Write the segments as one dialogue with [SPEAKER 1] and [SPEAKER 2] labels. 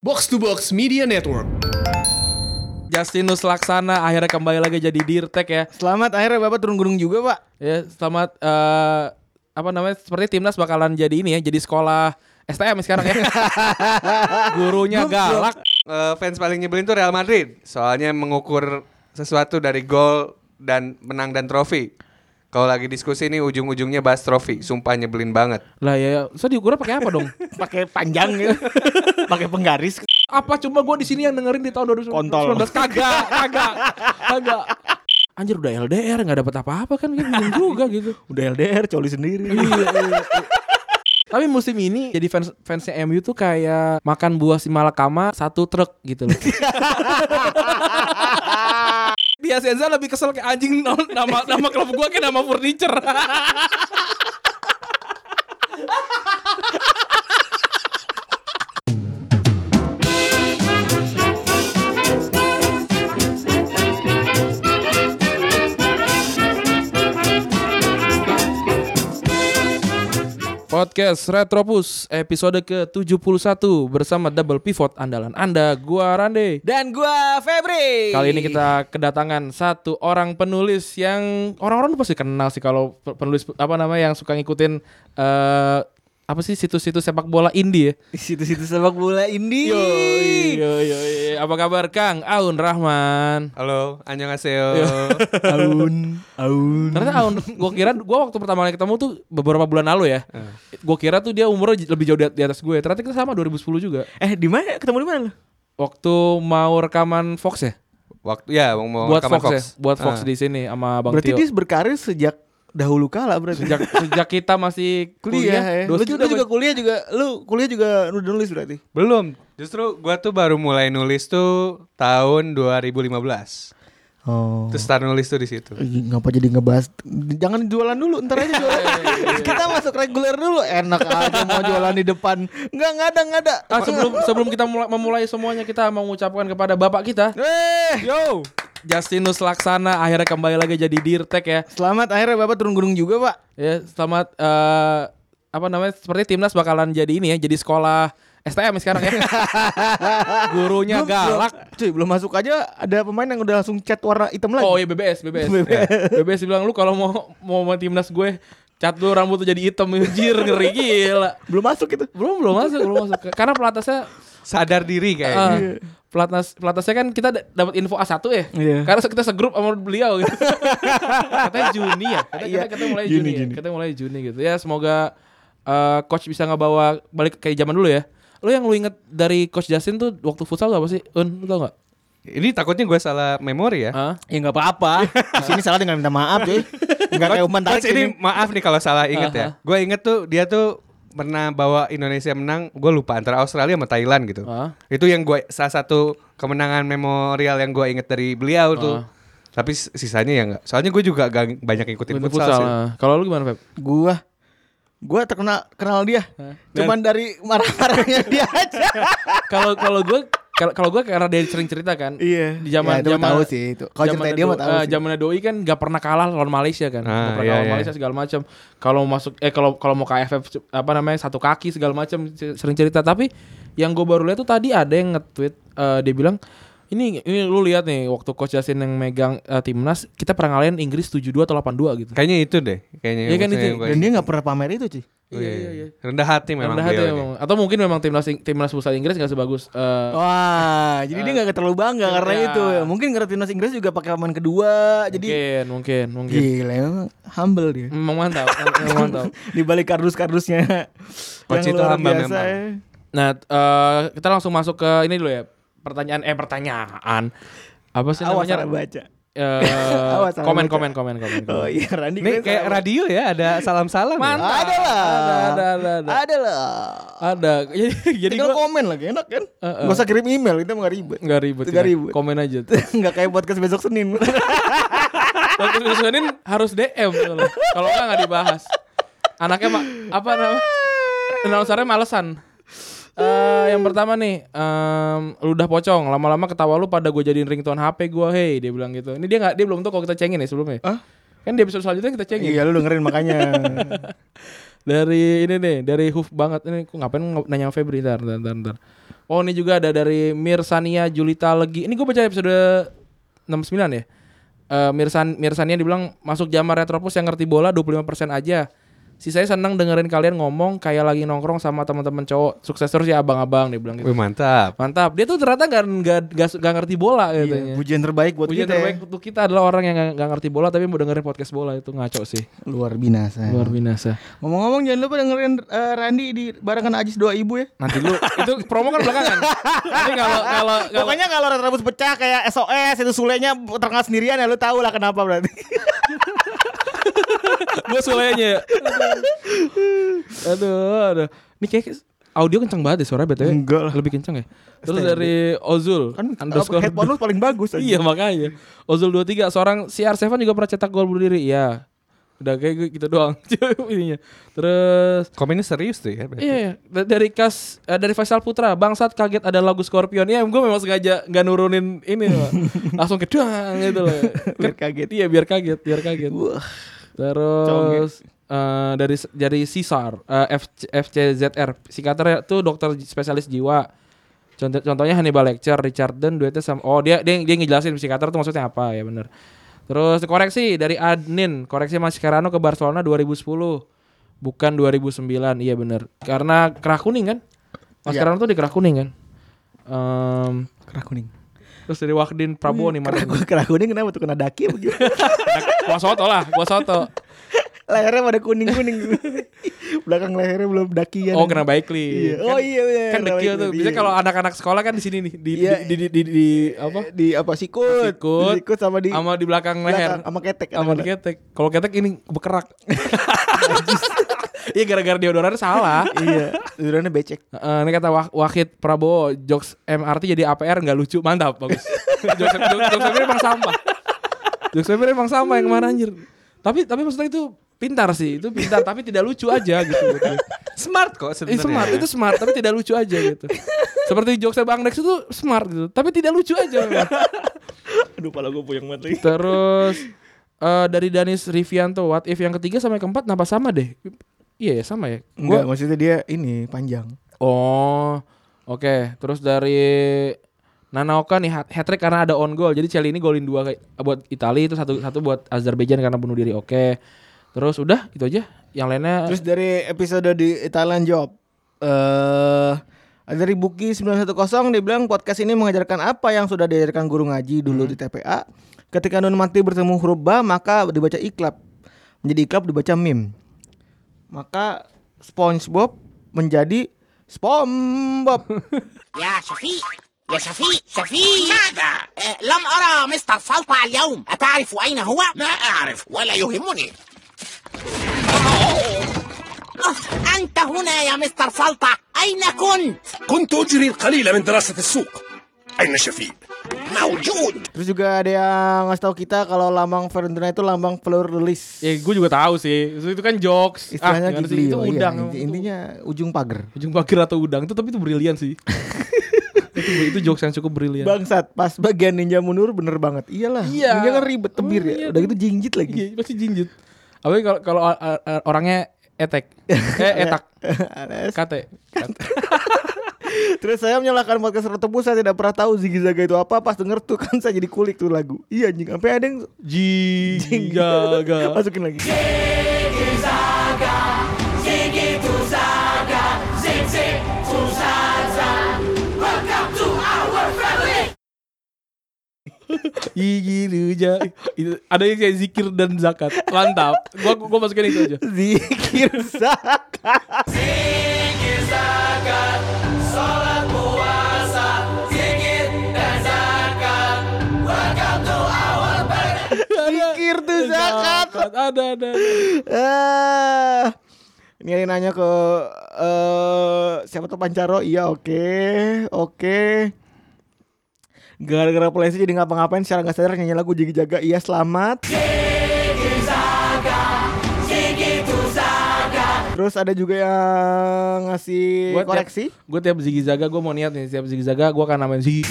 [SPEAKER 1] Box to Box Media Network.
[SPEAKER 2] Justinus Laksana akhirnya kembali lagi jadi Dirtek ya.
[SPEAKER 3] Selamat akhirnya Bapak turun gunung juga, Pak.
[SPEAKER 2] Ya, selamat eh, apa namanya? Seperti timnas bakalan jadi ini ya, jadi sekolah STM sekarang ya. Gurunya galak.
[SPEAKER 4] Eh, fans paling nyebelin tuh Real Madrid. Soalnya mengukur sesuatu dari gol dan menang dan trofi. Kalau lagi diskusi nih ujung-ujungnya bahas trofi, sumpah nyebelin banget.
[SPEAKER 2] Lah ya, so diukurnya pakai apa dong?
[SPEAKER 3] Pakai panjang ya. Pakai penggaris.
[SPEAKER 2] apa cuma gue di sini yang dengerin di tahun 2019?
[SPEAKER 3] Kontol.
[SPEAKER 2] Kagak, kagak, kagak. Anjir udah LDR nggak dapet apa-apa kan kayak bingung juga gitu.
[SPEAKER 3] Udah LDR, coli sendiri.
[SPEAKER 2] Iya, Tapi musim ini jadi fans fansnya MU tuh kayak makan buah si malakama satu truk gitu loh. Dia Senza lebih kesel kayak anjing no- nama nama klub gua kayak nama furniture. Podcast Retropus episode ke-71 bersama Double Pivot andalan Anda, gua Rande.
[SPEAKER 3] Dan gua Febri.
[SPEAKER 2] Kali ini kita kedatangan satu orang penulis yang orang-orang pasti kenal sih kalau pe- penulis apa namanya yang suka ngikutin eh apa sih situs-situs sepak bola indie ya.
[SPEAKER 3] di situ-situ sepak bola indie. iya.
[SPEAKER 2] yo, yo, yo. Apa kabar Kang Aun Rahman?
[SPEAKER 4] Halo, annyeonghaseyo.
[SPEAKER 3] Aun, aun.
[SPEAKER 2] Ternyata Aun, gue kira gue waktu pertama kali ketemu tuh beberapa bulan lalu ya.
[SPEAKER 3] Eh.
[SPEAKER 2] Gue kira tuh dia umurnya j- lebih jauh di at- di atas gue. Ternyata kita sama 2010 juga.
[SPEAKER 3] Eh, di mana? Ketemu di mana lu?
[SPEAKER 2] Waktu mau rekaman Fox ya,
[SPEAKER 4] Waktu ya
[SPEAKER 3] Oh,
[SPEAKER 4] mau mau
[SPEAKER 2] buat
[SPEAKER 4] rekaman
[SPEAKER 2] Fox, ya, buat Fox
[SPEAKER 4] Ah.
[SPEAKER 2] di sini sama Bang
[SPEAKER 3] Eh. Berarti
[SPEAKER 2] Tio.
[SPEAKER 3] dia berkarir sejak dahulu kala berarti.
[SPEAKER 2] Sejak, sejak kita masih kuliah,
[SPEAKER 3] kuliah, ya. Lu
[SPEAKER 2] dosen
[SPEAKER 3] juga,
[SPEAKER 2] udah
[SPEAKER 3] lu juga kuliah juga, lu kuliah juga udah nulis berarti.
[SPEAKER 4] Belum. Justru gua tuh baru mulai nulis tuh tahun 2015.
[SPEAKER 3] Oh.
[SPEAKER 4] Terus start nulis tuh di situ.
[SPEAKER 3] Ih, ngapa jadi ngebahas jangan jualan dulu ntar aja jualan kita masuk reguler dulu enak aja mau jualan di depan nggak nggak ada nggak ada
[SPEAKER 2] Ah, sebelum sebelum kita mulai, memulai semuanya kita mengucapkan kepada bapak kita
[SPEAKER 3] eh
[SPEAKER 2] Yo Justinus Laksana akhirnya kembali lagi jadi Dirtek ya
[SPEAKER 3] selamat akhirnya bapak turun gunung juga pak
[SPEAKER 2] Ya selamat eh, apa namanya seperti timnas bakalan jadi ini ya jadi sekolah STM sekarang ya gurunya
[SPEAKER 3] Belum-
[SPEAKER 2] galak
[SPEAKER 3] belum- cuy belum masuk aja ada pemain yang udah langsung cat warna hitam lagi
[SPEAKER 2] oh iya BBS BBS Ya. BBS bilang lu kalau mau mau main timnas gue cat lu rambut tuh jadi hitam jir ngeri gila
[SPEAKER 3] belum masuk itu
[SPEAKER 2] belum belum masuk belum masuk karena pelatnasnya
[SPEAKER 4] Sadar
[SPEAKER 2] eh,
[SPEAKER 4] diri kayaknya.
[SPEAKER 2] pelatnas pelatnasnya kan kita d- dapat info A1 ya
[SPEAKER 3] Iya.
[SPEAKER 2] karena kita segrup sama beliau gitu. katanya Juni ya katanya,
[SPEAKER 3] Iya.
[SPEAKER 2] kita mulai Juni,
[SPEAKER 3] Juni,
[SPEAKER 2] ya.
[SPEAKER 3] Juni.
[SPEAKER 2] kita mulai Juni gitu ya semoga eh, coach bisa ngebawa balik kayak zaman dulu ya lu yang lu inget dari coach Justin tuh waktu futsal tuh apa sih un lu tau nggak
[SPEAKER 4] Ini takutnya gua salah memori ya.
[SPEAKER 2] Hah?
[SPEAKER 3] ya nggak apa-apa di sini salah dengan minta maaf cuy nggak kayak umpan tarik
[SPEAKER 4] Coach ini
[SPEAKER 3] ini
[SPEAKER 4] maaf nih kalau salah inget ya. Gue inget tuh dia tuh pernah bawa Indonesia menang. Gue lupa antara Australia sama Thailand gitu.
[SPEAKER 2] Ah.
[SPEAKER 4] Itu yang gue salah satu kemenangan memorial yang gue inget dari beliau tuh. Tapi s- sisanya ya enggak. Soalnya gue juga gak banyak ngikutin
[SPEAKER 2] Futsal,
[SPEAKER 4] futsal, sih.
[SPEAKER 2] nah. kalau lu gimana Feb
[SPEAKER 3] gua gua terkenal kenal dia cuman dari marah-marahnya dia aja
[SPEAKER 2] kalau kalau gue kalau kalau gue karena dia sering cerita kan
[SPEAKER 3] Iya.
[SPEAKER 2] di zaman
[SPEAKER 3] Ya, itu
[SPEAKER 2] zaman
[SPEAKER 3] tahu sih, itu. Kalau
[SPEAKER 2] zaman
[SPEAKER 3] cerita dia mah
[SPEAKER 2] do-
[SPEAKER 3] tahu
[SPEAKER 2] eh,
[SPEAKER 3] sih.
[SPEAKER 2] zamannya doi kan gak pernah kalah lawan Malaysia kan gak pernah
[SPEAKER 4] Ah, iya,
[SPEAKER 2] kalah lawan
[SPEAKER 4] iya.
[SPEAKER 2] Malaysia segala macam kalau masuk eh kalau kalau mau KFF c- apa namanya satu kaki segala macam c- sering cerita tapi yang gue baru lihat tuh tadi ada yang nge-tweet eh, dia bilang ini ini lu lihat nih waktu coach Yasin yang megang eh, timnas kita pernah ngalahin Inggris 7-2 atau 8-2
[SPEAKER 3] Kan
[SPEAKER 2] gitu
[SPEAKER 4] Kayaknya itu deh. Kayaknya
[SPEAKER 2] Iya kan
[SPEAKER 4] maksudnya
[SPEAKER 2] itu.
[SPEAKER 4] yang gua
[SPEAKER 3] dan
[SPEAKER 4] inget.
[SPEAKER 3] dia nggak pernah pamer itu cuy
[SPEAKER 4] Iya, Rendah hati memang
[SPEAKER 2] Rendah hati
[SPEAKER 4] beliau ini.
[SPEAKER 2] memang. atau mungkin memang timnas timnas futsal Inggris gak sebagus eh,
[SPEAKER 3] Oh, Wah, jadi dia nggak terlalu bangga karena
[SPEAKER 2] ya.
[SPEAKER 3] itu. Mungkin karena timnas Inggris juga pakai pemain kedua, jadi
[SPEAKER 2] mungkin mungkin mungkin
[SPEAKER 3] gila emang humble dia.
[SPEAKER 2] memang mantap memang mantap
[SPEAKER 3] Di balik kardus-kardusnya
[SPEAKER 4] Coach itu humble memang.
[SPEAKER 3] ya.
[SPEAKER 2] Nah, eh, kita langsung masuk ke ini dulu ya. Pertanyaan eh pertanyaan. Apa sih
[SPEAKER 3] Awas
[SPEAKER 2] namanya?
[SPEAKER 3] salah baca.
[SPEAKER 2] Eh,
[SPEAKER 3] Awas, salah
[SPEAKER 2] komen,
[SPEAKER 3] baca.
[SPEAKER 2] komen, komen, komen,
[SPEAKER 3] Oh iya, Randi kayaknya
[SPEAKER 4] Ini kayak
[SPEAKER 3] salah baca.
[SPEAKER 4] radio ya ada salam-salam. ya.
[SPEAKER 2] Mantap.
[SPEAKER 3] Ada lah.
[SPEAKER 2] Ada, ada, ada, ada.
[SPEAKER 3] Ada lah.
[SPEAKER 2] Ada. Jadi jadi
[SPEAKER 3] Tinggal
[SPEAKER 2] gua
[SPEAKER 3] komen lagi enak kan?
[SPEAKER 2] Eh, eh.
[SPEAKER 3] Gak usah kirim email, itu nggak ribet.
[SPEAKER 2] enggak ribet.
[SPEAKER 3] Nggak
[SPEAKER 2] ya.
[SPEAKER 3] ribet.
[SPEAKER 2] Komen aja.
[SPEAKER 3] Nggak kayak podcast besok Senin.
[SPEAKER 2] Bagus disusunin harus DM soalnya. Kalau enggak enggak dibahas. Anaknya ma- apa namanya? Announcernya malesan. Eh, yang pertama nih, em, ludah pocong. Lama-lama ketawa lu pada gue jadiin ringtone HP gua Hey, dia bilang gitu. Ini dia nggak dia belum tahu kalau kita cengin ya sebelumnya. Kan di episode selanjutnya kita cengin.
[SPEAKER 3] iya, lu dengerin makanya.
[SPEAKER 2] Dari ini nih, dari hoof banget ini. Kok ngapain ng- nanya Febri ntar, ntar, ntar, ntar. Oh ini juga ada dari Mirsania Julita Legi. Ini gue baca episode 69 ya. Eh Mirsan Mirsania dibilang masuk jamar retropus yang ngerti bola 25% aja. Sisanya senang dengerin kalian ngomong kayak lagi nongkrong sama teman-teman cowok. Sukses terus ya abang-abang dia bilang gitu.
[SPEAKER 4] Wih mantap.
[SPEAKER 2] Mantap. Dia tuh ternyata gak, gak, gak, gak ngerti bola
[SPEAKER 3] Iya,
[SPEAKER 2] katanya.
[SPEAKER 3] pujian terbaik buat
[SPEAKER 2] Pujian
[SPEAKER 3] kita.
[SPEAKER 2] terbaik
[SPEAKER 3] ya.
[SPEAKER 2] untuk kita adalah orang yang gak, gak ngerti bola tapi mau dengerin podcast bola itu ngaco sih.
[SPEAKER 3] Luar binasa.
[SPEAKER 2] Luar binasa.
[SPEAKER 3] Ngomong-ngomong jangan lupa dengerin eh, Randi di barengan Ajis doa ibu ya.
[SPEAKER 2] Nanti lu itu promo kan belakangan. Tapi kalau kalau kalau-
[SPEAKER 1] Pokoknya kalau retrobus pecah kayak SOS itu sulenya terkenal sendirian ya lu tahu lah kenapa berarti.
[SPEAKER 2] gue sulainya ya. aduh aduh ini kayak audio kencang banget ya suara btw
[SPEAKER 3] Enggak lah.
[SPEAKER 2] lebih kencang ya terus dari Ozul
[SPEAKER 3] Kan
[SPEAKER 2] underscore
[SPEAKER 3] headphone lu paling bagus aja.
[SPEAKER 2] iya makanya Ozul 23 seorang CR7 juga pernah cetak gol bunuh diri ya udah kayak gitu doang ininya terus
[SPEAKER 4] Komennya serius tuh ya. berarti.
[SPEAKER 2] Iya, iya. Da- dari kas eh, dari Faisal Putra, bangsat kaget ada lagu Scorpion. Ya, gue memang sengaja nggak nurunin ini, Pak. langsung ke duang gitu loh.
[SPEAKER 3] Biar kaget.
[SPEAKER 2] Iya, biar kaget, biar kaget. Terus eh, dari dari Sisar eh, FC, FCZR, psikiater tuh dokter spesialis jiwa. Contoh, contohnya Hannibal Lecter, Richard Den, duetnya sama oh dia dia dia ngejelasin psikiater tuh maksudnya apa ya bener. Terus koreksi dari Adnin, koreksi Mascherano ke Barcelona 2010 bukan 2009. Iya bener. Karena kerah kuning kan?
[SPEAKER 3] Iya.
[SPEAKER 2] Mascherano tuh di kerah kuning kan? Em,
[SPEAKER 3] Kerah kuning.
[SPEAKER 2] terus dari Wakdin Prabowo nih
[SPEAKER 3] Iya.
[SPEAKER 2] mantan.
[SPEAKER 3] Kerah kuning kenapa tuh kena daki apa gimana?
[SPEAKER 2] Gua soto lah, gua soto.
[SPEAKER 3] lehernya pada kuning-kuning. Belakang lehernya belum dakian.
[SPEAKER 2] Oh kena baik li.
[SPEAKER 3] Iya. Oh iya bener,
[SPEAKER 2] Kan
[SPEAKER 3] kena
[SPEAKER 2] dekil
[SPEAKER 3] baik
[SPEAKER 2] tuh.
[SPEAKER 3] li,
[SPEAKER 2] Biasanya
[SPEAKER 3] iya.
[SPEAKER 2] kalau anak-anak sekolah kan di sini nih di
[SPEAKER 3] Iya.
[SPEAKER 2] di, di, di, di- di- apa?
[SPEAKER 3] di apa sikut?
[SPEAKER 2] Sikut.
[SPEAKER 3] Di sikut sama di
[SPEAKER 2] Sama di belakang leher.
[SPEAKER 3] belakang, sama ketek.
[SPEAKER 2] Sama di ketek. Kalau ketek ini bekerak. Iya gara-gara deodoran salah.
[SPEAKER 3] Iya, tidurnya becek.
[SPEAKER 2] Eh, ini kata Wah- Wahid Prabowo jokes MRT jadi APR nggak lucu mantap bagus jokes jokes jokes MRT emang sampah jokes MRT emang sampah yang kemarin anjir tapi tapi maksudnya itu pintar sih itu pintar tapi tidak lucu aja gitu
[SPEAKER 4] Smart kok ya?
[SPEAKER 2] Eh,
[SPEAKER 4] sebenarnya.
[SPEAKER 3] ya.
[SPEAKER 2] smart itu smart tapi tidak lucu aja gitu. Seperti jokesnya Bang Dex itu smart gitu, tapi tidak lucu aja. memang.
[SPEAKER 1] Aduh pala gue puyeng banget lagi.
[SPEAKER 2] Terus eh, dari Danis Rivianto, what if yang ketiga sama yang keempat napa sama deh? Iya ya sama ya. Gua
[SPEAKER 3] Enggak, maksudnya dia ini panjang.
[SPEAKER 2] Oh. Oke, terus dari Nanaoka nih hat trick karena ada on goal. Jadi Celi ini golin dua kayak- buat Italia itu satu satu buat Azerbaijan karena bunuh diri. Oke. Terus udah itu aja. Yang lainnya
[SPEAKER 3] Terus dari episode di Italian Job eh dari Buki 910 dia bilang podcast ini mengajarkan apa yang sudah diajarkan guru ngaji dulu
[SPEAKER 2] Hmm.
[SPEAKER 3] di TPA. Ketika nun mati bertemu huruf ba maka dibaca iklab. Menjadi iklab dibaca mim. Maka SpongeBob menjadi SpongeBob.
[SPEAKER 5] يا شفيق يا شفيق شفيق ماذا؟ آه لم أرى مستر فلطة اليوم أتعرف أين هو؟ لا أعرف ولا يهمني آه، أنت هنا يا مستر فلطة أين كنت؟
[SPEAKER 6] كنت أجري القليل من دراسة السوق أين شفيق؟
[SPEAKER 5] موجود
[SPEAKER 3] Terus juga ada yang ngasih tahu kita kalau lambang Fiorentina itu lambang pluralis.
[SPEAKER 2] ya gue juga tahu sih. Itu kan jokes. Ah,
[SPEAKER 3] Istilahnya
[SPEAKER 2] gimana sih?
[SPEAKER 3] giglio,
[SPEAKER 2] itu
[SPEAKER 3] iya.
[SPEAKER 2] udang.
[SPEAKER 3] Inti- intinya ujung pagar.
[SPEAKER 2] ujung pagar atau udang itu tapi itu brilian sih itu itu jokes yang cukup brilian
[SPEAKER 3] Bangsat, pas bagian ninja mundur bener banget. Iyalah,
[SPEAKER 2] Iya.
[SPEAKER 3] ninja kan ribet tebir
[SPEAKER 2] Oh,
[SPEAKER 3] ya.
[SPEAKER 2] iya.
[SPEAKER 3] Udah gitu jingjit lagi.
[SPEAKER 2] Iya, pasti jinjit apalagi kalau kalau uh, uh, orangnya etek eh etak
[SPEAKER 3] Anes.
[SPEAKER 2] kate
[SPEAKER 3] Terus saya menyalahkan podcast Retebus saya tidak pernah tahu Ziggy Zaga itu apa pas denger tuh kan saya jadi kulik tuh lagu. Iya anjing, sampai ada yang
[SPEAKER 2] Iya, jigaga
[SPEAKER 3] masukin lagi.
[SPEAKER 2] gigi luja itu ada yang kayak zikir dan zakat mantap gua gua masukin itu aja
[SPEAKER 3] Zikir
[SPEAKER 2] Iya.
[SPEAKER 3] Zaga. Zikir tuh zakat.
[SPEAKER 2] ada ada, ada.
[SPEAKER 3] Eh, ini ada yang nanya ke eh siapa tuh Pancaro? Iya, oke, oke. Gara-gara polisi jadi ngapa-ngapain secara nggak sadar nyanyi lagu Jigi Jaga. Iya, selamat. Terus ada juga yang ngasih
[SPEAKER 2] Gua tiap-
[SPEAKER 3] koreksi.
[SPEAKER 2] Gua tiap ziggy zaga gua mau niat nih tiap ziggy zaga gua akan namain ziggy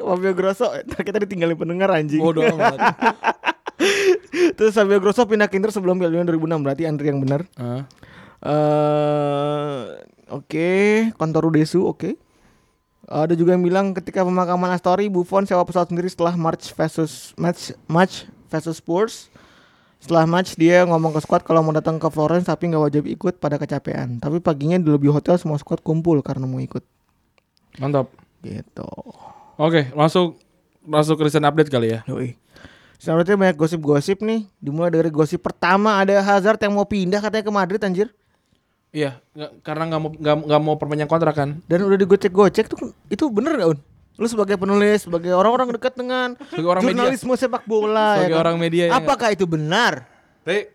[SPEAKER 3] Fabio Grosso, ntar kita ditinggalin pendengar anjing.
[SPEAKER 2] bodoh amat
[SPEAKER 3] Terus Fabio Grosso pindah ke Inter sebelum Piala Dunia 2006 berarti Andri yang benar.
[SPEAKER 2] Ah.
[SPEAKER 3] eh oke, kantor Udesu oke. Ada juga yang bilang ketika pemakaman Astori Buffon sewa pesawat sendiri setelah match versus match match versus Spurs. Setelah match dia ngomong ke squad kalau mau datang ke Florence tapi nggak wajib ikut pada kecapean. Tapi paginya di lobby hotel semua squad kumpul karena mau ikut.
[SPEAKER 2] Mantap.
[SPEAKER 3] Gitu.
[SPEAKER 2] Oke, langsung langsung ke recent update kali ya.
[SPEAKER 3] Yoi. Selanjutnya banyak gosip-gosip nih. Dimulai dari gosip pertama ada Hazard yang mau pindah katanya ke Madrid anjir.
[SPEAKER 2] Iya, nggak- karena nggak mau nggak nggak mau perpanjang kontrak kan.
[SPEAKER 3] Dan udah digocek-gocek tuh itu bener gak Un? Lu sebagai penulis, sebagai orang-orang dekat dengan
[SPEAKER 2] Sebagai orang media.
[SPEAKER 3] jurnalisme sepak bola
[SPEAKER 2] Sebagai
[SPEAKER 3] kan?
[SPEAKER 2] orang media, ya
[SPEAKER 3] Apakah itu benar?
[SPEAKER 4] Tapi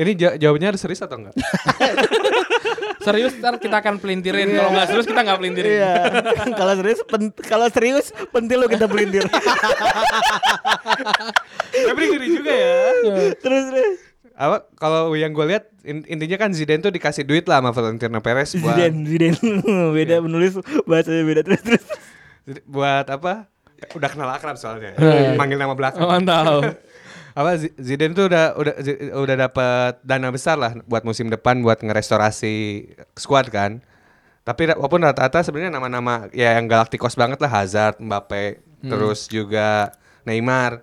[SPEAKER 4] ini ja- jawabnya harus serius atau enggak?
[SPEAKER 2] Serius ntar kita akan pelintirin. Kalau nggak serius kita nggak pelintirin.
[SPEAKER 3] Iya. kalau serius pen- kalau serius pentil lo kita pelintir.
[SPEAKER 4] Tapi ngeri juga ya.
[SPEAKER 3] terus terus.
[SPEAKER 4] Apa kalau yang gue lihat in- intinya kan Zidane tuh dikasih duit lah sama Florentino Perez buat
[SPEAKER 3] Zidane, Zidane. beda
[SPEAKER 2] Iya.
[SPEAKER 3] penulis bahasanya beda terus terus.
[SPEAKER 4] buat apa? Udah kenal akrab soalnya.
[SPEAKER 2] Iya.
[SPEAKER 4] Manggil nama belakang.
[SPEAKER 2] Mantap.
[SPEAKER 4] apa Z- Zidane tuh udah udah Z- udah dapat dana besar lah buat musim depan buat ngerestorasi squad kan. Tapi ra- walaupun rata-rata sebenarnya nama-nama ya yang galaktikos banget lah Hazard, Mbappe,
[SPEAKER 2] Hmm.
[SPEAKER 4] terus juga Neymar.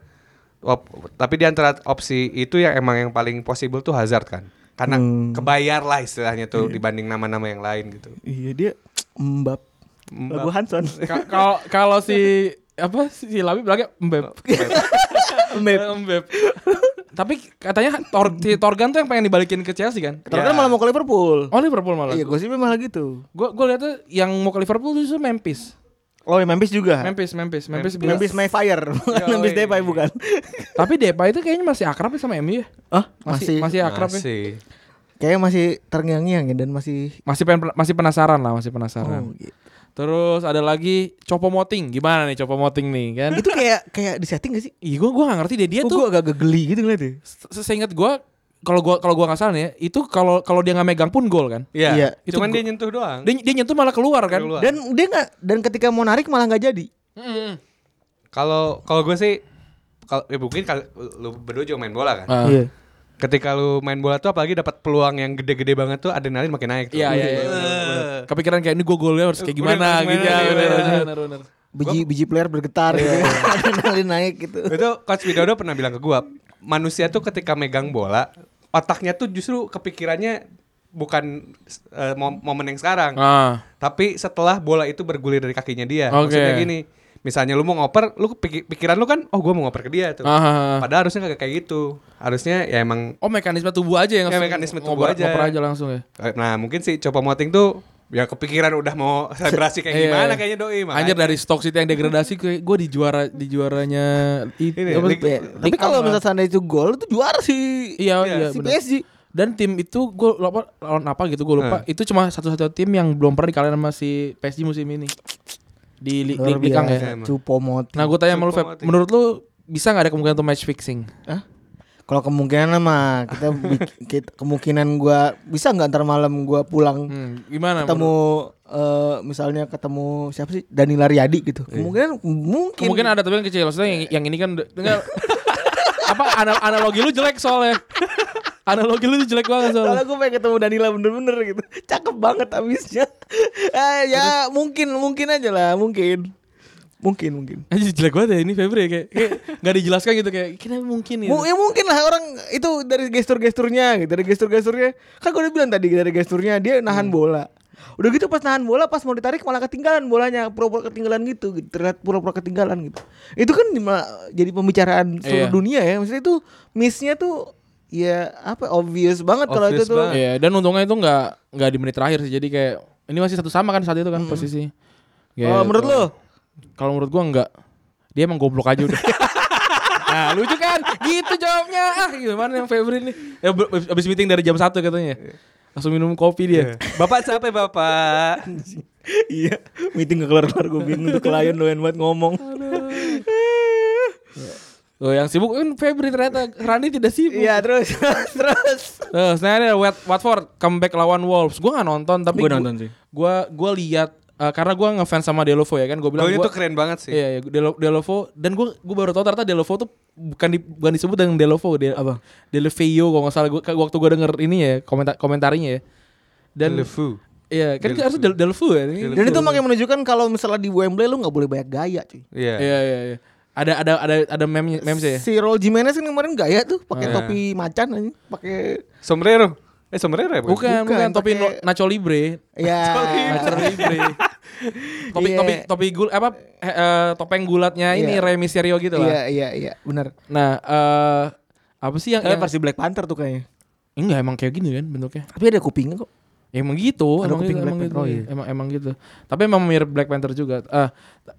[SPEAKER 4] Wap- tapi di antara opsi itu yang emang yang paling possible tuh Hazard kan. Karena
[SPEAKER 2] Hmm.
[SPEAKER 4] kebayar lah istilahnya
[SPEAKER 2] Iya.
[SPEAKER 4] tuh dibanding nama-nama yang lain gitu.
[SPEAKER 3] Iya dia mbap. Lagu Hanson.
[SPEAKER 2] Ka- Kalau kalau si apa si Labi bilangnya embeb.
[SPEAKER 3] Mbap.
[SPEAKER 2] Embeb. Tapi katanya Tor, si Torgan tuh yang pengen dibalikin ke Chelsea kan?
[SPEAKER 3] Ternyata malah mau ke Liverpool.
[SPEAKER 2] Oh Liverpool malah.
[SPEAKER 3] Iya, gosipnya malah gitu.
[SPEAKER 2] Gue gue lihat tuh yang mau ke Liverpool tuh justru Memphis.
[SPEAKER 3] Oh, ya Memphis juga.
[SPEAKER 2] Memphis, Memphis, Memphis. bilang.
[SPEAKER 3] Memphis My Fire, bukan
[SPEAKER 2] Yoi.
[SPEAKER 3] Memphis Depay bukan.
[SPEAKER 2] Tapi Depay itu kayaknya masih akrab ya sama MU ya.
[SPEAKER 3] Ah,
[SPEAKER 2] Masih masih akrab ya.
[SPEAKER 4] Masih.
[SPEAKER 3] kayaknya masih terngiang-ngiang ya dan masih
[SPEAKER 2] Masih pengen- masih penasaran lah, masih penasaran.
[SPEAKER 3] Oh, gitu.
[SPEAKER 2] Terus ada lagi Copo Moting. Gimana nih Copo Moting nih kan?
[SPEAKER 3] itu kayak kayak di setting gak sih?
[SPEAKER 2] Ih, gua gua gak ngerti deh dia Iya
[SPEAKER 3] Kok
[SPEAKER 2] tuh.
[SPEAKER 3] gue agak geli gitu ngeliatnya
[SPEAKER 2] se- Seingat gua kalau gua kalau gua nggak salah nih ya, itu kalau kalau dia nggak megang pun gol kan.
[SPEAKER 4] Iya.
[SPEAKER 3] Iya.
[SPEAKER 2] Itu
[SPEAKER 4] Cuman
[SPEAKER 2] gua-
[SPEAKER 4] dia nyentuh doang.
[SPEAKER 2] Dia, dia nyentuh malah keluar kan.
[SPEAKER 4] Keluar.
[SPEAKER 3] Dan dia nggak dan ketika mau narik malah nggak jadi.
[SPEAKER 4] Kalau kalau gue sih kalau ya mungkin kalau lu berdua juga main bola kan.
[SPEAKER 3] Iya.
[SPEAKER 2] Ah.
[SPEAKER 4] ketika lu main bola tuh apalagi dapat peluang yang gede-gede banget tuh adrenalin makin naik tuh.
[SPEAKER 2] Iya iya iya. bener, bener. Kepikiran kayak ini gue golnya harus kayak gimana
[SPEAKER 4] gimana
[SPEAKER 2] gitu ya.
[SPEAKER 4] nih,
[SPEAKER 2] bener,
[SPEAKER 4] bener.
[SPEAKER 2] bener, bener.
[SPEAKER 3] Biji biji player bergetar
[SPEAKER 2] Iya.
[SPEAKER 3] gitu. Adrenalin naik gitu.
[SPEAKER 4] Itu coach Widodo pernah bilang ke gua, manusia tuh ketika megang bola, otaknya tuh justru kepikirannya bukan eh, mom- momen yang sekarang,
[SPEAKER 2] Ah.
[SPEAKER 4] tapi setelah bola itu bergulir dari kakinya dia.
[SPEAKER 2] Oke.
[SPEAKER 4] Maksudnya gini, misalnya lu mau ngoper, lu pikir- pikiran lu kan oh gua mau ngoper ke dia tuh.
[SPEAKER 2] Ah, ah, ah.
[SPEAKER 4] Padahal harusnya kagak kayak gitu. Harusnya ya emang
[SPEAKER 2] Oh mekanisme tubuh aja yang
[SPEAKER 4] Ya, mekanisme tubuh
[SPEAKER 2] ngoper-
[SPEAKER 4] aja.
[SPEAKER 2] ngoper aja langsung ya.
[SPEAKER 4] eh, nah mungkin sih coba moting tuh ya kepikiran udah mau selebrasi kayak gimana kayaknya doi makanya.
[SPEAKER 2] Iya, Anjir dari stok City yang degradasi kayak gue di juara di juaranya itu.
[SPEAKER 4] Ini,
[SPEAKER 2] apa-
[SPEAKER 4] League-
[SPEAKER 3] Ya, tapi kalau misalnya seandainya itu gol itu juara sih.
[SPEAKER 2] Iya
[SPEAKER 4] Iya,
[SPEAKER 2] iya
[SPEAKER 3] si
[SPEAKER 2] bener.
[SPEAKER 3] PSG.
[SPEAKER 2] Dan tim itu gue lupa lawan apa gitu gue lupa. Itu cuma satu-satu tim yang belum pernah dikalahin sama si PSG musim ini. Di Liga
[SPEAKER 3] Luar
[SPEAKER 2] Liga
[SPEAKER 3] biasa,
[SPEAKER 2] ya.
[SPEAKER 3] Cupo moti.
[SPEAKER 2] Nah gue tanya sama lu Feb,
[SPEAKER 4] Supermotive.
[SPEAKER 2] menurut lu bisa nggak ada kemungkinan untuk match fixing?
[SPEAKER 3] Hah? Kalau kemungkinan mah kita, bik- kita- kemungkinan gua bisa nggak ntar malam gua pulang
[SPEAKER 2] Hmm, gimana?
[SPEAKER 3] ketemu eh, misalnya ketemu siapa sih Dani Lariadi gitu. Kemungkinan mungkin
[SPEAKER 2] Mungkin ada tapi yang kecil. Maksudnya yang, yang ini kan udah- enggak apa ana- analogi lu jelek soalnya. analogi lu tuh jelek banget soalnya.
[SPEAKER 3] Soalnya gue pengen ketemu Danila bener-bener gitu Cakep banget abisnya eh, Ya mungkin Mungkin aja lah Mungkin Mungkin mungkin
[SPEAKER 2] Anjir jelek banget ya ini Febri ya, kayak, kayak gak dijelaskan gitu kayak kira mungkin ya.
[SPEAKER 3] Mu- ya mungkin lah orang Itu dari gestur-gesturnya gitu Dari gestur-gesturnya Kan gue udah bilang tadi Dari gesturnya Dia nahan bola Udah gitu pas nahan bola Pas mau ditarik malah ketinggalan bolanya Pura-pura ketinggalan gitu, gitu. Terlihat pura-pura ketinggalan gitu Itu kan di- malah jadi pembicaraan
[SPEAKER 2] Iya.
[SPEAKER 3] seluruh dunia ya Maksudnya itu Missnya tuh Ya apa Obvious banget kalau itu
[SPEAKER 4] Obvious
[SPEAKER 3] tuh
[SPEAKER 4] banget.
[SPEAKER 2] Iya, dan untungnya itu nggak nggak di menit terakhir sih. Jadi kayak ini masih satu sama kan saat itu kan posisi.
[SPEAKER 3] Oh, Hmm. menurut lo?
[SPEAKER 2] Kalau menurut gua enggak. Dia emang goblok aja udah. nah, lucu kan? Gitu jawabnya. Ah, gimana yang Febri nih? Ya, be- abis meeting dari jam 1 katanya. Langsung minum kopi dia.
[SPEAKER 4] Bapak siapa ya, bapak?
[SPEAKER 3] Iya, meeting gak kelar-kelar gue bingung tuh klien doyan banget ngomong.
[SPEAKER 2] Loh, yang sibuk kan Febri ternyata Rani tidak sibuk.
[SPEAKER 3] Iya, terus terus.
[SPEAKER 2] Terus nah ini ada Wat- Watford comeback lawan Wolves. Gua nggak nonton tapi
[SPEAKER 3] Gua nonton sih.
[SPEAKER 2] Gua gua lihat eh, karena gua ngefans sama Delovo ya kan. Gua
[SPEAKER 3] Oh,
[SPEAKER 2] bilang
[SPEAKER 4] Golnya
[SPEAKER 2] gua-
[SPEAKER 4] tuh keren banget sih.
[SPEAKER 2] Iya, iya, Delo- Delovo dan gue gue baru tau ternyata Delovo tuh bukan di, bukan disebut dengan Delovo, De, apa? Deleveo kalau nggak salah gua, waktu gue denger ini ya komentar komentarinya ya. dan
[SPEAKER 4] Delfu.
[SPEAKER 2] Iya, kan harus Del- Delfu ya.
[SPEAKER 3] Dan itu makanya menunjukkan kalau misalnya di Wembley lu nggak boleh banyak gaya cuy.
[SPEAKER 4] Iya.
[SPEAKER 2] Iya, iya, iya. Ada ada ada ada meme meme sih. ya? Nah.
[SPEAKER 3] Si Raul Jimenez kan kemarin gaya tuh pakai topi macan anjing, pakai
[SPEAKER 4] Sombrero. Eh sombrero ya? Bukan.
[SPEAKER 2] Bukan, bukan,
[SPEAKER 3] Bukan,
[SPEAKER 2] topi
[SPEAKER 3] pakai-
[SPEAKER 2] no- Nacho Libre.
[SPEAKER 3] ya
[SPEAKER 2] Nacho Libre. topi
[SPEAKER 3] Iya.
[SPEAKER 2] topi topi gul apa eh, eh, topeng gulatnya ini
[SPEAKER 3] Iya.
[SPEAKER 2] Rey Mysterio gitu
[SPEAKER 3] Iya
[SPEAKER 2] lah.
[SPEAKER 3] iya iya Ya. benar.
[SPEAKER 2] Nah, eh apa sih yang,
[SPEAKER 3] Tapi
[SPEAKER 2] yang
[SPEAKER 3] pasti Black Panther tuh kayaknya.
[SPEAKER 2] enggak emang kayak gini kan bentuknya?
[SPEAKER 3] Tapi ada kupingnya kok.
[SPEAKER 2] Ya, emang gitu,
[SPEAKER 3] Ada
[SPEAKER 2] emang
[SPEAKER 3] kuping
[SPEAKER 2] gitu,
[SPEAKER 3] Black
[SPEAKER 2] emang gitu,
[SPEAKER 3] Panther, oh
[SPEAKER 2] iya.
[SPEAKER 3] iya.
[SPEAKER 2] emang emang gitu. Tapi emang mirip Black Panther juga. Ah,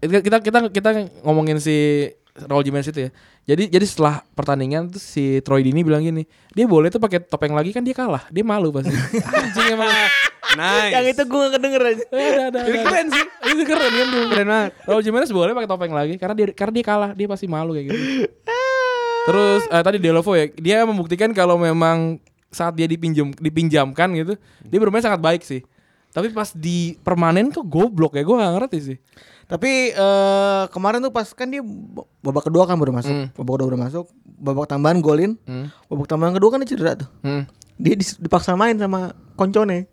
[SPEAKER 2] kita kita kita kita ngomongin si Raul Jimenez itu ya. Jadi jadi setelah pertandingan tuh si Troy Dini bilang gini, dia boleh tuh pakai topeng lagi kan dia kalah, dia malu pasti. Anjing emang.
[SPEAKER 4] Nice.
[SPEAKER 1] Yang itu gue kedenger aja.
[SPEAKER 2] Eh, ada, ada, ada. keren sih. Itu keren kan tuh. Keren banget. Raul Jimenez boleh pakai topeng lagi karena dia karena dia kalah, dia pasti malu kayak gitu. Terus eh, tadi Delovo ya, dia membuktikan kalau memang saat dia dipinjam dipinjamkan gitu, dia bermain sangat baik sih. Tapi pas di permanen kok goblok ya, gue gak ngerti sih.
[SPEAKER 3] Tapi eh, kemarin tuh pas kan dia b- babak kedua kan baru
[SPEAKER 2] Hmm.
[SPEAKER 3] masuk, babak kedua baru masuk, babak tambahan golin, babak tambahan kedua kan dia cedera tuh.
[SPEAKER 2] Hmm.
[SPEAKER 3] Dia dis- dipaksa main sama koncone.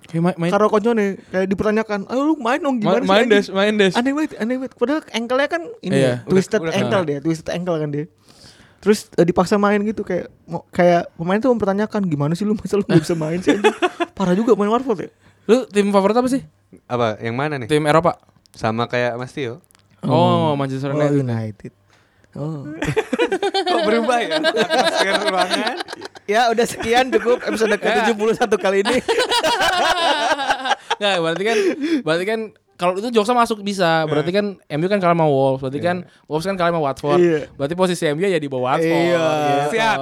[SPEAKER 2] Kayak main main
[SPEAKER 3] Karo koncone kayak dipertanyakan, "Ayo lu main dong
[SPEAKER 2] main,
[SPEAKER 3] gimana
[SPEAKER 2] main
[SPEAKER 3] sih?"
[SPEAKER 2] des,
[SPEAKER 3] anjing?"
[SPEAKER 2] main des.
[SPEAKER 3] Aneh banget, aneh banget. Padahal ankle-nya kan ini
[SPEAKER 2] Iya,
[SPEAKER 3] ya, twisted
[SPEAKER 4] udah
[SPEAKER 3] ankle dia, twisted ankle kan dia. Terus eh, dipaksa main gitu kayak mau kayak pemain tuh mempertanyakan gimana sih lu masa lu gak bisa main sih anjing?" Parah juga main Warford ya.
[SPEAKER 2] Lu tim favorit apa sih?
[SPEAKER 4] Apa? Yang mana nih?
[SPEAKER 2] Tim Eropa.
[SPEAKER 4] Sama kayak Mas Tio.
[SPEAKER 2] Oh, Manchester
[SPEAKER 3] Oh,
[SPEAKER 2] United.
[SPEAKER 3] United. Oh.
[SPEAKER 4] Kok berubah ya? Atmosfer ruangan.
[SPEAKER 3] Ya udah sekian cukup episode
[SPEAKER 2] Ya.
[SPEAKER 3] ke-71 kali ini.
[SPEAKER 2] Nggak, berarti kan berarti kan kalau itu Joksa masuk bisa. Berarti kan MU kan kalah sama Wolves. Berarti kan Wolves kan kalah sama Watford.
[SPEAKER 3] Iya.
[SPEAKER 2] Berarti posisi MU ya di bawah Watford.
[SPEAKER 3] Iya.
[SPEAKER 2] gitu.
[SPEAKER 4] Siap.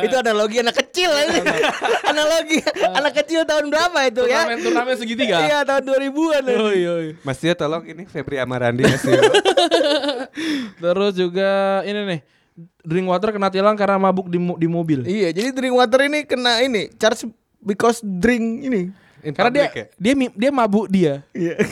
[SPEAKER 3] itu analogi anak kecil ini. analogi anak kecil tahun berapa itu ya?
[SPEAKER 2] Turnamen turnamen segitiga.
[SPEAKER 3] Iya tahun 2000-an.
[SPEAKER 2] Yoi, yoi.
[SPEAKER 4] Mas Tio tolong ini Febri Amarandi Mas Tio.
[SPEAKER 2] Terus juga ini nih drink water kena tilang karena mabuk di, mo- di mobil.
[SPEAKER 3] Iya, jadi drink water ini kena ini charge because drink ini.
[SPEAKER 4] In
[SPEAKER 2] Karena dia
[SPEAKER 4] public ya?
[SPEAKER 2] dia mi- dia mabuk dia.
[SPEAKER 3] Iya.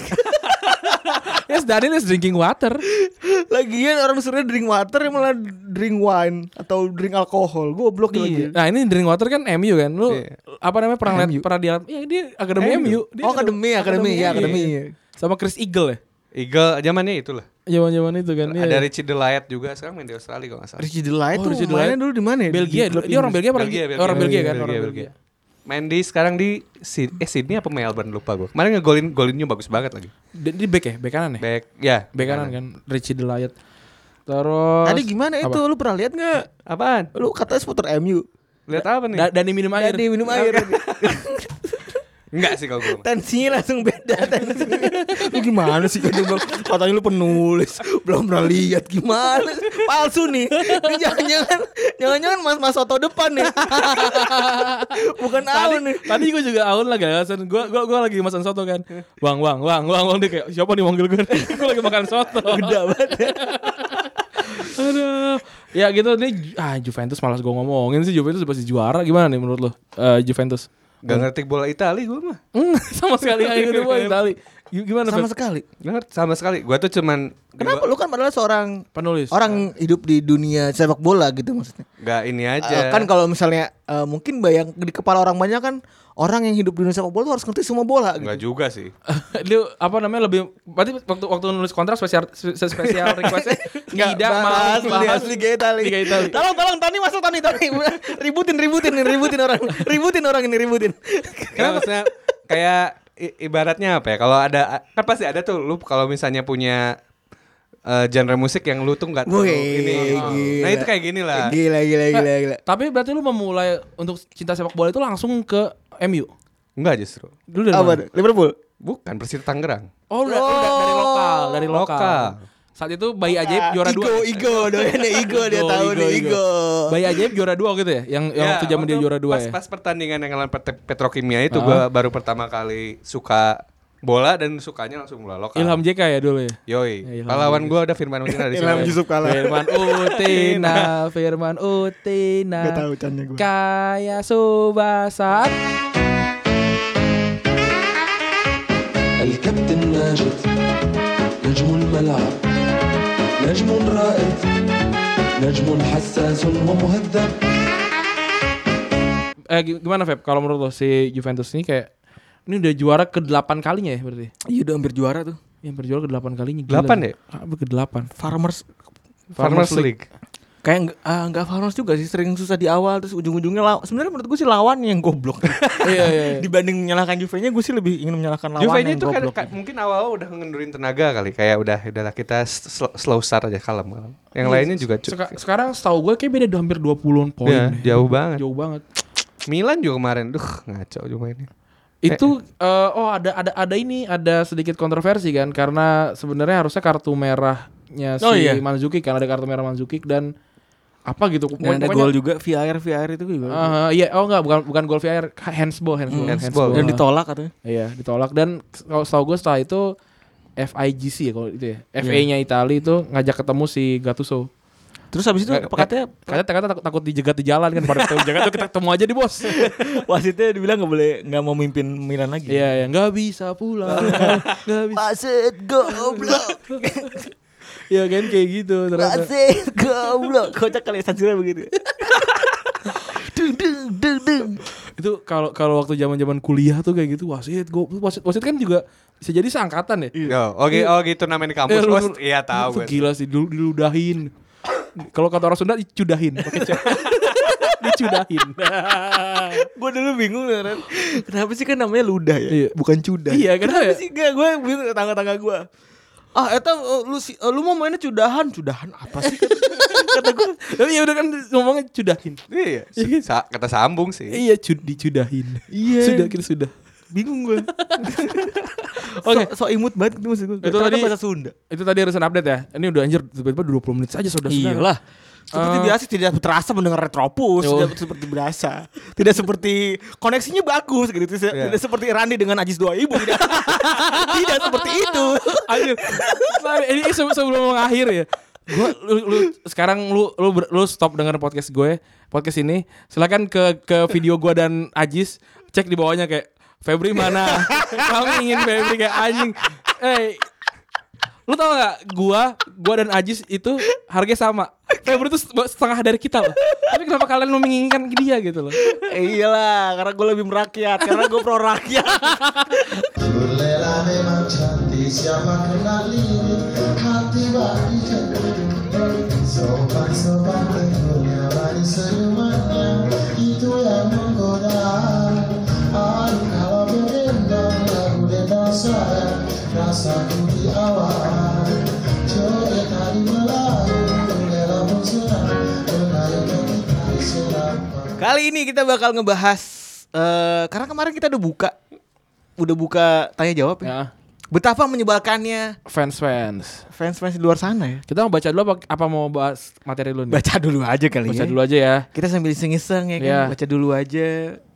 [SPEAKER 2] Yes, Daniel is drinking water.
[SPEAKER 3] Iya. Lagian orang suruh drink water yang malah drink wine atau drink alkohol. Goblok
[SPEAKER 2] Iya.
[SPEAKER 3] lagi.
[SPEAKER 2] Nah, ini drink water kan MU kan. Lu
[SPEAKER 4] Iya.
[SPEAKER 2] apa namanya pernah lihat pernah dia Iya, dia akademi MU. Dia
[SPEAKER 3] Oh, akademi, akademi, iya, akademi,
[SPEAKER 2] Iya. Sama Chris Eagle ya.
[SPEAKER 4] Eagle zamannya itulah.
[SPEAKER 2] Zaman-zaman itu kan. iya.
[SPEAKER 4] Ada Richie Delayat juga sekarang main di Australia kalau nggak salah.
[SPEAKER 3] Richie Delight
[SPEAKER 2] Oh,
[SPEAKER 3] tuh
[SPEAKER 2] Richie
[SPEAKER 3] mainnya
[SPEAKER 2] Delight.
[SPEAKER 3] dulu di mana ya?
[SPEAKER 2] Belgia,
[SPEAKER 3] Di klub
[SPEAKER 2] dia orang Belgia,
[SPEAKER 3] Inggris.
[SPEAKER 2] orang orang Belgia kan, orang Belgia.
[SPEAKER 4] Main di sekarang di Sid- eh Sydney apa Melbourne lupa gue. Kemarin ngegolin golinnya bagus banget lagi.
[SPEAKER 2] Dia dia back ya, back kanan ya?
[SPEAKER 4] Back ya.
[SPEAKER 2] Back kanan kan, Richie Delayat. Terus
[SPEAKER 3] Tadi gimana itu? Lu pernah lihat nggak?
[SPEAKER 4] Apaan?
[SPEAKER 3] Lu katanya supporter MU.
[SPEAKER 4] Lihat apa nih?
[SPEAKER 2] Da- Dani minum air.
[SPEAKER 3] Tadi minum air.
[SPEAKER 4] Enggak sih kalau gue.
[SPEAKER 3] tensinya langsung beda tensinya. lu gimana sih kan bang katanya lu penulis belum pernah lihat gimana palsu nih ini jangan jangan jangan jangan mas mas soto depan nih bukan
[SPEAKER 2] Tadi,
[SPEAKER 3] Aun nih
[SPEAKER 2] tadi gue juga Aun lagi alasan gue gue gue lagi makan soto kan. Wang wang wang wang wang dia kayak siapa nih manggil gue? gue lagi makan soto.
[SPEAKER 3] gede banget ya.
[SPEAKER 2] Aduh. Ya gitu nih Ju- ah Juventus malas gue ngomongin sih Juventus pasti juara gimana nih menurut lo? Eh, Juventus.
[SPEAKER 4] Gak ngerti bola Itali gue mah.
[SPEAKER 2] Hmm, sama sekali kayak gitu gue Itali. Gi- Gimana
[SPEAKER 3] sama
[SPEAKER 2] Feb?
[SPEAKER 3] sekali
[SPEAKER 4] Nggak ngerti sama sekali. Gue tuh cuman
[SPEAKER 3] kenapa lu kan padahal seorang
[SPEAKER 2] penulis?
[SPEAKER 3] orang hidup di dunia sepak bola gitu maksudnya
[SPEAKER 4] Gak ini
[SPEAKER 2] Ah,
[SPEAKER 3] Eh,
[SPEAKER 4] aja.
[SPEAKER 3] kan kalau misalnya eh, mungkin bayang di kepala orang banyak kan orang yang hidup di dunia sepak bola tuh harus ngerti semua bola gitu.
[SPEAKER 4] Enggak juga sih.
[SPEAKER 2] dia apa namanya lebih berarti waktu waktu nulis kontrak spesial spe- spesial requestnya tidak mau bahas
[SPEAKER 3] Liga Italia.
[SPEAKER 2] Liga Italia.
[SPEAKER 3] Tolong tolong Tani masuk Tani Tani. ributin ributin ributin orang. Ributin orang ini ributin.
[SPEAKER 4] Kenapa? Ya, maksudnya kayak i- ibaratnya apa ya? Kalau ada kan pasti ada tuh lu kalau misalnya punya eh, genre musik yang lu tuh nggak tahu
[SPEAKER 3] Wih,
[SPEAKER 4] Oh, ini.
[SPEAKER 3] gila.
[SPEAKER 4] Nah itu kayak gini lah.
[SPEAKER 3] Gila gila gila gila.
[SPEAKER 2] tapi berarti lu memulai untuk cinta sepak bola itu langsung ke MU
[SPEAKER 4] Enggak justru.
[SPEAKER 2] dulu dari
[SPEAKER 3] Apa?
[SPEAKER 2] mana?
[SPEAKER 3] tuh? Liverpool.
[SPEAKER 4] Bukan Persita Tangerang.
[SPEAKER 2] oh lu da- lu da- dari lokal dari lokal,
[SPEAKER 4] Lokal.
[SPEAKER 2] saat itu bayi ajaib juara
[SPEAKER 3] Igo,
[SPEAKER 2] dua
[SPEAKER 3] Igo, doyannya Igo dia tahu nih Igo.
[SPEAKER 2] bayi ajaib juara dua gitu ya yang yang waktu zaman dia
[SPEAKER 4] waktu
[SPEAKER 2] juara dua
[SPEAKER 4] pas,
[SPEAKER 2] ya Ah.
[SPEAKER 4] Pas pertandingan yang lawan Pet- Petrokimia itu gua baru pertama kali suka bola dan sukanya langsung bola lokal.
[SPEAKER 2] Ilham JK ya dulu ya Ya,
[SPEAKER 4] Yoi.
[SPEAKER 2] Ilham
[SPEAKER 4] Pahlawan gua ada Firman Utina di sini.
[SPEAKER 3] Ilham Yusuf kalah.
[SPEAKER 2] Firman Utina, Firman Utina.
[SPEAKER 3] Gak tahu cannya gue.
[SPEAKER 2] Kaya Subasa.
[SPEAKER 7] الكابتن ماجد نجم الملعب نجم رائد نجم حساس ومهذب
[SPEAKER 2] eh gi- gimana Feb kalau menurut lo si Juventus ini kayak ini udah juara ke delapan kalinya ya berarti Iya,
[SPEAKER 3] Iya udah hampir juara tuh.
[SPEAKER 2] yang berjuara ke delapan kalinya Ah,
[SPEAKER 4] Delapan
[SPEAKER 2] nih?
[SPEAKER 4] ya?
[SPEAKER 2] apa ke delapan
[SPEAKER 3] Farmers
[SPEAKER 4] Farmers League.
[SPEAKER 3] kayak nggak ah, nggak farmers juga sih sering susah di awal terus ujung-ujungnya law- sebenarnya menurut gue sih lawan yang goblok
[SPEAKER 2] iya iya iya.
[SPEAKER 3] dibanding menyalahkan Juve-nya gue sih lebih ingin menyalahkan lawan
[SPEAKER 4] Juve
[SPEAKER 3] yang
[SPEAKER 4] itu kan
[SPEAKER 3] goblok gitu.
[SPEAKER 4] ka- mungkin awal udah ngendurin tenaga kali kayak udah udahlah kita s- sl- slow start aja kalem kalem. Yang lainnya juga cu-
[SPEAKER 2] Seka- sekarang setahu gue kayak beda hampir 20-an poin
[SPEAKER 3] Iya.
[SPEAKER 4] ya,
[SPEAKER 2] deh.
[SPEAKER 4] jauh banget.
[SPEAKER 2] jauh banget
[SPEAKER 4] Milan juga kemarin, duh ngaco juga ini.
[SPEAKER 2] itu eh, oh ada ada ada ini ada sedikit kontroversi kan karena sebenarnya harusnya kartu merahnya si
[SPEAKER 3] Oh, iya.
[SPEAKER 2] Manzuki kan ada kartu merah Manzuki dan apa gitu
[SPEAKER 3] dan ada
[SPEAKER 2] pokoknya-
[SPEAKER 3] gol juga VAR VAR itu juga
[SPEAKER 2] Eh, iya, oh enggak bukan bukan gol VR, handsball, handsball,
[SPEAKER 4] Hmm,
[SPEAKER 2] handsball.
[SPEAKER 4] handsball.
[SPEAKER 3] dan ditolak katanya
[SPEAKER 2] Iya, ditolak dan kalau setahu gue setelah itu FIGC ya kalau itu ya. FA-nya Itali itu ngajak ketemu si Gattuso.
[SPEAKER 3] terus habis itu
[SPEAKER 2] Nggak-
[SPEAKER 3] katanya
[SPEAKER 2] Katanya ternyata takut, takut dijegat di jalan kan pada ketemu jagat tuh kita ketemu aja di bos.
[SPEAKER 3] wasitnya dibilang nggak boleh nggak mau mimpin Milan lagi
[SPEAKER 2] Iya, iya, nggak bisa pulang. Nggak bisa.
[SPEAKER 3] Wasit goblok
[SPEAKER 2] Ya kan kayak gitu ternyata.
[SPEAKER 3] Wasit goblok kocak kali sansinya begitu Dung dung dung dung
[SPEAKER 2] Itu kalau kalau waktu zaman-zaman kuliah tuh kayak gitu wasit gue wasit wasit kan juga bisa jadi seangkatan ya.
[SPEAKER 4] Oh, oke, oh gitu turnamen di kampus.
[SPEAKER 2] Eh, lu-
[SPEAKER 4] Bos.
[SPEAKER 2] lu-
[SPEAKER 4] Iya
[SPEAKER 2] Itu
[SPEAKER 4] tahu gue.
[SPEAKER 2] Gila sih dulu diludahin. Kalau kata orang Sunda dicudahin. Pakai C. dicudahin.
[SPEAKER 3] Gue dulu bingung kan Kenapa sih kan namanya ludah ya
[SPEAKER 2] Iya.
[SPEAKER 3] Bukan cudah
[SPEAKER 2] iya kenapa ya?
[SPEAKER 3] Kenapa sih gak gue bingung tangga-tangga gue Ah eta eh, lu si- eh, lu mau mainnya cudahan Cudahan apa sih Kata gue
[SPEAKER 2] Tapi ya udah kan ngomongnya cudahin.
[SPEAKER 4] Iya, sa- kata sambung sih.
[SPEAKER 2] Iya cud dicudahin.
[SPEAKER 3] Iya.
[SPEAKER 2] Sudah kita sudah.
[SPEAKER 3] bingung gue
[SPEAKER 2] Oke.
[SPEAKER 3] so, so imut banget gitu maksud gue
[SPEAKER 2] Itu
[SPEAKER 3] Ternyata
[SPEAKER 2] tadi-
[SPEAKER 3] bahasa Sunda
[SPEAKER 2] Itu tadi harus update ya. Ini udah anjir tiba-tiba 20 menit saja sudah sudah.
[SPEAKER 3] Iyalah. Seperti
[SPEAKER 2] Eh.
[SPEAKER 3] biasa tidak terasa mendengar retropus,
[SPEAKER 2] Yo.
[SPEAKER 3] tidak seperti biasa. Tidak seperti koneksinya bagus gitu. Tidak, tidak seperti Randi dengan Ajis dua ibu. Tidak, tidak seperti itu.
[SPEAKER 2] Anjir. Sorry, Ini se- sebelum mengakhir ya. Gua lu, lu- sekarang lu lu ber- lu stop denger podcast gue, podcast ini. Silakan ke ke video gue dan Ajis cek di bawahnya kayak Febri mana? Kami ingin Febri kayak anjing. Eh Lu tau gak gua, gua dan Ajis itu harganya sama. Febri itu setengah dari kita loh. Tapi kenapa kalian mau menginginkan dia gitu loh?
[SPEAKER 3] Eh, iyalah, karena gue lebih merakyat, karena gue pro rakyat.
[SPEAKER 8] Berlela memang cantik siapa kenal ini hati bagi Sopan-sopan tentunya manis senyumannya itu yang menggoda Aduh kalau berdendam lagu dendam saya rasaku di awal Joget tadi melayu berlela pun senang mengalir kita diserang
[SPEAKER 3] Kali ini kita bakal ngebahas eh karena kemarin kita udah buka, udah buka tanya jawab ya.
[SPEAKER 2] Ya,
[SPEAKER 3] Betapa menyebalkannya
[SPEAKER 2] fans fans.
[SPEAKER 3] fans fans di luar sana ya.
[SPEAKER 2] Kita mau baca dulu apa, apa mau bahas materi lu nih?
[SPEAKER 3] Baca dulu aja kali
[SPEAKER 2] Baca
[SPEAKER 3] ya.
[SPEAKER 2] dulu aja ya.
[SPEAKER 3] Kita sambil iseng-iseng ya kan,
[SPEAKER 2] Iya.
[SPEAKER 3] baca dulu aja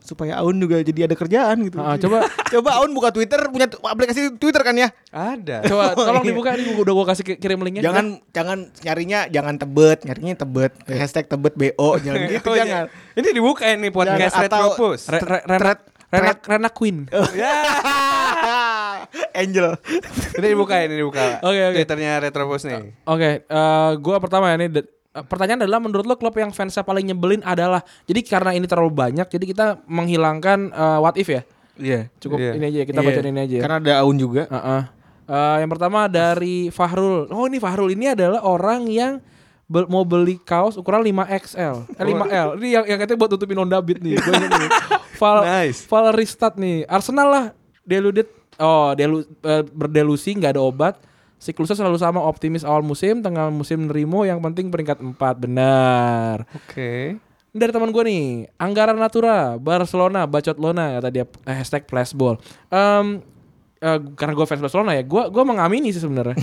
[SPEAKER 3] supaya Aun juga jadi ada kerjaan gitu.
[SPEAKER 2] Ah, coba
[SPEAKER 3] Coba Aun buka Twitter punya tu- aplikasi Twitter kan ya?
[SPEAKER 4] Ada.
[SPEAKER 2] Coba tolong
[SPEAKER 3] iya.
[SPEAKER 2] dibuka ini udah gua kasih ki- kirim linknya.
[SPEAKER 3] jangan jangan nyarinya jangan tebet, nyarinya tebet. Hashtag tebet BO jangan gitu
[SPEAKER 4] Oh, iya.
[SPEAKER 3] jangan.
[SPEAKER 4] Ini dibuka ini podcast
[SPEAKER 3] Jangan, atau-
[SPEAKER 4] Retropus.
[SPEAKER 2] Eh, Re- Re- Rena Rena Rena Queen.
[SPEAKER 3] Iya. Angel.
[SPEAKER 4] Ini dibuka ini dibuka.
[SPEAKER 2] Oke, oke.
[SPEAKER 4] Twitternya Retropus nih.
[SPEAKER 2] Oke, eh gua pertama ya ini de- eh, pertanyaan adalah menurut lo klub yang fansnya paling nyebelin adalah jadi karena ini terlalu banyak jadi kita menghilangkan eh, what if ya.
[SPEAKER 3] Iya.
[SPEAKER 2] Cukup
[SPEAKER 4] Iya.
[SPEAKER 2] ini aja kita bacain ini aja. ya.
[SPEAKER 3] Karena ada Aun juga.
[SPEAKER 2] Heeh. Eh, yang pertama dari Fahrul. Oh ini Fahrul ini adalah orang yang be- mau beli kaos ukuran 5XL. Eh 5L. Ini yang, yang katanya buat tutupin Honda Beat nih. Gua ingat nih. Val,
[SPEAKER 4] Nice.
[SPEAKER 2] Valeristat nih. Arsenal lah deluded. Oh, delu, eh, berdelusi nggak ada obat. Siklusnya selalu sama optimis awal musim, tengah musim nerimo, yang penting peringkat 4. Benar.
[SPEAKER 4] Oke.
[SPEAKER 2] Ini dari teman gue nih anggaran natura Barcelona bacot lona kata dia eh, hashtag flashball Em, eh, karena gue fans Barcelona ya gue gue mengamini sih sebenarnya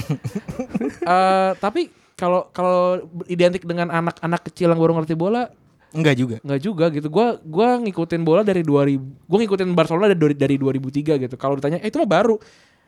[SPEAKER 2] Eh, tapi kalau kalau identik dengan anak-anak kecil yang baru ngerti bola
[SPEAKER 3] Enggak juga.
[SPEAKER 2] nggak juga gitu gue gua ngikutin bola dari 2000 gue ngikutin Barcelona dari dari 2003 gitu kalau ditanya eh, itu mah baru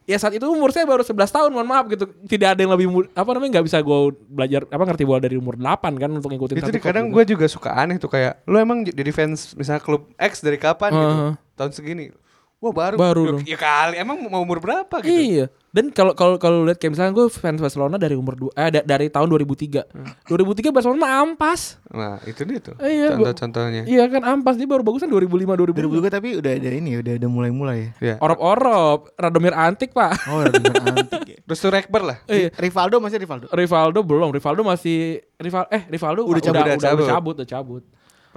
[SPEAKER 2] ya saat itu umur saya baru 11 tahun mohon maaf gitu tidak ada yang lebih mu- apa namanya nggak bisa gue belajar apa ngerti bola dari umur 8 kan untuk ngikutin
[SPEAKER 4] Itu
[SPEAKER 2] satu
[SPEAKER 4] di-
[SPEAKER 2] klub
[SPEAKER 4] kadang
[SPEAKER 2] gitu.
[SPEAKER 4] gue juga suka aneh tuh kayak lu emang j- jadi fans misalnya klub X dari kapan gitu.
[SPEAKER 2] Heeh.
[SPEAKER 4] Tahun segini. Wah baru.
[SPEAKER 2] Baru
[SPEAKER 4] Duh,
[SPEAKER 2] dong.
[SPEAKER 4] Ya kali. Emang mau umur berapa gitu?
[SPEAKER 2] Iya. Dan kalau kalau kalau lihat kayak misalnya gue fans Barcelona dari umur dua, eh, da- dari tahun 2003. 2003 Barcelona mah ampas.
[SPEAKER 4] Nah itu dia tuh.
[SPEAKER 2] Eh, iya, gua-
[SPEAKER 4] Contoh-contohnya.
[SPEAKER 2] Iya kan ampas dia baru bagusan 2005 2006.
[SPEAKER 3] 2002 tapi udah ada ini ya, udah ada mulai-mulai ya.
[SPEAKER 4] Iya.
[SPEAKER 2] Orop-orop, Radomir Antik, Pak.
[SPEAKER 3] Oh, udah bener antik ya.
[SPEAKER 4] Terus tuh Rekber lah.
[SPEAKER 2] Iya.
[SPEAKER 3] Rivaldo masih Rivaldo.
[SPEAKER 2] Rivaldo belum, Rivaldo masih Rival eh Rivaldo
[SPEAKER 4] Udah cabut,
[SPEAKER 2] udah,
[SPEAKER 4] udah
[SPEAKER 2] udah,
[SPEAKER 4] cabut.
[SPEAKER 2] cabut, udah cabut.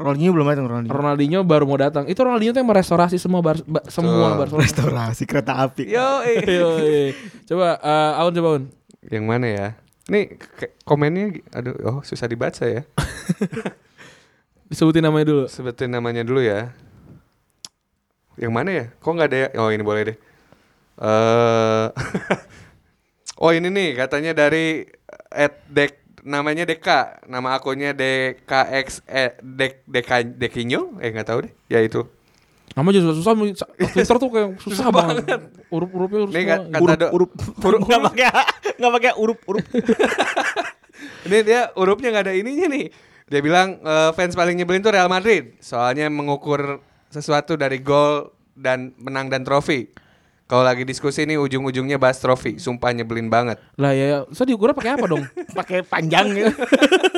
[SPEAKER 3] Ronaldinho belum datang Ronaldinho.
[SPEAKER 2] Ronaldinho baru mau datang. Itu Ronaldinho tuh yang merestorasi semua bar, ba- semua Barcelona.
[SPEAKER 3] Restorasi kereta api.
[SPEAKER 4] Yo. eh.
[SPEAKER 2] Iya. Yoi. coba eh, Aun coba Aun.
[SPEAKER 4] Yang mana ya? Nih ke- komennya, gi- aduh, oh susah dibaca ya.
[SPEAKER 2] Disebutin namanya dulu.
[SPEAKER 4] Sebutin namanya dulu ya. Yang mana ya? Kok nggak ada ya? Oh ini boleh deh. eh oh ini nih katanya dari eh, at dek namanya Deka, nama akunnya DKX eh, Dek Deka Dekinyo, eh nggak tahu deh. Ya itu.
[SPEAKER 2] Namanya juga susah susah. Twitter tuh kayak susah, banget. Urup-urupnya urus
[SPEAKER 4] Nih
[SPEAKER 2] semua.
[SPEAKER 4] ka- kata do-
[SPEAKER 1] urup urup nggak pakai nggak pakai urup urup
[SPEAKER 4] Ini dia hurufnya nggak ada ininya nih. Dia bilang e, fans paling nyebelin tuh Real Madrid, soalnya mengukur sesuatu dari gol dan menang dan trofi. Kalau lagi diskusi nih ujung-ujungnya bahas trofi, sumpah nyebelin banget.
[SPEAKER 2] Lah ya, ya. saya diukurnya pakai apa dong?
[SPEAKER 1] pakai panjang gitu.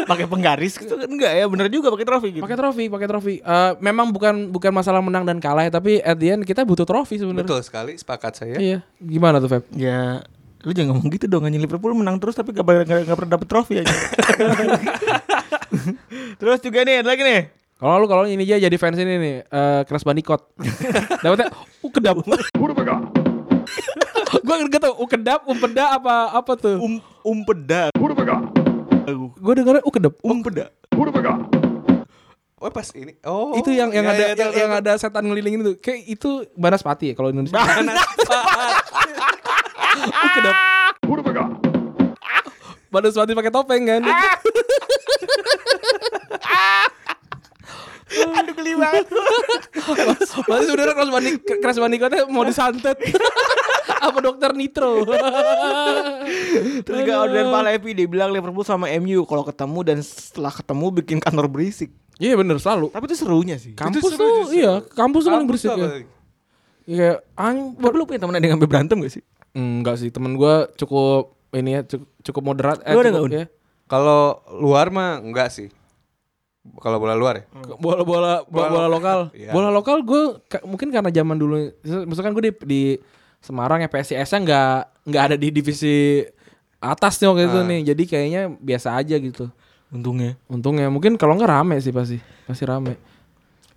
[SPEAKER 1] pakai penggaris gitu.
[SPEAKER 3] Itu kan enggak ya, bener juga pakai trofi gitu.
[SPEAKER 2] Pakai trofi, pakai trofi. Eh, memang bukan bukan masalah menang dan kalah, ya, tapi at the end kita butuh trofi sebenarnya.
[SPEAKER 4] Betul ya. sekali, sepakat saya.
[SPEAKER 2] Iya. Gimana tuh, Feb?
[SPEAKER 3] Ya lu jangan ngomong gitu dong anjing Liverpool menang terus tapi gak, gak, gak pernah dapet trofi aja terus juga nih ada lagi nih
[SPEAKER 2] Kalau lu kalau ini aja jadi fans ini nih, eh Crash Bandicoot. Dapatnya uh kedap. Gue gak tau, uh kedap, umpeda apa apa tuh.
[SPEAKER 3] um umpeda
[SPEAKER 2] Gue Uh, dengarnya uh kedap.
[SPEAKER 3] umpeda
[SPEAKER 4] Oh pas ini, oh
[SPEAKER 2] itu yang yang
[SPEAKER 4] ya,
[SPEAKER 2] ada
[SPEAKER 4] ya, tahu,
[SPEAKER 2] yang, yang
[SPEAKER 4] tahu,
[SPEAKER 2] ada setan ngelilingin itu. Kayak itu Banaspati ya kalau Indonesia. uh kedap. Banaspati pakai topeng kan.
[SPEAKER 4] Ah,
[SPEAKER 1] aduh geli banget
[SPEAKER 2] Masih saudara Crash Bandicoot, Crash Bandicootnya mau disantet. apa dokter Nitro.
[SPEAKER 3] terus juga Adrian Palevi dia bilang Liverpool sama MU kalau ketemu dan setelah ketemu bikin kantor berisik
[SPEAKER 2] Iya bener selalu.
[SPEAKER 3] tapi itu serunya sih
[SPEAKER 2] Kampus
[SPEAKER 4] seru,
[SPEAKER 2] tuh
[SPEAKER 4] justru.
[SPEAKER 2] iya, kampus tuh paling
[SPEAKER 4] Kampus
[SPEAKER 2] berisik
[SPEAKER 4] tuh
[SPEAKER 2] ya.
[SPEAKER 4] apa?
[SPEAKER 2] Iya, kayak an
[SPEAKER 3] tapi lu punya temen ada yang sampai berantem gak sih
[SPEAKER 2] enggak sih, temen gua cukup ini ya cukup, cukup moderat eh,
[SPEAKER 3] Lu ada
[SPEAKER 2] cukup,
[SPEAKER 3] nggak, Un?
[SPEAKER 2] ya.
[SPEAKER 4] Kalau luar mah enggak sih. Kalau bola luar ya.
[SPEAKER 2] Ke- bola bola bola, bola lokal.
[SPEAKER 4] Iya.
[SPEAKER 2] Bola lokal gue mungkin karena zaman dulu misalkan gue di, di Semarang ya PSIS-nya nggak nggak ada di divisi atas nih waktu itu nih. Jadi kayaknya biasa aja gitu.
[SPEAKER 3] untungnya
[SPEAKER 2] Untungnya mungkin kalau nggak rame sih pasti pasti rame.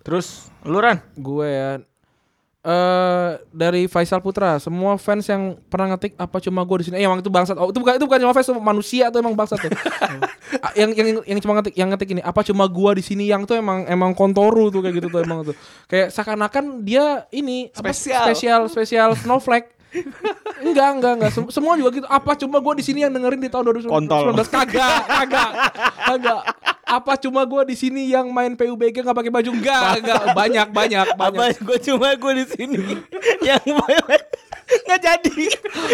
[SPEAKER 3] terus lu Ran
[SPEAKER 2] Gue ya eh dari Faisal Putra, semua fans yang pernah ngetik apa cuma gue di sini? Eh, yang itu bangsat. Oh, itu bukan itu bukan cuma fans, itu manusia atau emang bangsat tuh. Ah, yang yang yang cuma ngetik yang ngetik ini apa cuma gua di sini yang tuh emang emang kontoru tuh kayak gitu tuh emang tuh. Kayak seakan-akan dia ini apa,
[SPEAKER 4] Spesial.
[SPEAKER 2] spesial spesial snowflake. enggak, enggak, enggak. Sem- Semua juga gitu. Apa cuma gua di sini yang dengerin di tahun 2019?
[SPEAKER 1] Kontol.
[SPEAKER 2] Kagak, kagak. Kagak. Apa cuma gua di sini yang main PUBG nggak pakai baju? Enggak, enggak. Banyak, banyak, banyak.
[SPEAKER 1] apa gue cuma gue di sini yang gue- nggak jadi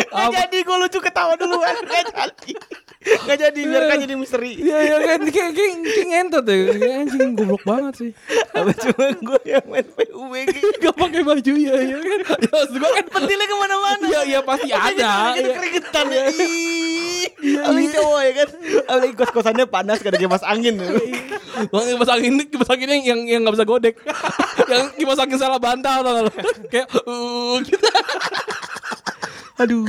[SPEAKER 1] nggak
[SPEAKER 2] Apa?
[SPEAKER 1] jadi gue lucu ketawa duluan nggak jadi nggak jadi
[SPEAKER 3] kan
[SPEAKER 1] biarkan jadi misteri
[SPEAKER 2] Iya iya kan kayak kayak kayak ngentot ya. Kayak anjing goblok banget sih.
[SPEAKER 1] apa cuma gue yang main PUBG
[SPEAKER 2] Gak pakai baju ya ya kan. Ya maksud gua kan
[SPEAKER 1] pentilnya kemana-mana
[SPEAKER 2] Iya iya pasti ada.
[SPEAKER 1] Jadi
[SPEAKER 2] Iya.
[SPEAKER 1] keringetan ya. Ih, Apalagi cowok ya kan. Apalagi kos-kosannya panas gak ada kipas angin.
[SPEAKER 2] Bang kipas angin kipas anginnya yang yang yang nggak bisa godek. yang kipas angin salah bantal tau nggak lo. Kayak uh gitu.
[SPEAKER 3] aduh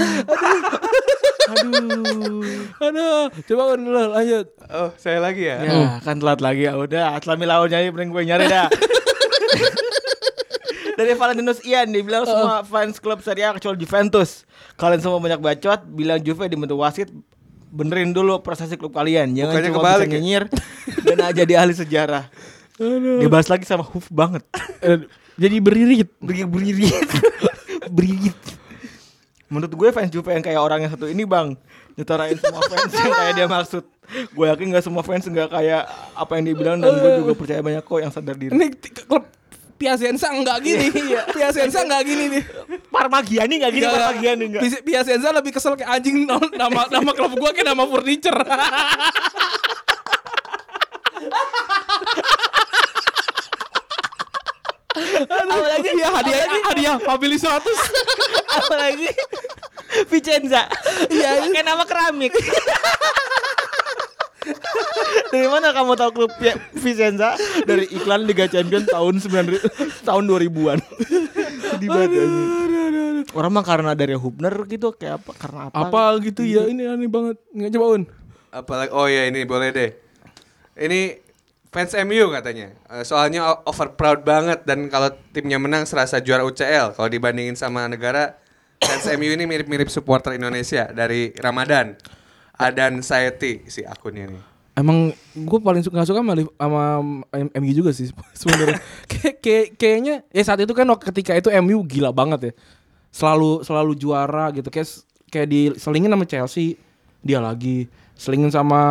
[SPEAKER 2] Aduh, coba kan dulu lanjut.
[SPEAKER 4] Oh, saya lagi ya.
[SPEAKER 3] ya kan telat lagi ya udah selami lawan nyari mending gue nyari dah Dari Valentinus Ian dia bilang semua fans klub Serie A kecuali Juventus. Kalian semua banyak bacot, bilang Juve dibentuk wasit, benerin dulu prestasi klub kalian. Jangan
[SPEAKER 4] Bukannya
[SPEAKER 3] cuma bisa
[SPEAKER 4] kebalik ya?
[SPEAKER 3] nyinyir dan aja jadi ahli sejarah. Dibahas lagi sama Huf banget.
[SPEAKER 2] Eh, Jadi beririt.
[SPEAKER 3] Beri- Beririt. Beririt. Menurut gue fans Juve yang kayak orang yang satu ini bang Nyetarain semua fans yang kayak dia maksud Gue yakin gak semua fans gak kayak apa yang dia bilang Dan gue juga percaya banyak kok yang sadar diri
[SPEAKER 2] Ini t- klub Piacenza E enggak gini. Piacenza E enggak gini nih.
[SPEAKER 1] Parmagiani gak gini Parmagiani gak.
[SPEAKER 2] Pis- Piacenza lebih kesel kayak anjing no- nama nama klub gua kayak nama furniture.
[SPEAKER 1] Apalagi
[SPEAKER 2] Iya hadiah hadiah Fabili 100
[SPEAKER 1] apalagi Vicenza. Iya, kayak nama keramik. Dari mana kamu tahu klub Pie- Vicenza? Dari iklan Liga Champion tahun 9 tahun 2000-an. Sedih banget anjing. Orang mah karena dari Hubner gitu kayak apa karena apa?
[SPEAKER 2] Apa gitu ya ini aneh banget Nggak coba Un
[SPEAKER 4] Apalagi oh ya ini boleh deh. Ini fans MU katanya. Eh, Soalnya o- over proud banget dan kalau timnya menang serasa juara UCL. Kalau dibandingin sama negara fans MU ini mirip-mirip supporter Indonesia dari Ramadan. Adan Saeti si akunnya nih.
[SPEAKER 2] Emang gue paling suka gak suka sama, Liv- sama M- MU juga sih sebenarnya. Kayak- kayak- kayaknya ya saat itu kan waktu ketika itu MU gila banget ya. Selalu selalu juara gitu kayak s- kayak diselingin sama Chelsea dia lagi, selingin sama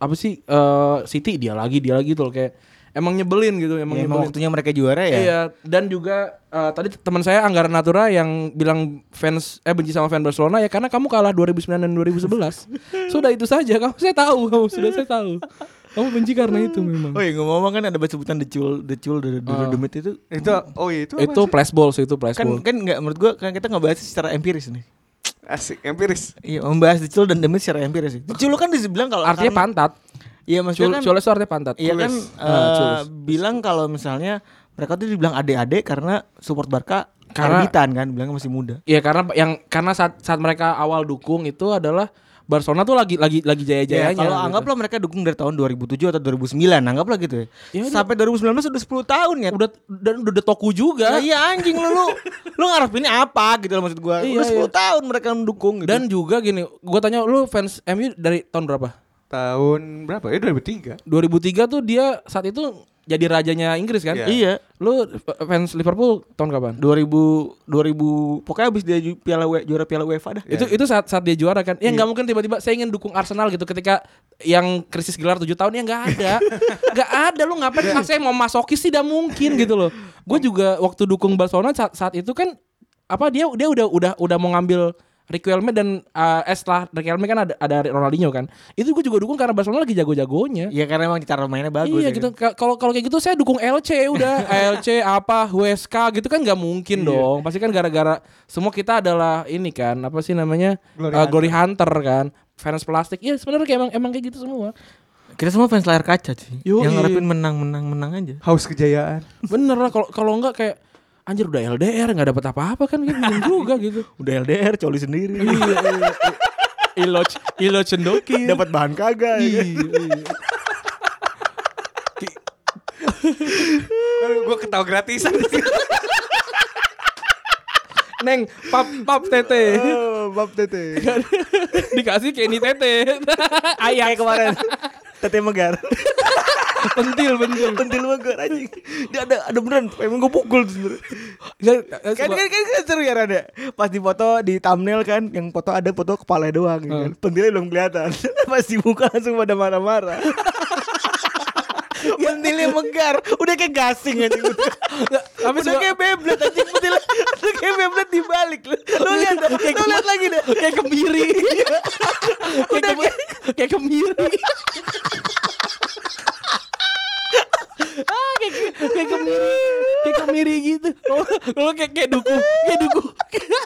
[SPEAKER 2] apa sih eh, City dia lagi dia lagi tuh loh. kayak emang nyebelin gitu emang
[SPEAKER 3] Ya, emang
[SPEAKER 2] nyebelin.
[SPEAKER 3] waktunya mereka juara ya.
[SPEAKER 2] Iya, dan juga eh, tadi teman saya Anggara Natura yang bilang fans eh benci sama fans Barcelona ya karena kamu kalah 2009 dan 2011. sudah itu saja, kamu saya tahu, kamu sudah saya tahu. Kamu benci karena itu memang.
[SPEAKER 3] Oh iya ngomong-ngomong kan ada sebutan decul, decul, decul, demit itu
[SPEAKER 4] Itu oh iya, itu
[SPEAKER 2] itu flashball sih itu
[SPEAKER 3] Ah. kan
[SPEAKER 2] flashball.
[SPEAKER 3] kan nggak menurut gua kan kita ngebahas secara empiris nih.
[SPEAKER 4] asik empiris.
[SPEAKER 3] Iya membahas decul dan demit secara empiris. sih. Decul kan dibilang kalau
[SPEAKER 2] artinya
[SPEAKER 3] karena-
[SPEAKER 2] pantat.
[SPEAKER 3] Iya maksudnya kan
[SPEAKER 2] Cul- Cules itu artinya pantat.
[SPEAKER 3] Iya kan
[SPEAKER 2] Cules.
[SPEAKER 3] eh,
[SPEAKER 2] Ah, cules.
[SPEAKER 3] bilang kalau misalnya mereka tuh dibilang adik-adik karena support Barca
[SPEAKER 2] Karena-
[SPEAKER 3] karena karbitan kan bilangnya masih muda.
[SPEAKER 2] Iya karena yang karena saat saat mereka awal dukung itu adalah Barcelona tuh lagi lagi lagi
[SPEAKER 3] Ya,
[SPEAKER 2] jaya-jayanya.
[SPEAKER 3] kalau
[SPEAKER 2] gitu.
[SPEAKER 3] anggaplah mereka dukung dari tahun 2007 atau 2009, anggaplah gitu ya.
[SPEAKER 2] Ya,
[SPEAKER 3] Sampai 2019 udah 10 tahun ya.
[SPEAKER 2] udah dan udah detoku
[SPEAKER 3] Ya,
[SPEAKER 2] juga.
[SPEAKER 3] iya anjing lu lu, lu ngarepinnya apa gitu loh maksud gua.
[SPEAKER 2] Iya,
[SPEAKER 3] udah 10
[SPEAKER 2] iya.
[SPEAKER 3] tahun mereka mendukung gitu.
[SPEAKER 2] Dan juga gini, gua tanya lu fans MU dari tahun berapa?
[SPEAKER 4] Tahun berapa? Ya 2003.
[SPEAKER 2] 2003 tuh dia saat itu jadi rajanya Inggris kan?
[SPEAKER 4] Iya.
[SPEAKER 3] iya
[SPEAKER 2] Lu f- fans Liverpool tahun kapan?
[SPEAKER 3] 2000 2000 pokoknya abis dia ju- piala W- juara piala UEFA dah.
[SPEAKER 2] Itu itu saat saat dia juara kan. Ya nggak mungkin tiba-tiba saya ingin dukung Arsenal gitu ketika yang krisis gelar 7 tahun ya nggak ada. nggak ada lu ngapain ah, saya mau masokis tidak mungkin gitu loh. Gue juga waktu dukung Barcelona saat, saat itu kan apa dia dia udah udah udah mau ngambil Riquelme dan eh, eh, setelah Riquelme kan ada ada Ronaldinho kan. Itu gue juga dukung karena Barcelona lagi jago-jagonya.
[SPEAKER 3] Iya karena emang cara mainnya bagus.
[SPEAKER 2] iya
[SPEAKER 3] ya
[SPEAKER 2] gitu. Ka- Kalau kalau kayak gitu saya dukung LC udah LC apa WSK gitu kan nggak mungkin dong. Pasti kan gara-gara semua kita adalah ini kan apa sih namanya
[SPEAKER 4] Glory
[SPEAKER 2] Eh, Glory, Hunter. kan. Fans plastik. Iya sebenarnya kayak emang emang kayak gitu semua.
[SPEAKER 3] Kita semua fans layar kaca sih.
[SPEAKER 2] Yoi.
[SPEAKER 3] Yang ngarepin menang menang menang aja.
[SPEAKER 4] Haus kejayaan.
[SPEAKER 2] Bener lah kalau kalau nggak kayak anjir udah LDR nggak dapat apa-apa kan gitu juga gitu.
[SPEAKER 3] Udah LDR coli sendiri.
[SPEAKER 2] Iloj Ilo cendoki.
[SPEAKER 3] Dapat bahan kagak. ya kan?
[SPEAKER 4] Aduh, gua ketawa gratisan.
[SPEAKER 2] Neng pap pap tete.
[SPEAKER 4] Bab tete.
[SPEAKER 2] Dikasih Kenny tete. Ayah kemarin.
[SPEAKER 3] Tete megar.
[SPEAKER 2] pentil pentil.
[SPEAKER 3] Pentil megar anjing. Dia ada ada beneran emang gue pukul tuh sebenarnya. Kan kan kan kan seru ya Rada. Pas di foto di thumbnail kan yang foto ada foto kepala doang ya
[SPEAKER 2] Hmm.
[SPEAKER 3] kan. Pentilnya belum kelihatan. Pas dibuka langsung pada marah-marah. pentilnya megar, udah kayak gasing anjing.
[SPEAKER 2] tapi
[SPEAKER 3] udah
[SPEAKER 2] juga-
[SPEAKER 3] kayak beblet anjing pentilnya. Udah kayak beblet dibalik. Lu lu lihat, dah. Iya. lu lihat lagi deh.
[SPEAKER 2] Iya, kayak kemiri kayak kem- kayak kemiri ah kayak ke- kayak kemiri kayak kemiri gitu Lo- lo kayak kayak duku kayak duku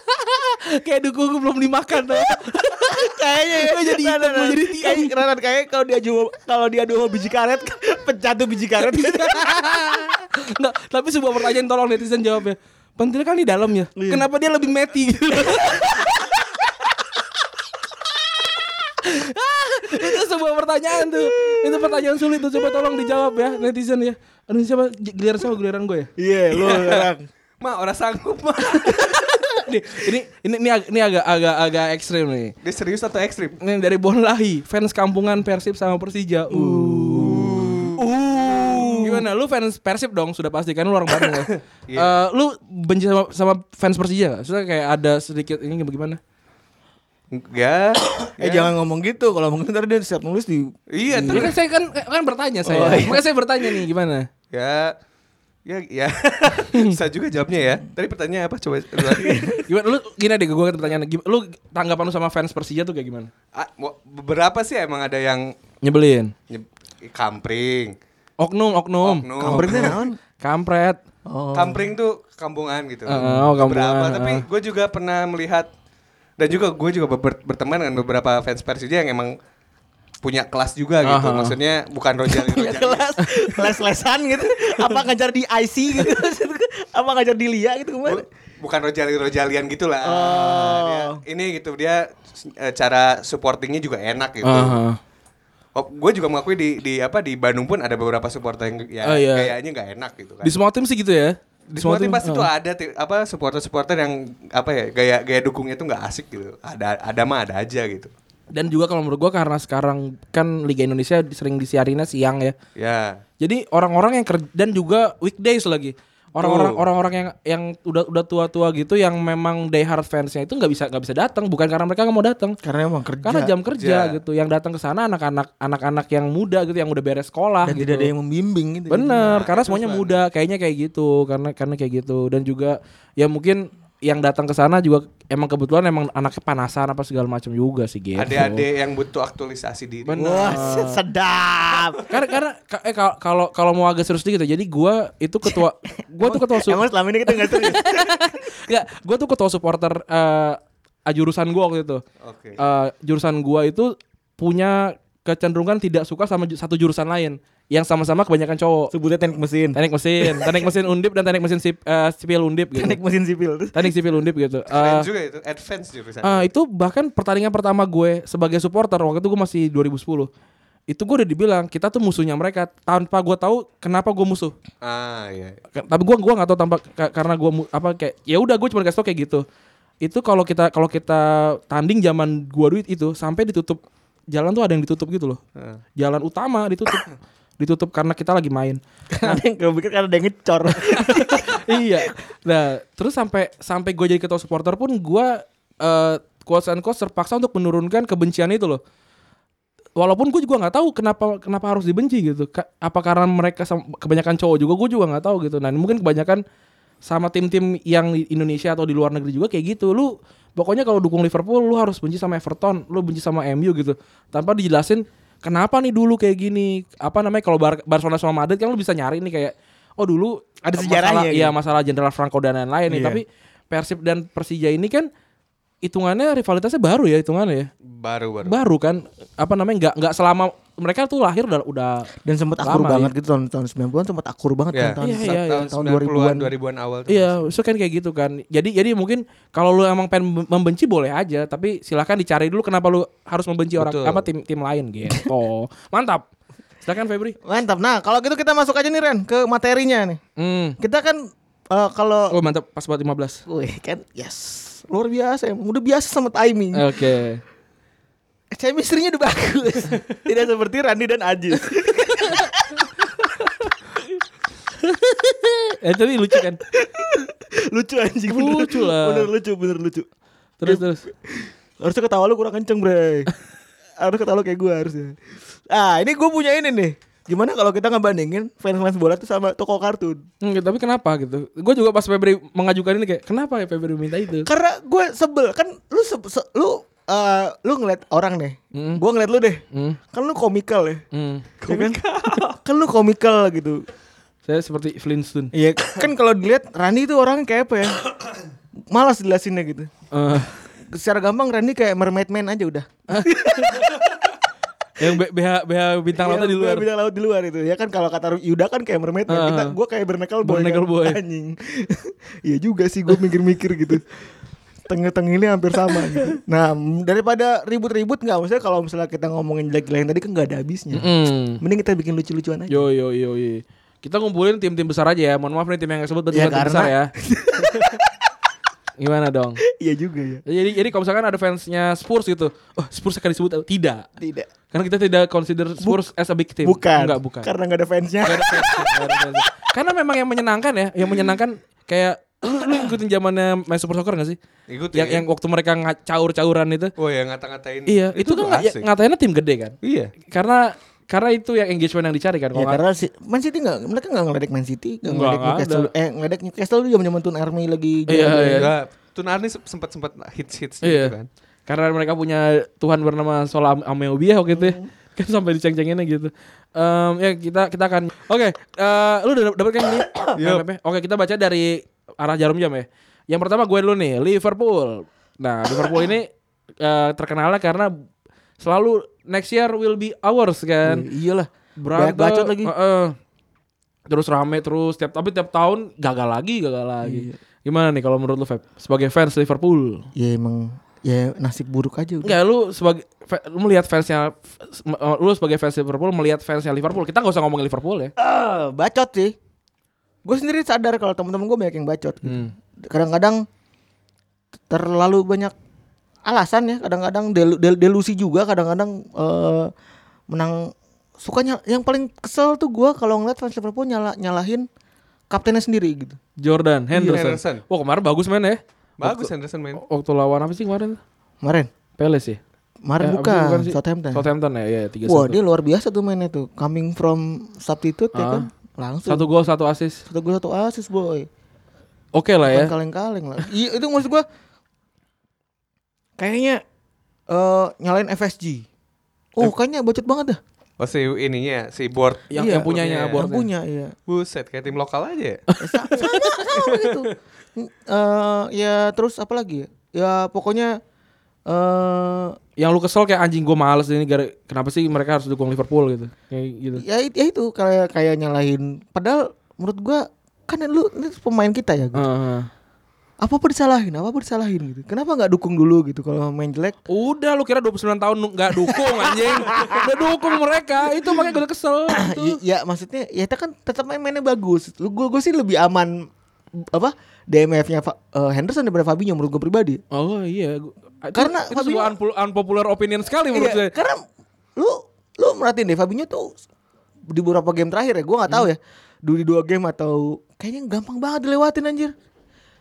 [SPEAKER 2] kayak duku belum dimakan tau
[SPEAKER 3] Kayaknya ya.
[SPEAKER 2] Gua jadi
[SPEAKER 3] Nah,
[SPEAKER 2] hitam,
[SPEAKER 3] nah,
[SPEAKER 2] gua
[SPEAKER 3] nah.
[SPEAKER 2] jadi hitam.
[SPEAKER 3] Kayak- nah, nah, kayak kalau dia jual kalau dia dua biji karet pecah tuh biji karet.
[SPEAKER 2] Nggak, tapi sebuah pertanyaan tolong netizen jawab ya pentil kan di dalam ya
[SPEAKER 3] Iya.
[SPEAKER 2] kenapa dia lebih meti gitu Ah, itu sebuah pertanyaan tuh itu pertanyaan sulit tuh coba tolong dijawab ya netizen ya aduh siapa giliran siapa giliran gue ya
[SPEAKER 3] Iya, lu orang.
[SPEAKER 4] Ma, orang sanggup, Ma.
[SPEAKER 2] ini ini ini ini, ag- ini agak agak agak ekstrim nih
[SPEAKER 4] Dia serius atau ekstrim?
[SPEAKER 2] ini dari Bonlahi fans kampungan Persib sama Persija uh. Uh. Gimana lu fans Persib dong sudah pasti kan lu orang Bandung ya. Eh, lu benci sama, sama fans Persija gak? Sudah kayak ada sedikit ini bagaimana?
[SPEAKER 4] Enggak. Ya.
[SPEAKER 3] Eh
[SPEAKER 1] Ya.
[SPEAKER 3] jangan ngomong gitu. Kalau ngomong gitu ntar dia siap nulis di
[SPEAKER 4] Iya,
[SPEAKER 2] Ini kan saya kan kan bertanya saya.
[SPEAKER 4] Oh,
[SPEAKER 2] Makanya saya bertanya nih gimana?
[SPEAKER 4] Ya, ya, ya. Bisa juga jawabnya ya. Tadi pertanyaan apa? Coba ulang lagi.
[SPEAKER 2] Gimana lu gini deh gue pertanyaan Gim- lu tanggapan lu sama fans Persija tuh kayak gimana?
[SPEAKER 4] Ah, mau- beberapa sih emang ada yang
[SPEAKER 2] Nyebelin.
[SPEAKER 4] nyeb- kampring,
[SPEAKER 2] Oknum, oknum.
[SPEAKER 4] oknum,
[SPEAKER 3] kampret naon?
[SPEAKER 2] Kampret.
[SPEAKER 1] Oh.
[SPEAKER 4] Kampring tuh kampungan gitu.
[SPEAKER 2] Heeh, oh, kampungan,
[SPEAKER 4] Berapa, tapi
[SPEAKER 2] heeh.
[SPEAKER 4] gue juga pernah melihat dan juga gue juga ber- berteman dengan beberapa fans Persija yang emang punya kelas juga gitu.
[SPEAKER 2] Aha.
[SPEAKER 4] Maksudnya bukan rojali rojali.
[SPEAKER 1] kelas les lesan gitu apa ngajar di IC gitu apa ngajar di LIA gitu
[SPEAKER 3] Oh,
[SPEAKER 1] kemarin
[SPEAKER 4] Bu- bukan rojali-rojalian gitu lah.
[SPEAKER 1] Oh.
[SPEAKER 4] Dia- ini gitu dia eh, cara supportingnya juga enak gitu.
[SPEAKER 2] Aha.
[SPEAKER 4] gue juga mengakui di di apa di Bandung pun ada beberapa supporter yang ya
[SPEAKER 2] Oh, iya.
[SPEAKER 4] kayaknya nggak enak gitu kan.
[SPEAKER 2] Di semua tim sih gitu ya.
[SPEAKER 4] Di semua tim pasti
[SPEAKER 2] eh.
[SPEAKER 4] tuh ada ti- apa supporter-supporter yang apa ya gaya gaya dukungnya tuh nggak asik gitu. Ada ada mah ada aja gitu.
[SPEAKER 2] Dan juga kalau menurut gua karena sekarang kan Liga Indonesia sering disiarinnya siang ya.
[SPEAKER 4] Ya.
[SPEAKER 2] Jadi orang-orang yang kerja dan juga weekdays lagi. Orang-orang
[SPEAKER 4] Tuh.
[SPEAKER 2] orang-orang yang yang udah udah tua-tua gitu yang memang die hard fansnya itu nggak bisa nggak bisa datang bukan karena mereka nggak mau datang.
[SPEAKER 3] Karena emang kerja.
[SPEAKER 2] Karena jam kerja
[SPEAKER 4] kerja.
[SPEAKER 2] gitu. Yang datang ke sana anak-anak anak-anak yang muda gitu yang udah beres sekolah
[SPEAKER 3] dan
[SPEAKER 2] gitu.
[SPEAKER 3] tidak ada yang membimbing gitu.
[SPEAKER 2] Bener, karena semuanya muda, kayaknya kayak gitu, karena karena kayak gitu, dan juga ya mungkin yang datang ke sana juga emang kebetulan emang anaknya panasan apa segala macam juga sih gitu.
[SPEAKER 4] Adik-adik yang butuh aktualisasi diri.
[SPEAKER 1] wah sedap
[SPEAKER 2] Karena karena ka- eh, kalau- kalau kalau mau agak serius dikit ya, jadi gua itu ketua, gua tuh ketua su-
[SPEAKER 1] emang selama ini kita nggak serius
[SPEAKER 2] nggak, gua tuh ketua supporter eh ah, jurusan gua waktu itu.
[SPEAKER 4] Oke.
[SPEAKER 2] Eh, jurusan gua itu punya kecenderungan tidak suka sama ju- satu jurusan lain yang sama-sama kebanyakan cowok.
[SPEAKER 1] sebutnya teknik mesin
[SPEAKER 2] Teknik mesin, teknik mesin undip dan teknik mesin sip- eh, sipil undip gitu.
[SPEAKER 1] teknik mesin sipil terus
[SPEAKER 2] teknik sipil undip gitu. Eh
[SPEAKER 4] Keren juga itu advance jurusan.
[SPEAKER 2] eh, itu bahkan pertandingan pertama gue sebagai supporter waktu itu gue masih 2010. Itu gue udah dibilang kita tuh musuhnya mereka tanpa gue tahu kenapa gue musuh.
[SPEAKER 4] ah iya.
[SPEAKER 2] Ke- Tapi gue gua nggak tahu tanpa ka- karena gue mu- apa kayak ya udah gue cuma kasih tau kayak gitu. Itu kalau kita kalau kita tanding zaman gua duit itu sampai ditutup jalan tuh ada yang ditutup gitu loh. Jalan utama ditutup ditutup karena kita lagi main.
[SPEAKER 1] ada yang gue pikir karena ada yang ngecor
[SPEAKER 2] iya. Nah, terus sampai sampai gue jadi ketua supporter pun gue eh quotes and quotes terpaksa untuk menurunkan kebencian itu loh. Walaupun gue juga nggak tahu kenapa kenapa harus dibenci gitu. Ka- Apa karena mereka sam- kebanyakan cowok juga gue juga nggak tahu gitu. Nah, mungkin kebanyakan sama tim-tim yang di Indonesia atau di luar negeri juga kayak gitu. Lu pokoknya kalau dukung Liverpool lu harus benci sama Everton, lu benci sama MU gitu. Tanpa dijelasin kenapa nih dulu kayak gini. Apa namanya kalau Bar- Barcelona sama Madrid kan lu bisa nyari nih kayak oh dulu
[SPEAKER 1] Ada
[SPEAKER 2] masalah-
[SPEAKER 1] sejarahnya gitu. Iya.
[SPEAKER 2] Iya, masalah Jenderal Franco dan lain-lain nih. Tapi Persib dan Persija ini kan hitungannya rivalitasnya baru ya hitungannya ya.
[SPEAKER 4] Baru baru.
[SPEAKER 2] Baru kan apa namanya nggak nggak selama mereka tuh lahir udah udah
[SPEAKER 3] Dan sempat akur
[SPEAKER 2] Lama,
[SPEAKER 1] iya.
[SPEAKER 3] banget gitu tahun tahun 90-an an sempat akur banget
[SPEAKER 4] Ya.
[SPEAKER 3] tahun-tahun
[SPEAKER 2] Iya, iya,
[SPEAKER 4] Sa-
[SPEAKER 2] iya.
[SPEAKER 4] Tahun
[SPEAKER 3] Tahun
[SPEAKER 4] 90-an
[SPEAKER 3] 2000-an.
[SPEAKER 4] 2000-an awal tuh.
[SPEAKER 2] Iya, itu kan kayak gitu kan. Jadi jadi mungkin kalau lu emang pengen mem- membenci boleh aja, tapi silahkan dicari dulu kenapa lu harus membenci orang
[SPEAKER 4] Betul.
[SPEAKER 2] apa tim tim lain gitu. Mantap. Silakan Febri.
[SPEAKER 3] Mantap. Nah, kalau gitu kita masuk aja nih Ren ke materinya nih.
[SPEAKER 2] Hmm.
[SPEAKER 3] Kita kan eh, kalau
[SPEAKER 2] Oh, mantap pas buat 15.
[SPEAKER 3] Wih, kan yes. Luar biasa emang. Udah biasa
[SPEAKER 1] Eh,
[SPEAKER 3] sama timing.
[SPEAKER 2] Oke.
[SPEAKER 3] Chemistry-nya udah bagus.
[SPEAKER 1] tidak seperti Randi dan Ajis
[SPEAKER 2] Eh tapi lucu kan.
[SPEAKER 1] lucu anjing bener.
[SPEAKER 2] Lucu lah.
[SPEAKER 1] bener lucu bener lucu
[SPEAKER 2] Terus terus.
[SPEAKER 1] harusnya ketawa lu kurang kenceng bre harus ketawa lu kayak gue harusnya ah ini gue punya ini nih gimana kalau kita ngebandingin fans fans bola tuh sama toko kartun
[SPEAKER 2] Enggak, tapi kenapa gitu? Gue juga pas Febri mengajukan ini kayak kenapa ya Febri minta itu?
[SPEAKER 1] karena gue sebel kan lu se- se- lu eh, lu ngeliat orang nih gue ngeliat lu deh
[SPEAKER 2] Hmm.
[SPEAKER 1] kan lu komikal ya
[SPEAKER 2] Hmm.
[SPEAKER 1] komikal kan lu komikal gitu
[SPEAKER 2] Saya seperti Flintstone.
[SPEAKER 1] Iya kan kalau dilihat Rani itu orang kayak apa ya malas jelasinnya gitu
[SPEAKER 2] Eh,
[SPEAKER 1] secara gampang Rani kayak mermaid man aja udah
[SPEAKER 2] yang B- BH BH bintang lautnya di
[SPEAKER 1] Iya,
[SPEAKER 2] luar.
[SPEAKER 1] bintang laut di luar itu ya kan kalau kata Yuda kan kayak mermaid man.
[SPEAKER 2] Ah.
[SPEAKER 1] kita gue kayak bernacle boy
[SPEAKER 2] Barnacle
[SPEAKER 1] kan.
[SPEAKER 2] boy.
[SPEAKER 1] anjing iya juga sih gue mikir-mikir gitu tengah-tengahnya hampir sama gitu. nah m- daripada ribut-ribut nggak maksudnya kalau misalnya kita ngomongin jelek-jelek yang tadi kan nggak ada habisnya
[SPEAKER 2] Hmm.
[SPEAKER 1] mending kita bikin lucu-lucuan aja
[SPEAKER 2] Yo yo yo yo. Kita ngumpulin tim-tim besar aja ya. Mohon maaf nih tim yang nggak sebut berarti
[SPEAKER 1] Ya,
[SPEAKER 2] bukan tim
[SPEAKER 1] karena-
[SPEAKER 2] besar ya. Gimana dong?
[SPEAKER 1] iya juga ya
[SPEAKER 2] Jadi jadi kalau misalkan ada fansnya Spurs gitu, oh Spurs akan disebut tidak.
[SPEAKER 1] tidak
[SPEAKER 2] Karena kita tidak consider Spurs as a big team.
[SPEAKER 1] bukan
[SPEAKER 2] Enggak, bukan.
[SPEAKER 1] karena nggak ada fansnya
[SPEAKER 2] Nggak ada fansnya, nggak ada fansnya. Karena memang yang menyenangkan ya, yang menyenangkan kayak lu, lu ngikutin zamannya main Super Soccer gak sih?
[SPEAKER 4] Ikutin.
[SPEAKER 2] Yang yang waktu mereka nga- caur-cauran itu.
[SPEAKER 4] ya? Oh ya ngata-ngatain.
[SPEAKER 2] Iya, itu, kan
[SPEAKER 4] tuh
[SPEAKER 2] nggak- ya,
[SPEAKER 4] asik.
[SPEAKER 2] ngatainnya tim gede kan.
[SPEAKER 4] Iya.
[SPEAKER 2] Karena karena itu yang engagement yang dicari kan.
[SPEAKER 1] Iya,
[SPEAKER 3] Ya
[SPEAKER 2] Kalau nggak-
[SPEAKER 3] karena si Man City nggak mereka nggak ngeledek Man City, nggak
[SPEAKER 2] Nggak
[SPEAKER 3] ngeledek
[SPEAKER 2] ada.
[SPEAKER 3] Newcastle. Eh ngeledek Newcastle juga zaman Tun Army lagi.
[SPEAKER 2] Iya,
[SPEAKER 3] jalan.
[SPEAKER 2] iya.
[SPEAKER 4] Enggak. Tuh Narni sempat sempat hits hits
[SPEAKER 2] Iya.
[SPEAKER 4] gitu kan.
[SPEAKER 3] Hmm.
[SPEAKER 2] Karena mereka punya Tuhan bernama Sola Am- Ameubia waktu itu ya. Kan sampai diceng-cenginnya gitu. Em, ya kita kita akan Oke, eh, lu udah dapat kan ini? MMP? Oke, kita baca dari arah jarum jam ya. Yang pertama gue dulu nih, Liverpool. Nah, Liverpool ini eh, terkenalnya karena selalu next year will be ours kan.
[SPEAKER 3] Iya, Iyalah.
[SPEAKER 2] Berantem,
[SPEAKER 3] Banyak bacot lagi.
[SPEAKER 2] heeh. terus rame terus tiap tapi tiap tahun gagal lagi, gagal lagi.
[SPEAKER 3] Iya.
[SPEAKER 2] Gimana nih kalau menurut lu Feb sebagai fans Liverpool?
[SPEAKER 3] Ya emang ya nasib buruk aja udah.
[SPEAKER 2] Enggak, lu sebagai fe- lu melihat fansnya eh, lu sebagai fans Liverpool melihat fansnya Liverpool. Kita nggak usah ngomongin Liverpool ya.
[SPEAKER 3] Eh, bacot sih. Gue sendiri sadar kalau teman-teman gue banyak yang bacot. gitu.
[SPEAKER 2] Hmm.
[SPEAKER 3] Kadang-kadang terlalu banyak alasan ya. Kadang-kadang delu- del- delusi juga. Kadang-kadang eh, menang. Sukanya yang paling kesel tuh gue kalau ngeliat fans Liverpool nyala nyalahin kaptennya sendiri gitu.
[SPEAKER 2] Jordan Henderson.
[SPEAKER 4] Iya, Henderson.
[SPEAKER 2] Wah, kemarin bagus main ya.
[SPEAKER 4] Bagus Henderson main.
[SPEAKER 2] Waktu lawan apa sih kemarin?
[SPEAKER 3] Kemarin,
[SPEAKER 2] Palace sih.
[SPEAKER 3] kemarin
[SPEAKER 2] Eh, apa
[SPEAKER 3] bukan,
[SPEAKER 2] sih, sih?
[SPEAKER 3] Southampton.
[SPEAKER 2] Southampton ya, ya tiga
[SPEAKER 3] Wah dia luar biasa tuh mainnya tuh. Coming from substitute ya
[SPEAKER 2] Ah.
[SPEAKER 3] kan, langsung.
[SPEAKER 2] Satu gol, satu assist.
[SPEAKER 3] satu gue satu asis boy.
[SPEAKER 2] Oke lah ya.
[SPEAKER 3] Bukan kaleng-kaleng lah. Iya itu maksud gua kayaknya eh nyalain FSG. Oh kayaknya bacot banget dah.
[SPEAKER 4] Oh si ininya si board.
[SPEAKER 2] Yang,
[SPEAKER 3] Iya.
[SPEAKER 2] yang ya, punyanya
[SPEAKER 4] Iya.
[SPEAKER 2] boardnya.
[SPEAKER 3] Yang punya iya. Eh,
[SPEAKER 4] Buset kayak tim lokal aja. ya.
[SPEAKER 3] Sama gitu. Eh ya terus apa lagi ya? Ya pokoknya eh
[SPEAKER 2] Yang lu kesel kayak anjing gue males ini gara kenapa sih mereka harus dukung Liverpool gitu. Kayak gitu.
[SPEAKER 3] ya, it- ya itu kayak kayak nyalahin. Padahal menurut gua kan lu ini pemain kita ya. Gitu.
[SPEAKER 2] Heeh.
[SPEAKER 3] Apa apa disalahin, apa apa disalahin gitu. Kenapa nggak dukung dulu gitu kalau main jelek?
[SPEAKER 2] Udah lu kira 29 tahun nu- nggak dukung anjing. Udah dukung mereka. Itu makanya gue kesel.
[SPEAKER 3] Y-
[SPEAKER 2] Itu.
[SPEAKER 3] ya maksudnya ya kita kan tetap main mainnya bagus. Lu gue sih lebih aman apa DMF-nya Fa- eh, Henderson daripada Fabinho menurut gue pribadi.
[SPEAKER 2] Oh iya. Gua- itu-
[SPEAKER 3] Karena
[SPEAKER 2] itu sebuah
[SPEAKER 3] Fabinho-
[SPEAKER 2] unpo- unpopular opinion sekali menurut
[SPEAKER 3] Iya,
[SPEAKER 2] saya.
[SPEAKER 3] karena lu lu merhatiin deh Fabinho tuh di beberapa game terakhir ya, gue nggak tahu
[SPEAKER 2] Hmm.
[SPEAKER 3] ya. Du- Di dua game atau kayaknya gampang banget dilewatin anjir.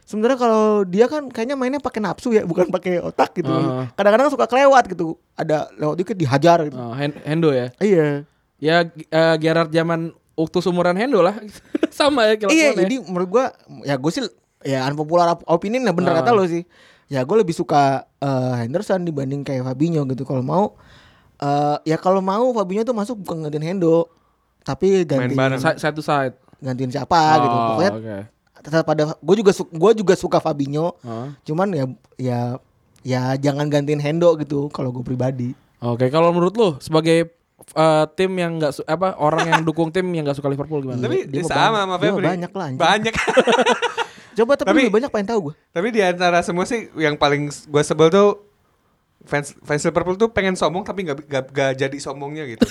[SPEAKER 3] Sebenarnya kalau dia kan kayaknya mainnya pakai nafsu ya, bukan pakai otak gitu.
[SPEAKER 2] Ah.
[SPEAKER 3] Kadang-kadang suka kelewat gitu. Ada lewat dikit dihajar gitu.
[SPEAKER 2] Oh, Hen- Hendo ya.
[SPEAKER 3] Iya.
[SPEAKER 2] Ya eh, Gerard zaman waktu sumuran Hendo lah. Sama ya kelakuan
[SPEAKER 3] Iya,
[SPEAKER 2] ya.
[SPEAKER 3] jadi menurut gua ya gue sih ya unpopular op- opinion lah bener
[SPEAKER 2] Ah.
[SPEAKER 3] kata lo sih. Ya gue lebih suka eh, Henderson dibanding kayak Fabinho gitu kalau mau eh, ya kalau mau Fabinho tuh masuk bukan gantiin Hendo tapi gantiin
[SPEAKER 4] bareng.
[SPEAKER 2] Sa- side to side.
[SPEAKER 3] gantiin siapa gitu.
[SPEAKER 2] Oh,
[SPEAKER 3] Pokoknya
[SPEAKER 2] oke.
[SPEAKER 3] tetap pada gue juga su- gua juga suka Fabinho.
[SPEAKER 2] Oh.
[SPEAKER 3] Cuman ya ya ya jangan gantiin Hendo gitu kalau gue pribadi.
[SPEAKER 2] Oke, kalau menurut lu sebagai eh, tim yang enggak apa orang yang dukung tim yang enggak suka Liverpool gimana?
[SPEAKER 3] Iya,
[SPEAKER 4] Tapi
[SPEAKER 3] dia mah banyak.
[SPEAKER 4] sama sama
[SPEAKER 3] Dia mah
[SPEAKER 4] Febri.
[SPEAKER 3] banyak lah, anjing.
[SPEAKER 4] Banyak.
[SPEAKER 3] Coba tapi,
[SPEAKER 4] Tapi-
[SPEAKER 3] lebih banyak pengen tahu gue.
[SPEAKER 4] Tapi di antara semua sih yang paling gue sebel tuh fans fans Liverpool tuh pengen sombong tapi nggak nggak- nggak jadi sombongnya gitu.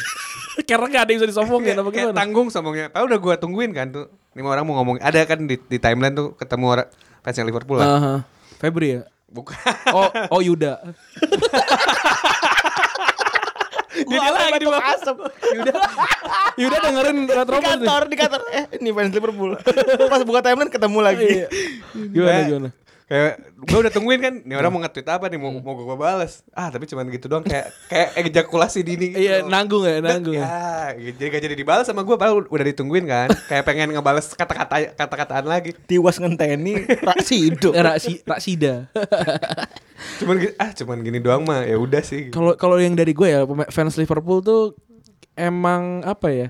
[SPEAKER 2] Karena enggak ada yang bisa disombongin
[SPEAKER 4] Kayak-
[SPEAKER 2] apa
[SPEAKER 4] kayak
[SPEAKER 2] gimana?
[SPEAKER 4] tanggung sombongnya. Padahal udah gue tungguin kan tuh. Lima orang mau ngomong. Ada kan di, di timeline tuh ketemu orang fans yang Liverpool
[SPEAKER 3] Eh,
[SPEAKER 4] lah.
[SPEAKER 2] Aha. Febri ya.
[SPEAKER 4] Bukan.
[SPEAKER 2] Oh, oh Yuda.
[SPEAKER 3] Gue lagi
[SPEAKER 4] gitu.
[SPEAKER 3] di asem.
[SPEAKER 2] Yuda dengerin
[SPEAKER 3] Di
[SPEAKER 2] Retropos nih.
[SPEAKER 3] kantor, di kantor. Eh, ini fans Liverpool. Pas buka timeline ketemu lagi.
[SPEAKER 2] Iya. Gimana
[SPEAKER 4] Kayak-
[SPEAKER 2] gimana?
[SPEAKER 3] Gitu.
[SPEAKER 4] Kayak gue udah tungguin kan. Nih
[SPEAKER 3] Hmm.
[SPEAKER 4] orang mau nge-tweet apa nih mau mau gue balas. Ah tapi cuman gitu doang kayak kayak ejakulasi dini. gitu
[SPEAKER 2] Iya,
[SPEAKER 4] loh.
[SPEAKER 2] nanggung ya,
[SPEAKER 4] Dan-
[SPEAKER 2] nanggung.
[SPEAKER 4] Ya, jadi gak jadi dibalas sama gue padahal udah ditungguin kan. kayak pengen ngebales kata-kata kata-kataan lagi.
[SPEAKER 3] Tiwas ngenteni Raksido.
[SPEAKER 2] Eh, Raksi, Raksida.
[SPEAKER 4] Cuman gi- ah cuman gini doang mah. Ya udah
[SPEAKER 2] Gitu.
[SPEAKER 4] sih.
[SPEAKER 2] Kalau kalau yang dari gue ya pema- fans Liverpool tuh emang apa ya?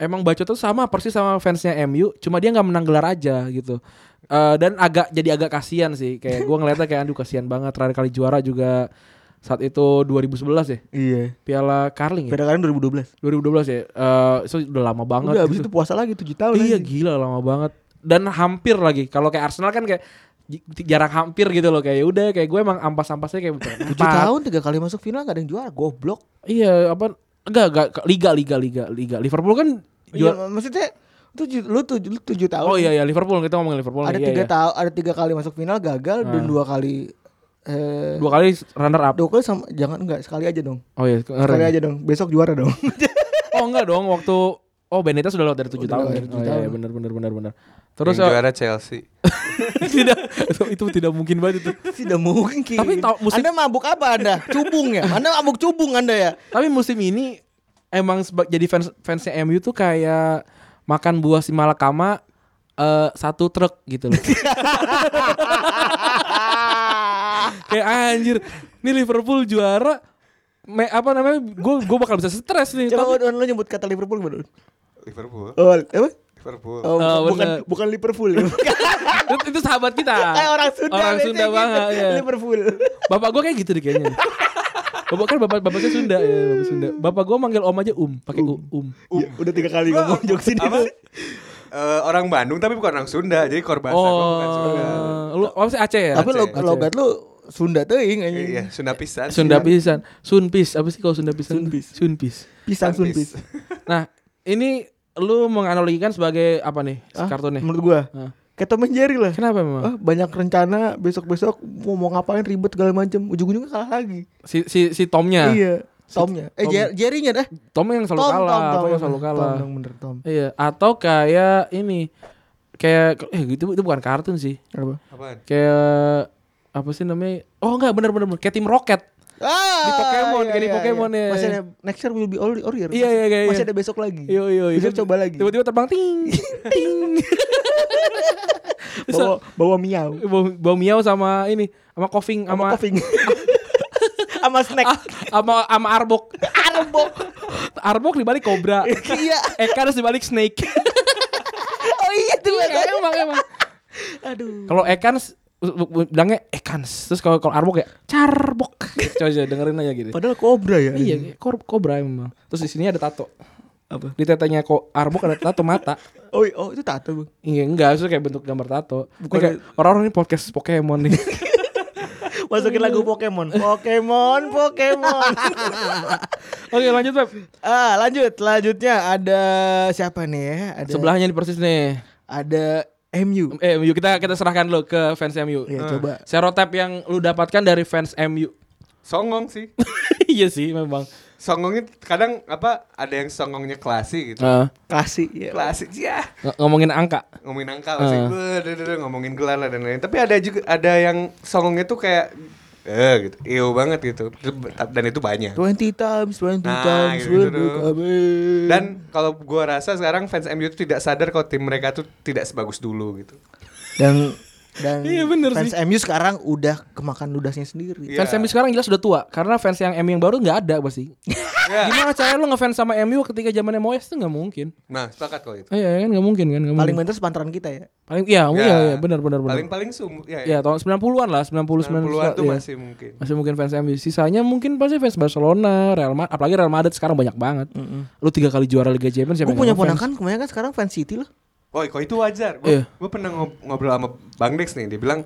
[SPEAKER 2] Emang bacot tuh sama persis sama fansnya MU, cuma dia nggak menang gelar aja gitu. Eh, dan agak jadi agak kasihan sih kayak gue ngeliatnya kayak aduh kasihan banget terakhir kali juara juga saat itu 2011 ya
[SPEAKER 3] Iya.
[SPEAKER 2] Piala Carling ya
[SPEAKER 3] Pada kalian 2012.
[SPEAKER 2] 2012 ya Eh, itu udah lama banget
[SPEAKER 3] Udah abis
[SPEAKER 2] gitu.
[SPEAKER 3] itu puasa lagi 7 tahun.
[SPEAKER 2] Iya
[SPEAKER 3] anjing.
[SPEAKER 2] gila lama banget dan hampir lagi kalau kayak Arsenal kan kayak j- jarak hampir gitu loh kayak udah kayak gue emang ampas-ampasnya kayak
[SPEAKER 3] Tujuh
[SPEAKER 2] empat.
[SPEAKER 3] tahun tiga kali masuk final gak ada yang juara goblok.
[SPEAKER 2] Iya, apa enggak enggak ke- liga liga liga liga. Liverpool kan juara.
[SPEAKER 3] Iya, maksudnya tujuh, lu tujuh, lu tujuh tahun.
[SPEAKER 2] Oh iya ya Liverpool kita ngomongin Liverpool. nih,
[SPEAKER 3] Ada
[SPEAKER 2] iya,
[SPEAKER 3] tiga
[SPEAKER 2] iya. Hmm.
[SPEAKER 3] tahun, ada tiga kali masuk final gagal dan dua kali eh
[SPEAKER 2] Dua kali runner up.
[SPEAKER 3] dua kali sama jangan enggak sekali aja dong.
[SPEAKER 2] Oh iya,
[SPEAKER 3] Sekali
[SPEAKER 2] keren.
[SPEAKER 3] aja dong. Besok juara dong.
[SPEAKER 2] Oh enggak dong waktu Oh Benitez sudah lewat dari 7 tahun.
[SPEAKER 3] lewat
[SPEAKER 2] ya.
[SPEAKER 3] dari
[SPEAKER 2] Oh,
[SPEAKER 3] tujuh
[SPEAKER 2] iya,
[SPEAKER 3] tahun.
[SPEAKER 2] iya, benar benar benar benar. Terus
[SPEAKER 4] Terus
[SPEAKER 2] eh,
[SPEAKER 4] juara Chelsea.
[SPEAKER 2] tidak itu, itu tidak mungkin banget itu.
[SPEAKER 3] Tidak mungkin.
[SPEAKER 2] Tapi tau- musim-
[SPEAKER 3] Anda mabuk apa Anda? Cubung ya? Anda mabuk cubung Anda ya?
[SPEAKER 2] Tapi musim ini emang seba- jadi fans fansnya MU tuh kayak makan buah si malakama eh, satu truk gitu loh. kayak anjir, ini Liverpool juara me, apa namanya gue gue bakal bisa stres nih
[SPEAKER 3] Coba
[SPEAKER 2] tapi
[SPEAKER 3] Don, lu nyebut kata Liverpool gimana? Don?
[SPEAKER 4] Liverpool.
[SPEAKER 3] Oh, apa?
[SPEAKER 4] Liverpool.
[SPEAKER 3] Oh,
[SPEAKER 2] Oh,
[SPEAKER 3] bukan
[SPEAKER 2] bener.
[SPEAKER 3] bukan Liverpool. Bukan.
[SPEAKER 2] itu, itu sahabat kita
[SPEAKER 3] Eh, orang Sunda.
[SPEAKER 2] orang
[SPEAKER 3] biasanya
[SPEAKER 2] Sunda
[SPEAKER 3] gitu.
[SPEAKER 2] banget ya.
[SPEAKER 3] Liverpool.
[SPEAKER 2] bapak gue kayak gitu deh kayaknya bapak kan bapak bapak saya Sunda ya bapak Sunda bapak gue manggil om aja um pakai u um
[SPEAKER 3] Ya, udah tiga kali ngomong jokes ini.
[SPEAKER 4] Apa? Eh, orang Bandung tapi bukan orang Sunda jadi korban saya bukan Sunda.
[SPEAKER 2] oh lu apa sih Aceh ya
[SPEAKER 3] Tapi lo
[SPEAKER 4] Aceh.
[SPEAKER 3] logat lu Sunda teuing anjing.
[SPEAKER 4] Iya, Sunda pisan.
[SPEAKER 2] Sunda pisan sunpis apa sih kalau Sunda pisan
[SPEAKER 3] Sunpis.
[SPEAKER 2] sunpis
[SPEAKER 3] Pisang
[SPEAKER 4] Pisan.
[SPEAKER 3] sunpis.
[SPEAKER 2] nah ini lu menganalogikan sebagai apa nih si
[SPEAKER 3] Ah,
[SPEAKER 2] kartunnya
[SPEAKER 3] Menurut gua.
[SPEAKER 2] Hah.
[SPEAKER 3] Kayak Tom and Jerry lah.
[SPEAKER 2] kenapa memang
[SPEAKER 3] Ah, banyak rencana besok-besok mau, mau ngapain ribet segala macam. Ujung-ujungnya kalah lagi.
[SPEAKER 2] si si si Tomnya
[SPEAKER 3] Iya. Tomnya. Eh
[SPEAKER 2] Nah. Tom.
[SPEAKER 3] Jer- Jerry-nya dah.
[SPEAKER 2] Tom yang selalu kalah Tom yang selalu kalah
[SPEAKER 3] Tom, bener, Tom.
[SPEAKER 2] iya atau kayak ini kayak eh itu itu bukan kartun sih
[SPEAKER 3] Apa?
[SPEAKER 4] Apaan?
[SPEAKER 2] kayak apa sih namanya oh enggak bener bener bener. kayak tim roket
[SPEAKER 3] Ah,
[SPEAKER 2] Di Pokemon, kayak di Pokemon, ya.
[SPEAKER 3] Masih ada next year will be all or
[SPEAKER 2] Iya,
[SPEAKER 3] year. Masih-
[SPEAKER 2] iya, iya,
[SPEAKER 3] Masih
[SPEAKER 2] iya.
[SPEAKER 3] ada besok lagi.
[SPEAKER 2] Yo yo
[SPEAKER 3] Besok coba lagi.
[SPEAKER 2] Tiba-tiba terbang ting ting.
[SPEAKER 3] bawa bawa miau.
[SPEAKER 2] Bau, bau miau sama ini sama coughing
[SPEAKER 3] Sama
[SPEAKER 2] sama
[SPEAKER 3] coughing. Sama snack.
[SPEAKER 2] Ah, sama sama arbok.
[SPEAKER 3] Arbok.
[SPEAKER 2] Arbok dibalik kobra.
[SPEAKER 3] Iya.
[SPEAKER 2] Eka Eh, kan harus dibalik snake.
[SPEAKER 3] Oh iya tuh.
[SPEAKER 2] Iya, emang emang.
[SPEAKER 3] Aduh.
[SPEAKER 2] Kalau Ekans bilangnya Ekans. Terus kalau kalau arbok ya carbok. Coba aja dengerin aja gitu.
[SPEAKER 3] Padahal kobra ya.
[SPEAKER 2] Iya, kor- kobra emang. Terus di sini ada tato.
[SPEAKER 3] Apa?
[SPEAKER 2] Di tetenya kok arbok ada tato mata.
[SPEAKER 3] Oh, iya. oh itu tato bang.
[SPEAKER 2] Iya, enggak, itu kayak bentuk gambar tato. Ini
[SPEAKER 3] Bukan-
[SPEAKER 2] kayak orang-orang ini podcast Pokemon nih.
[SPEAKER 3] Masukin lagu Pokemon. Pokemon, Pokemon.
[SPEAKER 2] Oke, lanjut, Pep.
[SPEAKER 3] ah, lanjut. Selanjutnya ada siapa nih ya? Ada
[SPEAKER 2] Sebelahnya nih persis nih.
[SPEAKER 3] ada MU.
[SPEAKER 2] Eh, MU kita kita serahkan dulu ke fans MU.
[SPEAKER 3] Iya, coba.
[SPEAKER 2] Serotep yang lu dapatkan dari fans MU.
[SPEAKER 4] Songong sih.
[SPEAKER 2] iya sih, memang.
[SPEAKER 4] Songongnya kadang apa ada yang songongnya klasik gitu.
[SPEAKER 2] Heeh.
[SPEAKER 3] Kasih ya.
[SPEAKER 4] Klasik ya.
[SPEAKER 2] ng- ngomongin angka.
[SPEAKER 4] Ngomongin angka pasti.
[SPEAKER 2] Ah.
[SPEAKER 4] Wah, duh, duh, duh, ngomongin gelar lah dan lain-lain. Tapi ada juga ada yang songongnya tuh kayak eh gitu. Iyo banget gitu. Dan itu banyak.
[SPEAKER 3] 20 times, 20
[SPEAKER 4] Nah,
[SPEAKER 3] times,
[SPEAKER 4] gitu-gitu
[SPEAKER 3] will
[SPEAKER 4] tuh.
[SPEAKER 3] become
[SPEAKER 2] Hmm.
[SPEAKER 3] a-
[SPEAKER 4] Dan kalau gua rasa sekarang fans MU itu tidak sadar kalau tim mereka tuh tidak sebagus dulu gitu.
[SPEAKER 3] dan dan
[SPEAKER 2] Iya, bener
[SPEAKER 3] fans MU sekarang udah kemakan ludasnya sendiri.
[SPEAKER 4] Iya.
[SPEAKER 2] Fans MU sekarang jelas sudah tua karena fans yang MU yang baru nggak ada pasti.
[SPEAKER 4] Iya.
[SPEAKER 2] Gimana caranya lu ngefans sama MU ketika zamannya Moyes tuh nggak mungkin.
[SPEAKER 4] Nah, sepakat kalau itu.
[SPEAKER 2] Eh, iya kan nggak mungkin kan nggak
[SPEAKER 3] Paling
[SPEAKER 2] mungkin.
[SPEAKER 3] mentor sepantaran kita ya.
[SPEAKER 2] paling iya,
[SPEAKER 4] Ya.
[SPEAKER 2] iya, iya, benar benar benar.
[SPEAKER 4] Paling-paling sum ya,
[SPEAKER 2] Ya,
[SPEAKER 4] ya.
[SPEAKER 2] tahun 90-an lah, 90
[SPEAKER 4] 90-an tuh
[SPEAKER 2] iya.
[SPEAKER 4] masih mungkin.
[SPEAKER 2] masih mungkin fans MU sisanya mungkin pasti fans Barcelona Real Madrid apalagi Real Madrid sekarang banyak banget lu tiga kali juara Liga Champions siapa
[SPEAKER 3] Gue
[SPEAKER 2] yang
[SPEAKER 3] punya
[SPEAKER 2] nggak fans?
[SPEAKER 3] ponakan kemarin kan sekarang fans City loh.
[SPEAKER 4] Oh, kok itu wajar.
[SPEAKER 2] Iya.
[SPEAKER 4] Gue pernah ngob- ngobrol sama Bang Dex nih, dia bilang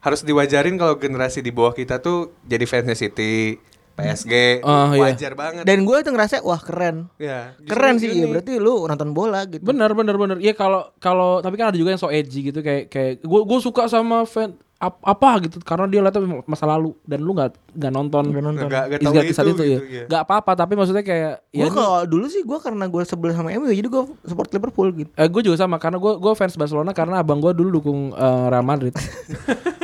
[SPEAKER 4] harus diwajarin kalau generasi di bawah kita tuh jadi fansnya City, PSG,
[SPEAKER 2] Ah, iya.
[SPEAKER 4] wajar banget.
[SPEAKER 3] Dan gue tuh ngerasa wah keren.
[SPEAKER 4] ya, justru
[SPEAKER 3] Keren sih,
[SPEAKER 4] gini.
[SPEAKER 3] iya, berarti lu nonton bola gitu.
[SPEAKER 2] bener bener bener iya kalau kalau tapi kan ada juga yang so edgy gitu kayak kayak gue gue suka sama fan ap- apa gitu karena dia liatnya masa lalu dan lu nggak nggak nonton nggak
[SPEAKER 4] nonton. Nggak- nggak tahu
[SPEAKER 2] kesan ya.
[SPEAKER 4] itu gitu, iya.
[SPEAKER 2] nggak apa apa tapi maksudnya kayak ya
[SPEAKER 3] Gue
[SPEAKER 2] ini-
[SPEAKER 3] kalau dulu sih gue karena gue sebel sama MU jadi gue support Liverpool gitu.
[SPEAKER 2] Eh, gue juga sama karena gue gue fans Barcelona karena abang gue dulu dukung eh, Real Madrid.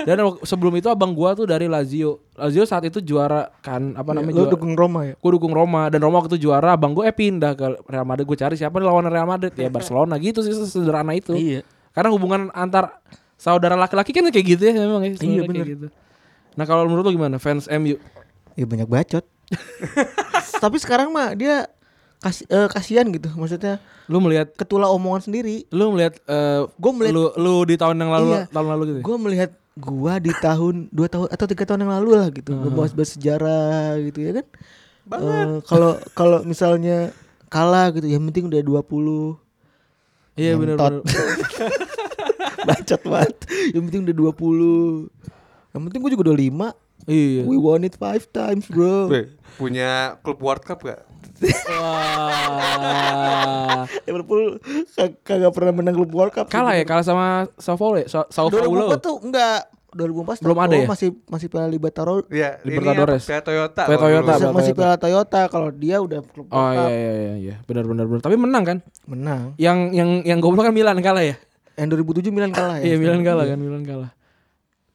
[SPEAKER 2] Dan wak- sebelum itu abang gue tuh dari Lazio. Lazio saat itu juara kan apa namanya?
[SPEAKER 3] Iya, Lu
[SPEAKER 2] juara-
[SPEAKER 3] dukung Roma ya?
[SPEAKER 2] Gue dukung Roma dan Roma waktu itu juara, abang gue eh pindah ke Real Madrid. Gue cari siapa nih lawan Real Madrid ya Barcelona gitu sih sederhana itu.
[SPEAKER 3] Iya.
[SPEAKER 2] Karena hubungan antar saudara laki-laki kan kayak gitu ya memang ya. sebenarnya kayak
[SPEAKER 3] bener.
[SPEAKER 2] Gitu. Nah kalau menurut lo gimana fans MU?
[SPEAKER 3] Ya banyak bacot. Tapi sekarang mah dia kas, eh, kasihan gitu. Maksudnya
[SPEAKER 2] Lu melihat
[SPEAKER 3] ketula omongan sendiri.
[SPEAKER 2] lu melihat eh
[SPEAKER 3] Gua melihat-
[SPEAKER 2] lu, lu di tahun yang lalu
[SPEAKER 3] Iya.
[SPEAKER 2] tahun lalu gitu. ya?
[SPEAKER 3] Gue melihat gua di tahun dua tahun atau tiga tahun yang lalu lah gitu, Gua bahas bahas sejarah gitu ya kan. Eh, Kalau kalau misalnya kalah gitu, yang penting udah 20
[SPEAKER 2] Iya benar
[SPEAKER 3] Ngentot.
[SPEAKER 2] benar.
[SPEAKER 3] bacot banget. Yang penting udah 20 Yang penting gua juga udah 5
[SPEAKER 2] Iya.
[SPEAKER 3] We won it five times bro.
[SPEAKER 4] Weh, punya klub World Cup gak?
[SPEAKER 2] Wah.
[SPEAKER 3] Liverpool kag- kagak pernah menang klub World Cup.
[SPEAKER 2] Kalah ya kalah sama Sao Paulo ya? Sa- Sao Paulo.
[SPEAKER 3] 2004 tuh enggak 2004
[SPEAKER 2] Belum ada
[SPEAKER 3] Toyota
[SPEAKER 2] ya?
[SPEAKER 3] masih masih Piala Libertadores.
[SPEAKER 4] Ya, ini
[SPEAKER 2] Libertadores.
[SPEAKER 4] apa? Piala Toyota.
[SPEAKER 2] Piala
[SPEAKER 4] kalau
[SPEAKER 2] Toyota,
[SPEAKER 4] dulu.
[SPEAKER 2] Piala
[SPEAKER 3] masih Piala Toyota kalau dia udah klub
[SPEAKER 2] Oh
[SPEAKER 3] World
[SPEAKER 2] iya
[SPEAKER 3] Cup.
[SPEAKER 2] iya iya iya benar benar benar. Tapi menang kan?
[SPEAKER 3] menang.
[SPEAKER 2] Yang yang yang goblok kan Milan kalah ya?
[SPEAKER 3] Yang 2007 Milan kalah ya.
[SPEAKER 2] Iya Milan kalah kan Milan kalah.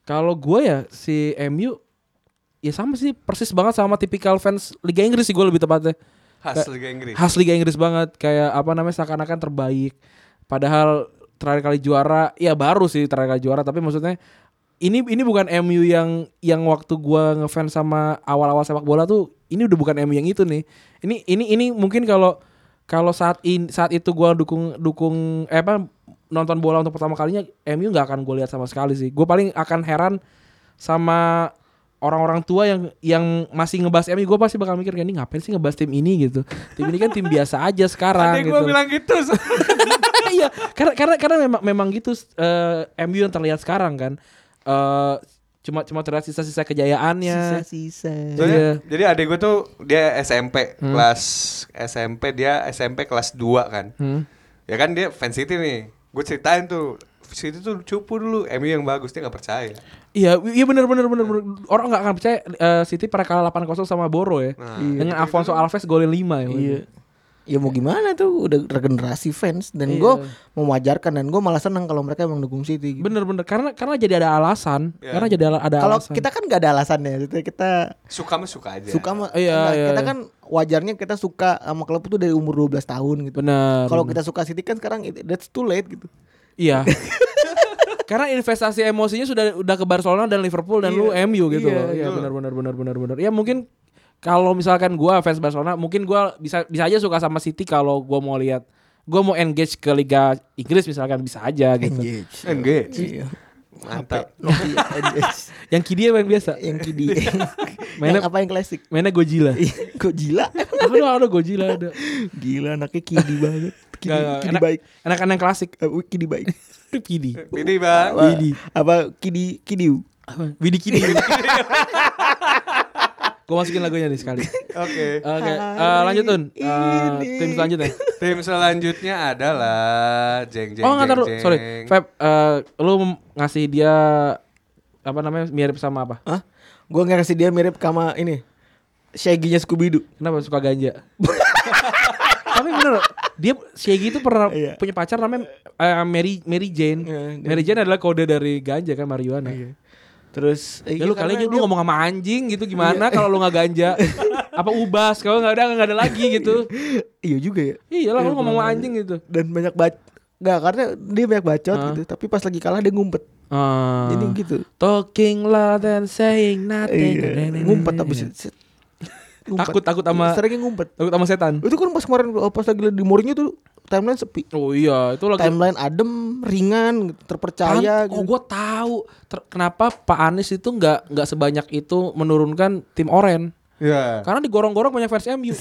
[SPEAKER 2] Kalau gue ya si MU ya sama sih persis banget sama tipikal fans Liga Inggris sih gue lebih tepatnya.
[SPEAKER 4] Khas Liga Inggris.
[SPEAKER 2] Khas Liga Inggris banget kayak apa namanya seakan-akan terbaik. Padahal terakhir kali juara ya baru sih terakhir kali juara tapi maksudnya ini ini bukan MU yang yang waktu gua ngefans sama awal-awal sepak bola tuh ini udah bukan MU yang itu nih. Ini ini ini mungkin kalau kalau saat in, saat itu gua dukung dukung eh apa nonton bola untuk pertama kalinya MU nggak akan gue lihat sama sekali sih. Gue paling akan heran sama orang-orang tua yang yang masih ngebahas MU gue pasti bakal mikir kayak ini ngapain sih ngebahas tim ini gitu. Tim ini kan tim biasa aja sekarang
[SPEAKER 4] Tadi
[SPEAKER 2] gitu.
[SPEAKER 4] gue bilang gitu.
[SPEAKER 2] iya karena karena karena memang memang gitu eh, MU yang terlihat sekarang kan eh cuma cuma terlihat sisa-sisa kejayaannya
[SPEAKER 4] Soalnya,
[SPEAKER 2] Iya. Hmm.
[SPEAKER 4] Jadi adik gue tuh dia SMP kelas SMP dia SMP kelas 2 kan.
[SPEAKER 2] Hmm.
[SPEAKER 4] Ya kan dia fans City nih. Gue ceritain tuh City tuh cupu dulu MU yang bagus dia nggak percaya.
[SPEAKER 2] iya iya benar benar benar orang nggak akan percaya eh, City pernah kalah 8-0 sama Boro ya
[SPEAKER 3] Nah,
[SPEAKER 2] dengan Alfonso Alves golin 5 ya
[SPEAKER 3] Iya. Ya mau gimana tuh udah regenerasi fans
[SPEAKER 2] Iya.
[SPEAKER 3] dan gue mewajarkan dan gue malah seneng kalau mereka emang dukung City. gitu.
[SPEAKER 2] bener bener karena karena jadi ada alasan
[SPEAKER 4] Iya.
[SPEAKER 2] karena jadi ala- ada
[SPEAKER 3] Kalau
[SPEAKER 2] alasan
[SPEAKER 3] kita kan gak ada alasannya, maksudnya kita
[SPEAKER 4] Suka mah suka aja.
[SPEAKER 3] suka sama
[SPEAKER 2] Iya,
[SPEAKER 3] enggak,
[SPEAKER 2] iya,
[SPEAKER 3] kita
[SPEAKER 2] iya.
[SPEAKER 3] kan wajarnya kita suka sama klub itu dari umur 12 tahun gitu.
[SPEAKER 2] bener
[SPEAKER 3] Kalau kita suka City kan sekarang it- that's too late gitu.
[SPEAKER 2] iya Karena investasi emosinya sudah udah ke Barcelona dan Liverpool dan lu MU gitu loh. Iya, benar benar benar benar benar. Ya mungkin kalau misalkan gua fans Barcelona, mungkin gua bisa bisa aja suka sama City kalau gua mau lihat gua mau engage ke Liga Inggris misalkan bisa aja gitu.
[SPEAKER 4] Engage.
[SPEAKER 3] Iya.
[SPEAKER 4] Mantap.
[SPEAKER 3] Nokia NGH.
[SPEAKER 2] Yang Kidi apa yang biasa?
[SPEAKER 3] yang kidi.
[SPEAKER 2] Mainnya-
[SPEAKER 3] yang apa yang klasik?
[SPEAKER 2] Mainnya Gojila.
[SPEAKER 3] Iya. Kok gila?
[SPEAKER 2] Aku udah ada Gojila ada.
[SPEAKER 3] gila anaknya kidi banget. Kidi,
[SPEAKER 2] Nggak, nggak,
[SPEAKER 3] kidi
[SPEAKER 2] enak-
[SPEAKER 3] baik.
[SPEAKER 2] Enakan yang klasik.
[SPEAKER 3] Eh, kidi baik.
[SPEAKER 2] Kidi.
[SPEAKER 4] Ini bang.
[SPEAKER 3] Apa, apa kidi kidiu?
[SPEAKER 2] Widi Kidi. Gua masukin lagunya nih sekali.
[SPEAKER 4] Oke.
[SPEAKER 2] Oke, eh, lanjut Tun. Eh, tim selanjutnya.
[SPEAKER 4] Tim selanjutnya adalah jeng jeng
[SPEAKER 2] oh nggak
[SPEAKER 4] jeng,
[SPEAKER 2] taruh,
[SPEAKER 4] jeng.
[SPEAKER 2] sorry. Feb, eh, lu mem- ngasih dia apa namanya mirip sama apa?
[SPEAKER 3] Hah? Gue ngerasa dia mirip sama ini. Shaggy-nya Scooby-Doo.
[SPEAKER 2] Kenapa suka ganja? Tapi bener, dia Shaggy itu pernah
[SPEAKER 3] Iya.
[SPEAKER 2] punya pacar namanya eh, Mary Mary Jane.
[SPEAKER 3] Iya, dia-
[SPEAKER 2] Mary Jane adalah kode dari ganja kan marijuana.
[SPEAKER 3] Terus eh,
[SPEAKER 2] Ya lu kali
[SPEAKER 3] karena
[SPEAKER 2] aja lu
[SPEAKER 3] dia-
[SPEAKER 2] ngomong sama anjing gitu gimana kalau lu nggak ganja? apa ubas kalau nggak ada nggak ada lagi gitu.
[SPEAKER 3] Iya juga ya.
[SPEAKER 2] Iya lah lu ngomong sama anjing gitu.
[SPEAKER 3] Dan banyak bac Gak karena dia banyak bacot
[SPEAKER 2] Hah?
[SPEAKER 3] gitu Tapi pas lagi kalah dia ngumpet
[SPEAKER 2] Ah.
[SPEAKER 3] Jadi gitu
[SPEAKER 2] Talking loud and saying nothing. Nah,
[SPEAKER 3] Iya Ngumpet abis itu set. Ngumpet.
[SPEAKER 2] Takut- takut sama-
[SPEAKER 3] Seringnya ngumpet
[SPEAKER 2] nah. Takut sama setan.
[SPEAKER 3] Itu kan pas kemarin eh, Pas lagi di moringnya tuh Timeline sepi
[SPEAKER 2] Oh iya, itu lagi
[SPEAKER 3] Timeline adem Ringan gitu,
[SPEAKER 2] Pan-
[SPEAKER 3] Terpercaya
[SPEAKER 2] Oh,
[SPEAKER 3] gitu
[SPEAKER 2] gue tahu Ter- kenapa Pak Anies itu nggak nggak sebanyak itu menurunkan tim Oren.
[SPEAKER 4] Ya.
[SPEAKER 2] Karena digorong-gorong banyak versi MU.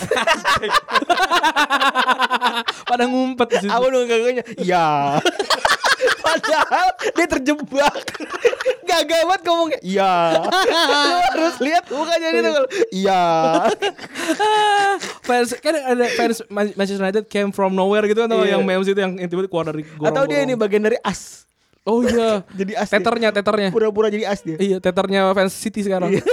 [SPEAKER 2] Pada ngumpet di situ.
[SPEAKER 3] Apa dong gagangnya Ya Padahal dia terjebak Gagal banget ngomongnya Ya Lu harus lihat mukanya dia tuh kalau, Ya
[SPEAKER 2] fans kan ada fans Man- Manchester United came from nowhere gitu kan tau
[SPEAKER 3] Iya.
[SPEAKER 2] yang memes itu yang yang tiba-tiba keluar dari gorong
[SPEAKER 3] Atau dia ini bagian dari as
[SPEAKER 2] Oh iya.
[SPEAKER 3] Jadi as dia.
[SPEAKER 2] teternya, teternya.
[SPEAKER 3] Pura-pura jadi as dia
[SPEAKER 2] Iya, teternya fans City sekarang.
[SPEAKER 3] Iya.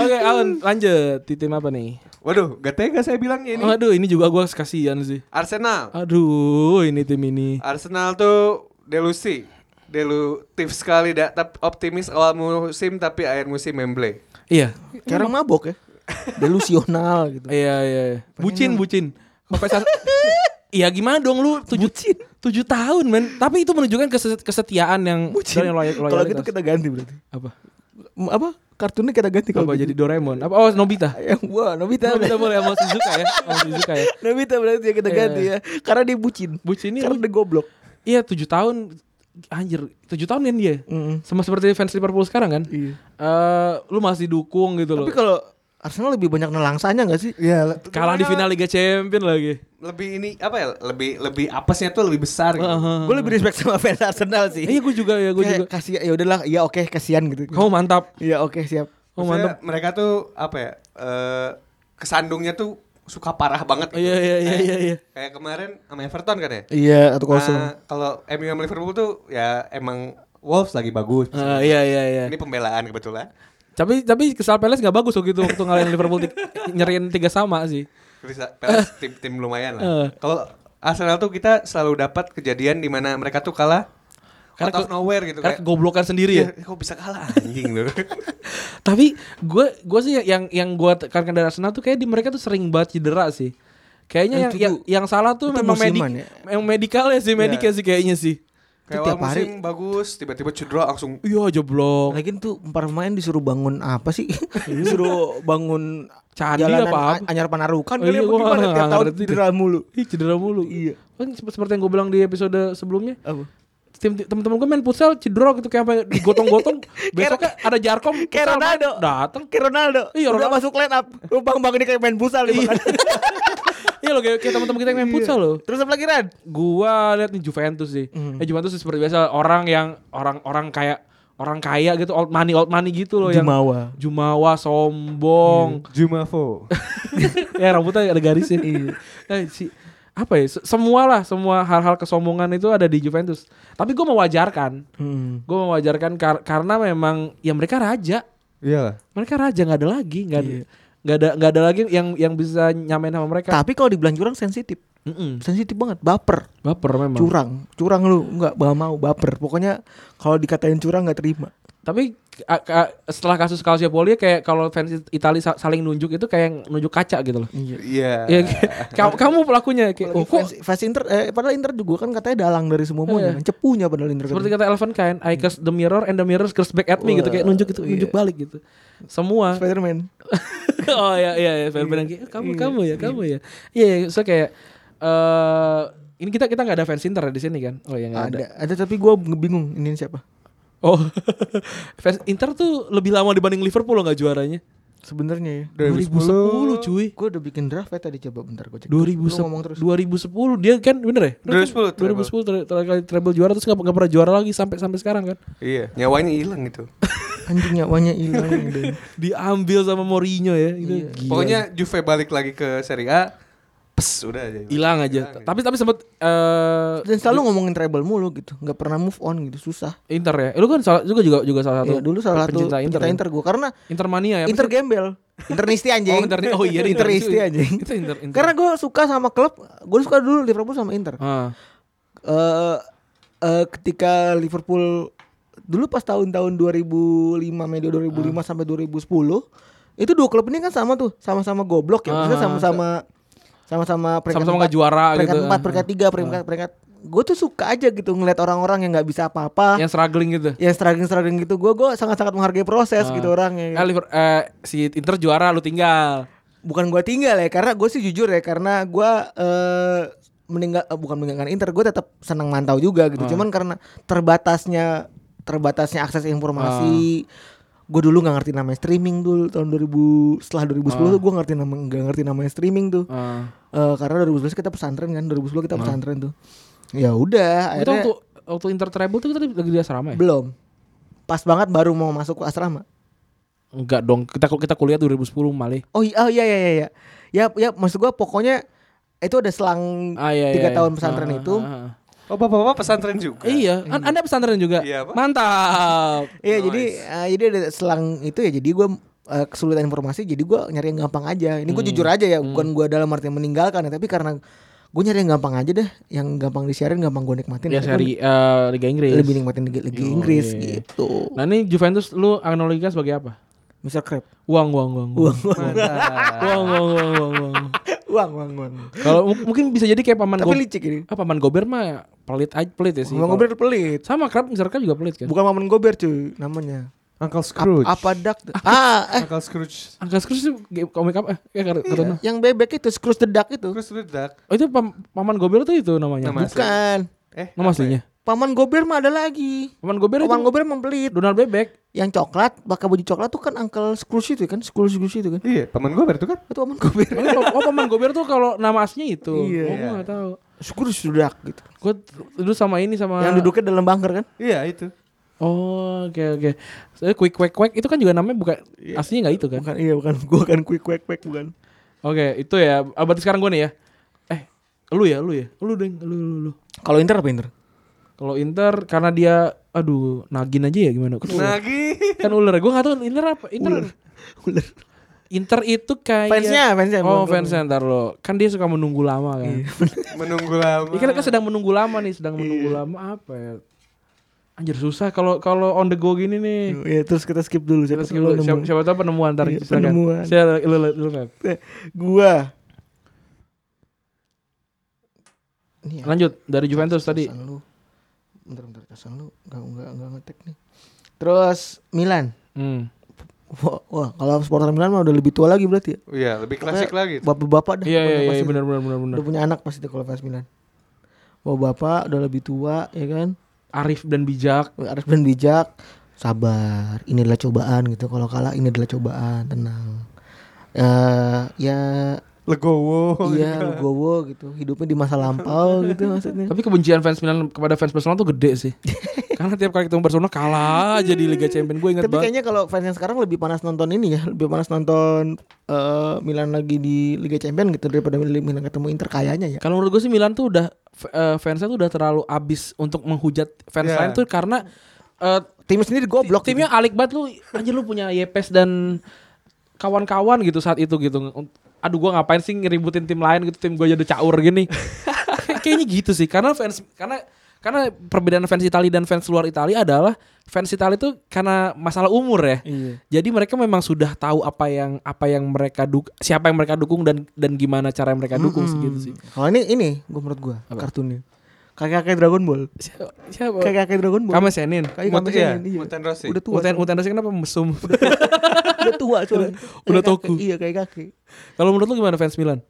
[SPEAKER 2] Oke, Alan lanjut di tim apa nih?
[SPEAKER 4] Waduh, gak tega saya bilang ini.
[SPEAKER 2] Aduh, ini juga gue kasihan sih.
[SPEAKER 4] Arsenal.
[SPEAKER 2] Aduh, ini tim ini.
[SPEAKER 4] Arsenal tuh delusi. Delutif sekali dah tap- optimis awal musim tapi akhir musim memble.
[SPEAKER 2] Iya,
[SPEAKER 3] Kayak orang mabok ya Delusional gitu
[SPEAKER 2] Iya iya. iya. Bucin bucin. Kompensasi. Iya gimana dong lu tujuh tujuh tahun men. Tapi itu menunjukkan kese- kesetiaan yang dan yang loyal,
[SPEAKER 3] Kalau gitu
[SPEAKER 2] loyalitas.
[SPEAKER 3] kita ganti berarti
[SPEAKER 2] apa?
[SPEAKER 3] M- Apa Kartunnya kita ganti kalau
[SPEAKER 2] Apa
[SPEAKER 3] gitu.
[SPEAKER 2] jadi Doraemon? Apa oh Nobita.
[SPEAKER 3] Yang wah Nobita
[SPEAKER 2] Nobita boleh sama Suzuka ya. Sama Suzuka ya.
[SPEAKER 3] Nobita berarti ya kita
[SPEAKER 2] Iya.
[SPEAKER 3] ganti ya Karena dia bucin
[SPEAKER 2] Bucin ini
[SPEAKER 3] Karena
[SPEAKER 2] lu-
[SPEAKER 3] dia goblok
[SPEAKER 2] iya tujuh tahun anjir tujuh tahun kan dia sama seperti fans Liverpool sekarang kan
[SPEAKER 3] Hmm. Iya.
[SPEAKER 2] Eh, lu masih dukung gitu loh
[SPEAKER 3] Tapi kalau Arsenal lebih banyak nelangsanya gak sih?
[SPEAKER 4] Iya.
[SPEAKER 2] kalah di final Liga Champion lagi
[SPEAKER 4] Lebih ini apa ya? Lebih lebih apesnya tuh lebih besar. Gitu.
[SPEAKER 3] Gue lebih respect sama fans Arsenal
[SPEAKER 2] Eh,
[SPEAKER 3] sih.
[SPEAKER 2] iya gue juga ya gue
[SPEAKER 3] Kayak
[SPEAKER 2] juga
[SPEAKER 3] Kasih ya udahlah, ya oke kasihan gitu.
[SPEAKER 2] kamu mantap
[SPEAKER 3] Ya oke siap.
[SPEAKER 2] kamu
[SPEAKER 4] Maksudnya
[SPEAKER 2] Oh, mantap
[SPEAKER 4] Mereka tuh apa ya? eh, kesandungnya tuh suka parah banget. gitu.
[SPEAKER 2] iya iya iya iya iya
[SPEAKER 4] Kayak kemarin sama Everton kan ya?
[SPEAKER 3] Iya atau
[SPEAKER 4] Nah, kalau MU sama Liverpool tuh ya emang Wolves lagi bagus.
[SPEAKER 2] Eh, iya iya iya
[SPEAKER 4] Ini pembelaan kebetulan.
[SPEAKER 2] Tapi tapi kesal Palace nggak bagus waktu itu waktu ngalahin Liverpool ti- nyeriin tiga sama sih.
[SPEAKER 4] Bisa- Palace tim tim
[SPEAKER 2] Eh.
[SPEAKER 4] lumayan lah. Kalau Arsenal tuh kita selalu dapat kejadian di mana mereka tuh kalah out of
[SPEAKER 2] ke-
[SPEAKER 4] nowhere gitu
[SPEAKER 2] Karena
[SPEAKER 4] kayak.
[SPEAKER 2] kegoblokan sendiri ya.
[SPEAKER 4] "Iya, kok bisa kalah anjing gitu. lu.
[SPEAKER 2] Tapi gue gue sih yang yang gue tekankan dari Arsenal tuh kayak di mereka tuh sering banget cedera sih. Kayaknya yang,
[SPEAKER 3] Eh, Itu
[SPEAKER 2] yang yang salah tuh
[SPEAKER 3] itu
[SPEAKER 2] memang medik,
[SPEAKER 3] musiman ya?
[SPEAKER 2] yang medikal ya sih medik ya sih kayaknya sih.
[SPEAKER 4] Kayak
[SPEAKER 3] tiap
[SPEAKER 4] awal
[SPEAKER 3] hari.
[SPEAKER 4] musim bagus, tiba-tiba cedera langsung
[SPEAKER 2] Iya jeblok.
[SPEAKER 3] Lagian tuh para pemain disuruh bangun apa sih? disuruh bangun
[SPEAKER 2] Candi
[SPEAKER 3] jalanan
[SPEAKER 2] apa?
[SPEAKER 3] A- anyar panarukan
[SPEAKER 2] Oh
[SPEAKER 3] kali
[SPEAKER 2] iya,
[SPEAKER 3] apa
[SPEAKER 2] gua
[SPEAKER 3] gimana
[SPEAKER 2] nggak
[SPEAKER 3] tiap tahun
[SPEAKER 2] ngerti deh.
[SPEAKER 3] cedera mulu.
[SPEAKER 2] Ih cedera mulu. Iya. Kan sep- seperti yang gue bilang di episode sebelumnya.
[SPEAKER 3] Apa?
[SPEAKER 2] Tim tim- temen-temen gue main futsal cedera gitu kayak apa digotong-gotong. Besoknya ada jarkom.
[SPEAKER 3] Kayak
[SPEAKER 2] futsal main,
[SPEAKER 3] Ronaldo.
[SPEAKER 2] Datang.
[SPEAKER 3] Kayak Ronaldo.
[SPEAKER 2] Iya,
[SPEAKER 3] Udah
[SPEAKER 2] Ronaldo.
[SPEAKER 3] masuk line up. Lu bang-bang ini kayak main futsal nih. bahkan.
[SPEAKER 2] Iya loh kayak, kayak teman-teman kita yang main futsal loh.
[SPEAKER 3] Iya. Terus apa lagi Ran?
[SPEAKER 2] Gua lihat nih Juventus sih. Eh, Juventus seperti biasa orang yang orang-orang kayak orang kaya gitu old money old money gitu loh
[SPEAKER 3] Jumawa. Iya.
[SPEAKER 2] yang Jumawa sombong.
[SPEAKER 4] Jumafo.
[SPEAKER 2] ya rambutnya ada garisnya.
[SPEAKER 3] Iya.
[SPEAKER 2] Eh, si apa ya? se- Semua lah, semua hal-hal kesombongan itu ada di Juventus. Tapi gue mewajarkan,
[SPEAKER 3] Hmm.
[SPEAKER 2] gue mewajarkan kar- karena memang ya mereka raja,
[SPEAKER 4] Iya lah.
[SPEAKER 2] mereka raja nggak ada lagi, nggak ada,
[SPEAKER 3] Iya.
[SPEAKER 2] nggak ada, nggak ada lagi yang yang bisa nyamain sama mereka.
[SPEAKER 3] Tapi kalau dibilang curang sensitif.
[SPEAKER 2] Mm-mm.
[SPEAKER 3] Sensitif banget, baper.
[SPEAKER 2] Baper memang.
[SPEAKER 3] Curang, curang lu nggak nggak mau baper. Pokoknya kalau dikatain curang nggak terima.
[SPEAKER 2] Tapi a- a- setelah kasus Calciopoli kayak kalau fans Itali sa- saling nunjuk itu kayak nunjuk kaca gitu loh.
[SPEAKER 4] Iya.
[SPEAKER 2] Ya, kayak, kamu, kamu pelakunya kayak oh, kok
[SPEAKER 3] Fans, fans Inter, eh, padahal Inter juga kan katanya dalang dari semuanya,
[SPEAKER 2] Iya.
[SPEAKER 3] cepunya padahal Inter.
[SPEAKER 2] Seperti kata Elven Kain, I curse the mirror and the mirror curse back at me gitu kayak nunjuk gitu, nunjuk balik gitu. Semua.
[SPEAKER 3] Spiderman.
[SPEAKER 2] oh iya iya iya, Velvet bilang, "Eh, kamu kamu ya, kamu ya. Iya, iya, so kayak eh ini kita kita nggak ada fans Inter di sini kan? Oh ya nggak ada.
[SPEAKER 3] Ada, ada tapi gue bingung ini siapa.
[SPEAKER 2] Oh, fans Inter tuh lebih lama dibanding Liverpool loh nggak juaranya.
[SPEAKER 3] Sebenarnya ya.
[SPEAKER 2] 2010 cuy.
[SPEAKER 3] Gue udah bikin draft ya tadi coba bentar gue cek. Lu
[SPEAKER 2] 2010,
[SPEAKER 3] ngomong terus.
[SPEAKER 2] 2010 dia kan bener ya?
[SPEAKER 4] 2010
[SPEAKER 2] 2010
[SPEAKER 4] treble.
[SPEAKER 2] ter- terakhir kali treble juara terus nggak nggak pernah juara lagi sampai sampai sekarang kan?
[SPEAKER 4] Iya. Nyawanya hilang itu.
[SPEAKER 3] Anjing nyawanya hilang. ya, Dan-
[SPEAKER 2] Diambil sama Mourinho ya. Itu gila.
[SPEAKER 4] Pokoknya Juve balik lagi ke Serie A. Pes, udah aja.
[SPEAKER 2] hilang aja. Tapi tapi sempet eh
[SPEAKER 3] Dan selalu ngomongin treble mulu gitu, nggak pernah move on gitu, susah.
[SPEAKER 2] Inter ya. Eh, Lu kan salah, juga juga juga salah satu.
[SPEAKER 3] Ya, dulu salah satu
[SPEAKER 2] pencinta Inter. ya.
[SPEAKER 3] Inter, Inter gue karena
[SPEAKER 2] Inter mania ya. apa
[SPEAKER 3] Inter
[SPEAKER 2] sih?
[SPEAKER 3] gembel, Internisti anjing.
[SPEAKER 2] Oh, Inter- oh iya, Inter-
[SPEAKER 3] Internisti
[SPEAKER 2] itu-
[SPEAKER 3] anjing.
[SPEAKER 2] itu Inter- Inter.
[SPEAKER 3] Karena gue suka sama klub, gue suka dulu Liverpool sama Inter.
[SPEAKER 2] Ah.
[SPEAKER 3] eh eh, ketika Liverpool dulu pas tahun-tahun 2005 medio
[SPEAKER 2] Ah.
[SPEAKER 3] 2005 sampai 2010 itu dua klub ini kan sama tuh sama-sama goblok ya maksudnya
[SPEAKER 2] Ah,
[SPEAKER 3] sama-sama sama-sama peringkat
[SPEAKER 2] Sama-sama
[SPEAKER 3] empat,
[SPEAKER 2] nggak juara
[SPEAKER 3] peringkat
[SPEAKER 2] gitu.
[SPEAKER 3] empat
[SPEAKER 2] Ah.
[SPEAKER 3] peringkat tiga peringkat peringkat gue tuh suka aja gitu ngeliat orang-orang yang nggak bisa apa-apa yang,
[SPEAKER 2] Yang struggling gitu.
[SPEAKER 3] struggling struggling gitu gue gue sangat-sangat menghargai proses gitu orangnya
[SPEAKER 2] Eh, Liver- eh, si Inter juara lu tinggal.
[SPEAKER 3] bukan gue tinggal ya karena gue sih jujur ya karena gue eh meninggal eh, bukan meninggalkan Inter gue tetap senang mantau juga gitu cuman karena terbatasnya terbatasnya akses informasi gue dulu nggak ngerti namanya streaming dulu tahun 2000 setelah 2010 tuh gue ngerti nama nggak ngerti namanya streaming tuh
[SPEAKER 2] Ah.
[SPEAKER 3] Eh, karena 2011 kita pesantren kan 2010 kita pesantren tuh ya udah
[SPEAKER 2] Itu waktu
[SPEAKER 3] akhirnya
[SPEAKER 2] waktu Inter treble tuh kita lagi di asrama ya?
[SPEAKER 3] belum pas banget baru mau masuk ke asrama
[SPEAKER 2] Enggak dong. Kita kita kuliah 2010 malih.
[SPEAKER 3] Oh iya, oh, iya, iya, iya, iya. Ya, ya, maksud gua pokoknya itu ada selang
[SPEAKER 2] Ah, iya,
[SPEAKER 3] tiga
[SPEAKER 2] iya,
[SPEAKER 3] tahun
[SPEAKER 2] iya.
[SPEAKER 3] pesantren
[SPEAKER 2] Ah,
[SPEAKER 3] itu.
[SPEAKER 2] ah, ah.
[SPEAKER 4] Oh, bapak-bapak pesantren juga.
[SPEAKER 2] Iya, an- Anda pesantren juga.
[SPEAKER 4] Iya, Pak.
[SPEAKER 2] Mantap.
[SPEAKER 3] Iya, jadi, eh, jadi ada selang itu ya. Jadi gua eh, kesulitan informasi, jadi gua nyari yang gampang aja. Ini
[SPEAKER 2] Hmm,
[SPEAKER 3] gua jujur aja ya, bukan gua dalam artian meninggalkan ya, tapi karena gua nyari yang gampang aja deh, yang gampang disiarin, gampang gua nikmatin.
[SPEAKER 2] Ya
[SPEAKER 3] Akhirnya
[SPEAKER 2] seri eh, Liga Inggris.
[SPEAKER 3] gua lebih nikmatin Liga, Liga Inggris gitu.
[SPEAKER 2] Nah ini Juventus lu analogikan sebagai apa?
[SPEAKER 3] Mr. Crab.
[SPEAKER 2] Uang, uang, uang, uang, uang, uang, uang, uang, uang.
[SPEAKER 3] Uang, uang, uang.
[SPEAKER 2] Kalau mu- mungkin bisa jadi kayak paman
[SPEAKER 3] Tapi
[SPEAKER 2] Gob-
[SPEAKER 3] licik ini.
[SPEAKER 2] Ah, paman Gober mah pelit aja pelit ya sih.
[SPEAKER 3] Mamang
[SPEAKER 2] Kalau-
[SPEAKER 3] Gober pelit.
[SPEAKER 2] sama Krab Mr. Krab juga pelit kan.
[SPEAKER 3] Bukan Mamang Gober cuy namanya.
[SPEAKER 4] Uncle
[SPEAKER 3] Ap-
[SPEAKER 4] Scrooge.
[SPEAKER 3] apa dak? Ah, eh
[SPEAKER 4] Uncle Scrooge.
[SPEAKER 2] Angka Scrooge itu ge- komik apa? Eh, ya,
[SPEAKER 3] Iya.
[SPEAKER 2] kar- kartun.
[SPEAKER 3] yang bebek itu Scrooge the Duck itu.
[SPEAKER 4] Terus lu dak.
[SPEAKER 2] Oh itu Pam- paman Gober tuh itu namanya.
[SPEAKER 4] Nama asli.
[SPEAKER 3] Bukan.
[SPEAKER 4] Eh,
[SPEAKER 2] Nama aslinya.
[SPEAKER 3] Kan. Paman Gober mah ada lagi.
[SPEAKER 2] Paman Gober
[SPEAKER 3] Paman
[SPEAKER 2] itu
[SPEAKER 3] Gober emang pelit.
[SPEAKER 2] Donald Bebek.
[SPEAKER 3] Yang coklat, pakai baju coklat tuh kan Uncle Scrooge itu kan, Scrooge Scrooge itu kan.
[SPEAKER 4] Iya, paman gue berarti kan.
[SPEAKER 3] Itu Paman Gober.
[SPEAKER 2] Oh, pa- oh, paman Gober tuh kalau nama aslinya itu.
[SPEAKER 3] Iya.
[SPEAKER 2] Oh, gua gak tahu.
[SPEAKER 3] Scrooge sudak gitu.
[SPEAKER 2] Gue dulu sama ini sama
[SPEAKER 3] Yang duduknya dalam bunker kan?
[SPEAKER 4] Iya, itu.
[SPEAKER 2] Oh, oke oke. Soalnya quick quick quick itu kan juga namanya bukan aslinya nggak itu kan?
[SPEAKER 3] Bukan, iya bukan. Gua kan quick quick quick bukan.
[SPEAKER 2] Oke, itu ya. Ah, Berarti sekarang gue nih ya. Eh, lu ya, lu ya. Lu deng, lu lu lu.
[SPEAKER 3] Kalau Inter apa Inter?
[SPEAKER 2] Kalau Inter karena dia aduh, nagin aja ya gimana? Kan ular.
[SPEAKER 4] Lagi.
[SPEAKER 2] Kan ular. Gue gak tahu Inter apa. Inter.
[SPEAKER 3] Ular.
[SPEAKER 2] Inter itu kayak
[SPEAKER 3] Fansnya, fansnya.
[SPEAKER 2] Oh,
[SPEAKER 3] Bukan-
[SPEAKER 2] fansnya ntar lo. Kan dia suka menunggu lama kan.
[SPEAKER 4] Menunggu lama.
[SPEAKER 2] Ini kan, kan sedang menunggu lama nih, sedang menunggu lama apa ya? Anjir susah kalau kalau on the go gini nih.
[SPEAKER 3] Ya terus kita skip dulu. Siapa
[SPEAKER 2] Terus dulu,
[SPEAKER 3] dulu
[SPEAKER 2] siapa,
[SPEAKER 3] nemu?
[SPEAKER 2] siapa tahu penemuan ntar
[SPEAKER 3] Iya,
[SPEAKER 2] silakan.
[SPEAKER 3] penemuan.
[SPEAKER 2] Saya lu lu lu, Feb.
[SPEAKER 3] Eh, Gua. Nih,
[SPEAKER 2] Lanjut dari Juventus tadi.
[SPEAKER 3] alasan lu. bentar bentar Casang lu nggak nggak nggak ngetek nih. Terus Milan.
[SPEAKER 2] Hmm.
[SPEAKER 3] Wah, wah, kalau supporter Milan mah udah lebih tua lagi berarti ya.
[SPEAKER 4] Iya, lebih klasik lagi.
[SPEAKER 3] Bapak-bapak dah.
[SPEAKER 2] Iya iya
[SPEAKER 3] pokoknya
[SPEAKER 2] iya
[SPEAKER 3] pasti.
[SPEAKER 2] benar benar benar benar.
[SPEAKER 3] Udah punya anak pasti tuh kalau fans Milan. Bawa bapak udah lebih tua ya kan.
[SPEAKER 2] Arif dan bijak.
[SPEAKER 3] Harus dan bijak, sabar. Ini adalah cobaan gitu. Kalau kalah ini adalah cobaan, tenang. Eh ya
[SPEAKER 4] Legowo.
[SPEAKER 3] iya legowo gitu. Hidupnya di masa lampau gitu maksudnya.
[SPEAKER 2] Tapi kebencian fans Milan kepada fans Barcelona tuh gede sih. Karena tiap kali ketemu Barcelona kalah aja di Liga Champions gue inget
[SPEAKER 3] Tapi
[SPEAKER 2] banget.
[SPEAKER 3] kayaknya kalau fans yang sekarang lebih panas nonton ini ya, lebih panas nonton eh, Milan lagi di Liga Champions gitu daripada Milan ketemu Inter kayaknya ya.
[SPEAKER 2] Kalau menurut gue sih Milan tuh udah f- eh, fansnya tuh udah terlalu abis untuk menghujat fans
[SPEAKER 4] Iya.
[SPEAKER 2] lain tuh karena eh,
[SPEAKER 3] Tim sendiri goblok.
[SPEAKER 2] timnya alik banget lu anjir lu punya Yepes dan kawan-kawan gitu saat itu gitu. Aduh gua ngapain sih ngeributin tim lain gitu tim gue jadi caur gini. Kay- Kayaknya gitu sih karena fans karena karena perbedaan fans Italia dan fans luar Italia adalah fans Italia itu karena masalah umur ya. Jadi mereka memang sudah tahu apa yang apa yang mereka duk siapa yang mereka dukung dan dan gimana cara mereka dukung sih gitu sih.
[SPEAKER 3] Kalau Hmm. Oh, ini ini gua menurut gua kartunnya. Kakek-kakek Dragon Ball.
[SPEAKER 2] Siapa? siapa?
[SPEAKER 3] Kakek-kakek Dragon Ball.
[SPEAKER 2] Kame Senin.
[SPEAKER 3] Kayak
[SPEAKER 4] Mut-
[SPEAKER 3] Kamen
[SPEAKER 4] iya,
[SPEAKER 3] Sengen, iya.
[SPEAKER 4] Muten Rossi.
[SPEAKER 3] Udah tua.
[SPEAKER 2] Uten Uten Rossi kenapa mesum?
[SPEAKER 3] udah tua soalnya.
[SPEAKER 2] Udah
[SPEAKER 3] Kayak
[SPEAKER 2] toku.
[SPEAKER 3] kakek, Iya kayak kakek.
[SPEAKER 2] Kalau menurut lu gimana fans Milan?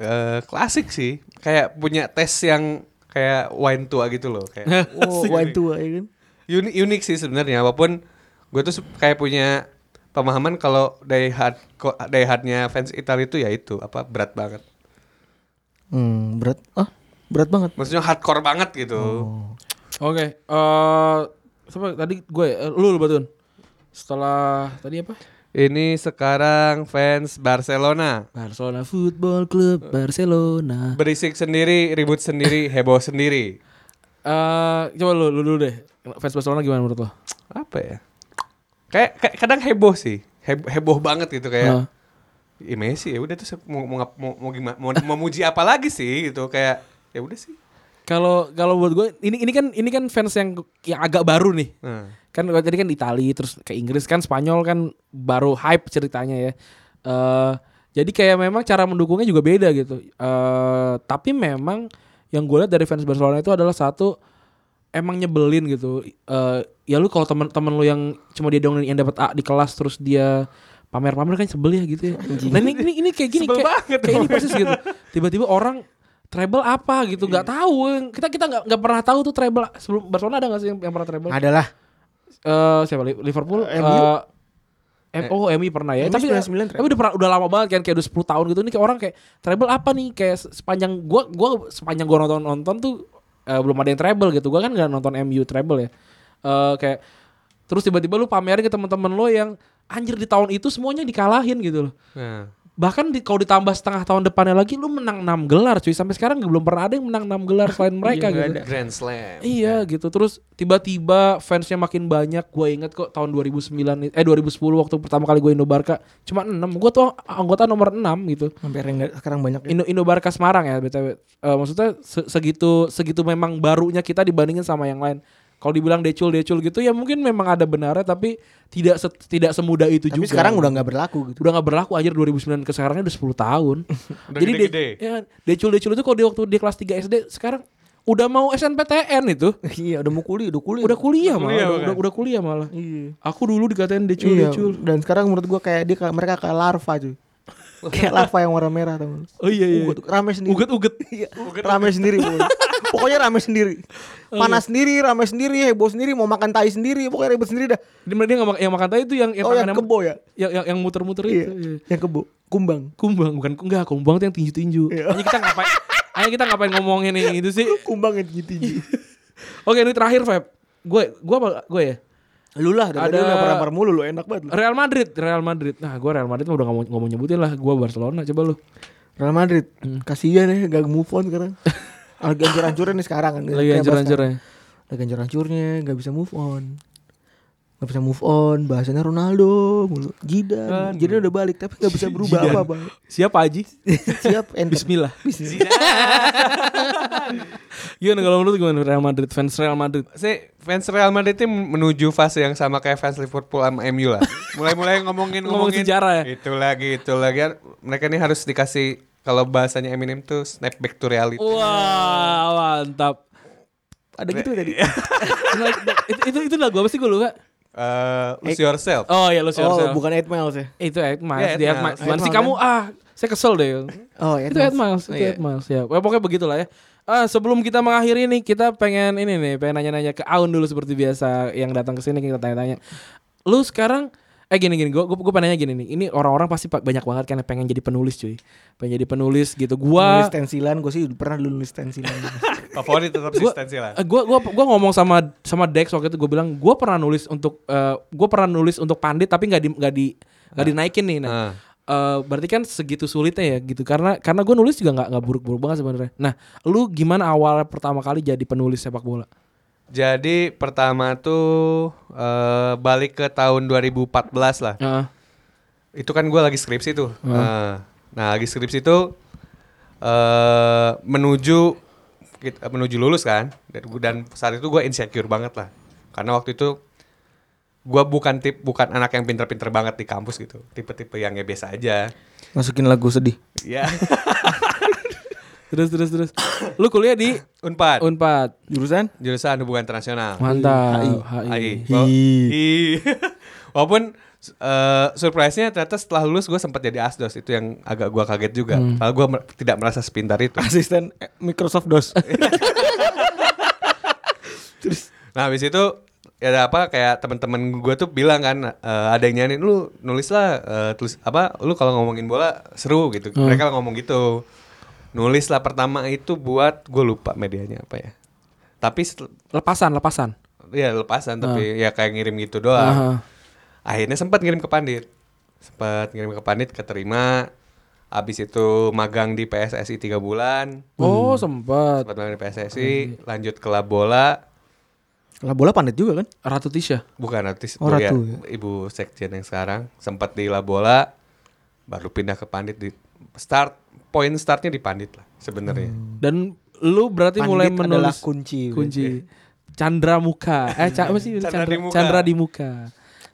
[SPEAKER 4] Eh, klasik sih. Kayak punya tes yang kayak wine tua gitu loh. Kayak
[SPEAKER 3] Oh, wine tua ya kan.
[SPEAKER 4] unik unik sih sebenarnya. Walaupun gue tuh se- kayak punya pemahaman kalau die hard ko- die hardnya fans Italia itu ya itu apa berat banget.
[SPEAKER 3] Hmm, berat. Ah, berat banget.
[SPEAKER 4] Maksudnya hardcore banget gitu.
[SPEAKER 2] Oke, eh siapa tadi gue ya? Eh, lu lu Batun. Setelah tadi apa?
[SPEAKER 4] Ini sekarang fans Barcelona
[SPEAKER 2] Barcelona Football Club Barcelona.
[SPEAKER 4] berisik sendiri, ribut sendiri, heboh sendiri.
[SPEAKER 2] Eh coba lu lu dulu deh. Fans Barcelona gimana menurut lo?
[SPEAKER 4] apa ya kayak kayak kadang heboh sih Heb- heboh banget
[SPEAKER 2] Nah.
[SPEAKER 4] gitu kayak "Ih, Messi ya udah tuh mau mau ngap- mau, mau gimana mau memuji apa lagi sih gitu kayak ya udah sih
[SPEAKER 2] Kalau kalau buat gue ini ini kan ini kan fans yang yang agak baru nih.
[SPEAKER 4] nah,
[SPEAKER 2] Kan gua tadi kan di Itali terus ke Inggris kan Spanyol kan baru hype ceritanya ya. Eh jadi kayak memang cara mendukungnya juga beda gitu. Eh tapi memang yang gue lihat dari fans Barcelona itu adalah satu emang nyebelin gitu. Eh ya lu kalau teman-teman lu yang cuma dia dong yang dapat A di kelas terus dia pamer-pamer kan sebel ya gitu ya. Nah ini ini, ini kayak gini
[SPEAKER 4] Sebel
[SPEAKER 2] kayak,
[SPEAKER 4] banget
[SPEAKER 2] kayak ini persis gitu. Tiba-tiba orang treble apa gitu nggak
[SPEAKER 4] Iya.
[SPEAKER 2] tahu kita kita nggak nggak pernah tahu tuh treble sebelum Barcelona ada nggak sih yang, yang pernah treble?
[SPEAKER 3] Adalah
[SPEAKER 2] Eh siapa Li- Liverpool
[SPEAKER 3] Eh, MU.
[SPEAKER 2] eh, M- oh MU pernah ya
[SPEAKER 3] MU
[SPEAKER 2] tapi
[SPEAKER 3] 99
[SPEAKER 2] tapi udah pernah udah lama banget kan kayak udah 10 tahun gitu nih kayak orang kayak treble apa nih kayak se- sepanjang gua gua sepanjang gua nonton nonton tuh eh, belum ada yang treble gitu gua kan nggak nonton MU treble ya Eh kayak terus tiba-tiba lu pamerin ke teman-teman lo yang anjir di tahun itu semuanya dikalahin gitu loh
[SPEAKER 4] nah.
[SPEAKER 2] bahkan di, kalau ditambah setengah tahun depannya lagi lu menang 6 gelar cuy sampai sekarang belum pernah ada yang menang 6 gelar selain mereka gitu
[SPEAKER 4] grand slam
[SPEAKER 2] Iya gitu terus tiba-tiba fansnya makin banyak gue inget kok tahun 2009 eh 2010 waktu pertama kali gue Indo Barca cuma 6 gue tuh anggota nomor 6 gitu
[SPEAKER 3] hampir enggak sekarang banyak ya.
[SPEAKER 2] Indo Indo Barca Semarang ya btw Eh, maksudnya se- segitu segitu memang barunya kita dibandingin sama yang lain kalau dibilang decul decul gitu ya mungkin memang ada benarnya tapi tidak se- tidak semudah itu
[SPEAKER 3] Tapi
[SPEAKER 2] juga
[SPEAKER 3] sekarang udah nggak berlaku gitu.
[SPEAKER 2] udah nggak berlaku aja 2009 ke sekarangnya udah 10 tahun.
[SPEAKER 4] Udah
[SPEAKER 2] Jadi
[SPEAKER 4] gede-gede.
[SPEAKER 2] De- ya, decul-decul itu kalau di waktu dia kelas 3 SD sekarang udah mau SNPTN itu.
[SPEAKER 3] iya, udah mau kuliah, udah kuliah.
[SPEAKER 2] Udah kuliah malah,
[SPEAKER 4] Kuliah,
[SPEAKER 2] udah,
[SPEAKER 4] bukan?
[SPEAKER 2] udah, udah kuliah malah.
[SPEAKER 3] Iya.
[SPEAKER 2] Aku dulu dikatain decul
[SPEAKER 3] Iya,
[SPEAKER 2] decul.
[SPEAKER 3] dan sekarang menurut gua kayak dia kayak- mereka kayak larva cuy. kayak larva yang warna merah teman.
[SPEAKER 2] Oh iya iya.
[SPEAKER 3] Ugut, rame sendiri.
[SPEAKER 2] Uget uget.
[SPEAKER 3] Iya, rame sendiri pokoknya. Pokoknya rame sendiri. Panas sendiri, rame sendiri, heboh sendiri, mau makan tai sendiri, pokoknya ribet sendiri dah.
[SPEAKER 2] Dia dia nggak mak- yang makan tadi itu yang yang
[SPEAKER 3] Oh, yang
[SPEAKER 2] tangannya-
[SPEAKER 3] kebo ya?
[SPEAKER 2] Yang yang, yang muter-muter
[SPEAKER 3] Iya.
[SPEAKER 2] itu. iya.
[SPEAKER 3] Yang kebo, kumbang.
[SPEAKER 2] Kumbang bukan enggak, kumbang tuh yang tinju-tinju.
[SPEAKER 3] Iya.
[SPEAKER 2] Hanya kita ngapain? Hanya kita ngapain ngomongin yang itu sih?
[SPEAKER 3] Kumbang yang tinggi-tinggi.
[SPEAKER 2] Oke, ini terakhir, Feb. Gue gue apa gue ya?
[SPEAKER 3] lu lah,
[SPEAKER 2] Ada-
[SPEAKER 3] dari lu nampar-nampar mulu lu, enak banget lu.
[SPEAKER 2] Real Madrid, Real Madrid. Nah, gue Real Madrid mah udah gak mau, nggak mau nyebutin lah. Gue Barcelona, coba lu.
[SPEAKER 3] Real Madrid, kasihan ya gak move on sekarang. Lagi hancur-hancurnya nih sekarang kan.
[SPEAKER 2] Lagi
[SPEAKER 3] Kayak
[SPEAKER 2] hancur-hancurnya.
[SPEAKER 3] Barca. Lagi hancur-hancurnya, gak bisa move on. Gak bisa move on, bahasanya Ronaldo mulu. Jidan, Jidan udah balik tapi gak bisa berubah
[SPEAKER 2] Zidane.
[SPEAKER 3] apa-apa.
[SPEAKER 2] Siapa Haji?
[SPEAKER 3] Siap, enter.
[SPEAKER 2] Bismillah.
[SPEAKER 3] Bismillah.
[SPEAKER 2] Gimana kalau menurut gimana Real Madrid fans Real Madrid?
[SPEAKER 4] si fans Real Madrid itu menuju fase yang sama kayak fans Liverpool sama MU lah mulai-mulai ngomongin
[SPEAKER 2] Ngomong
[SPEAKER 4] ngomongin
[SPEAKER 2] sejarah ya?
[SPEAKER 4] itu lagi itu lagi mereka ini harus dikasih
[SPEAKER 2] Oh.
[SPEAKER 4] kalau bahasanya Eminem tuh snap back to reality
[SPEAKER 2] Wah, mantap.
[SPEAKER 3] Ada gitu tadi.
[SPEAKER 2] itu itu itu lagu apa sih gue lupa?
[SPEAKER 4] Eh, lose yourself.
[SPEAKER 2] Oh ya lu
[SPEAKER 3] Oh,
[SPEAKER 2] yourself.
[SPEAKER 3] bukan 8 Miles ya.
[SPEAKER 2] Itu Eight
[SPEAKER 4] Ya,
[SPEAKER 2] Miles,
[SPEAKER 4] Eight
[SPEAKER 2] di Eight
[SPEAKER 4] Miles.
[SPEAKER 2] Miles.
[SPEAKER 4] Eight
[SPEAKER 2] Gimana sih
[SPEAKER 3] Miles
[SPEAKER 2] kamu
[SPEAKER 3] kan?
[SPEAKER 2] ah, saya kesel deh.
[SPEAKER 3] Oh, Eight
[SPEAKER 2] Itu Eight Miles, itu Eight Miles ya. Well, pokoknya begitulah ya. Ah, sebelum kita mengakhiri nih, kita pengen ini nih, pengen nanya-nanya ke Aun dulu seperti biasa yang datang ke sini kita tanya-tanya. Lu sekarang eh gini gini gue gue pengen nanya gini nih ini orang-orang pasti pa- banyak banget kan yang pengen jadi penulis cuy pengen jadi penulis gitu gua
[SPEAKER 3] Nulis tensilan, gue sih pernah dulu nulis tensilan.
[SPEAKER 4] Favorit tetap
[SPEAKER 2] Gua-
[SPEAKER 4] konsistensi lah.
[SPEAKER 2] Eh, gua gua gua ngomong sama sama Dex waktu itu gue bilang gue pernah nulis untuk eh, gua pernah nulis untuk pandit tapi nggak di nggak di nggak dinaikin nih nah
[SPEAKER 4] Ah.
[SPEAKER 2] eh, berarti kan segitu sulitnya ya gitu karena karena gue nulis juga nggak nggak buruk-buruk banget sebenarnya nah lu gimana awal pertama kali jadi penulis sepak bola
[SPEAKER 4] Jadi pertama tuh eh, balik ke tahun 2014 lah.
[SPEAKER 2] Heeh.
[SPEAKER 4] Itu kan gue lagi skripsi tuh. Eh, nah lagi skripsi tuh eh menuju kita- menuju lulus kan. Dan, gua- dan saat itu gue insecure banget lah. Karena waktu itu gue bukan tip bukan anak yang pinter-pinter banget di kampus gitu. Tipe-tipe yang ya biasa aja.
[SPEAKER 3] Masukin lagu sedih.
[SPEAKER 4] Ya.
[SPEAKER 2] terus terus terus lu kuliah di
[SPEAKER 4] Unpad.
[SPEAKER 2] unpad
[SPEAKER 3] Jurusan?
[SPEAKER 4] Jurusan hubungan internasional.
[SPEAKER 2] mantap HI.
[SPEAKER 4] AI. Wa- Hi. Walaupun su- eh, surprise-nya ternyata setelah lulus gue sempat jadi asdos itu yang agak gua kaget juga. Padahal gue tidak merasa sepintar itu.
[SPEAKER 3] Asisten eh, Microsoft DOS.
[SPEAKER 4] Nah habis itu ya ada apa kayak teman-teman gue tuh bilang kan eh, ada yang nyanyiin lu nulislah eh, tulis apa lu kalau ngomongin bola seru gitu. Mereka ngomong gitu. Nulislah pertama itu buat gue lupa medianya apa ya. Tapi setel-
[SPEAKER 2] lepasan lepasan
[SPEAKER 4] ya lepasan tapi
[SPEAKER 3] Ah.
[SPEAKER 4] ya kayak ngirim gitu doang.
[SPEAKER 2] Aha.
[SPEAKER 4] akhirnya sempat ngirim ke Pandit sempat ngirim ke Pandit keterima abis itu magang di PSSI tiga bulan
[SPEAKER 2] oh sempat
[SPEAKER 4] sempat magang di PSSI lanjut ke lab bola
[SPEAKER 3] Lah bola pandit juga kan?
[SPEAKER 2] Ratu Tisha
[SPEAKER 4] bukan artis
[SPEAKER 3] Oh,
[SPEAKER 4] Bu, ya,
[SPEAKER 3] Ratu ya.
[SPEAKER 4] ibu sekjen yang sekarang sempat di lab bola baru pindah ke Pandit di start point startnya di Pandit lah sebenarnya
[SPEAKER 3] Hmm.
[SPEAKER 2] dan lu berarti mulai
[SPEAKER 3] Pandit adalah
[SPEAKER 2] menulis
[SPEAKER 3] kunci.
[SPEAKER 2] kunci Chandra Muka eh Ca- apa sih Chandra,
[SPEAKER 4] Chandra di Muka.
[SPEAKER 2] Chandra di Muka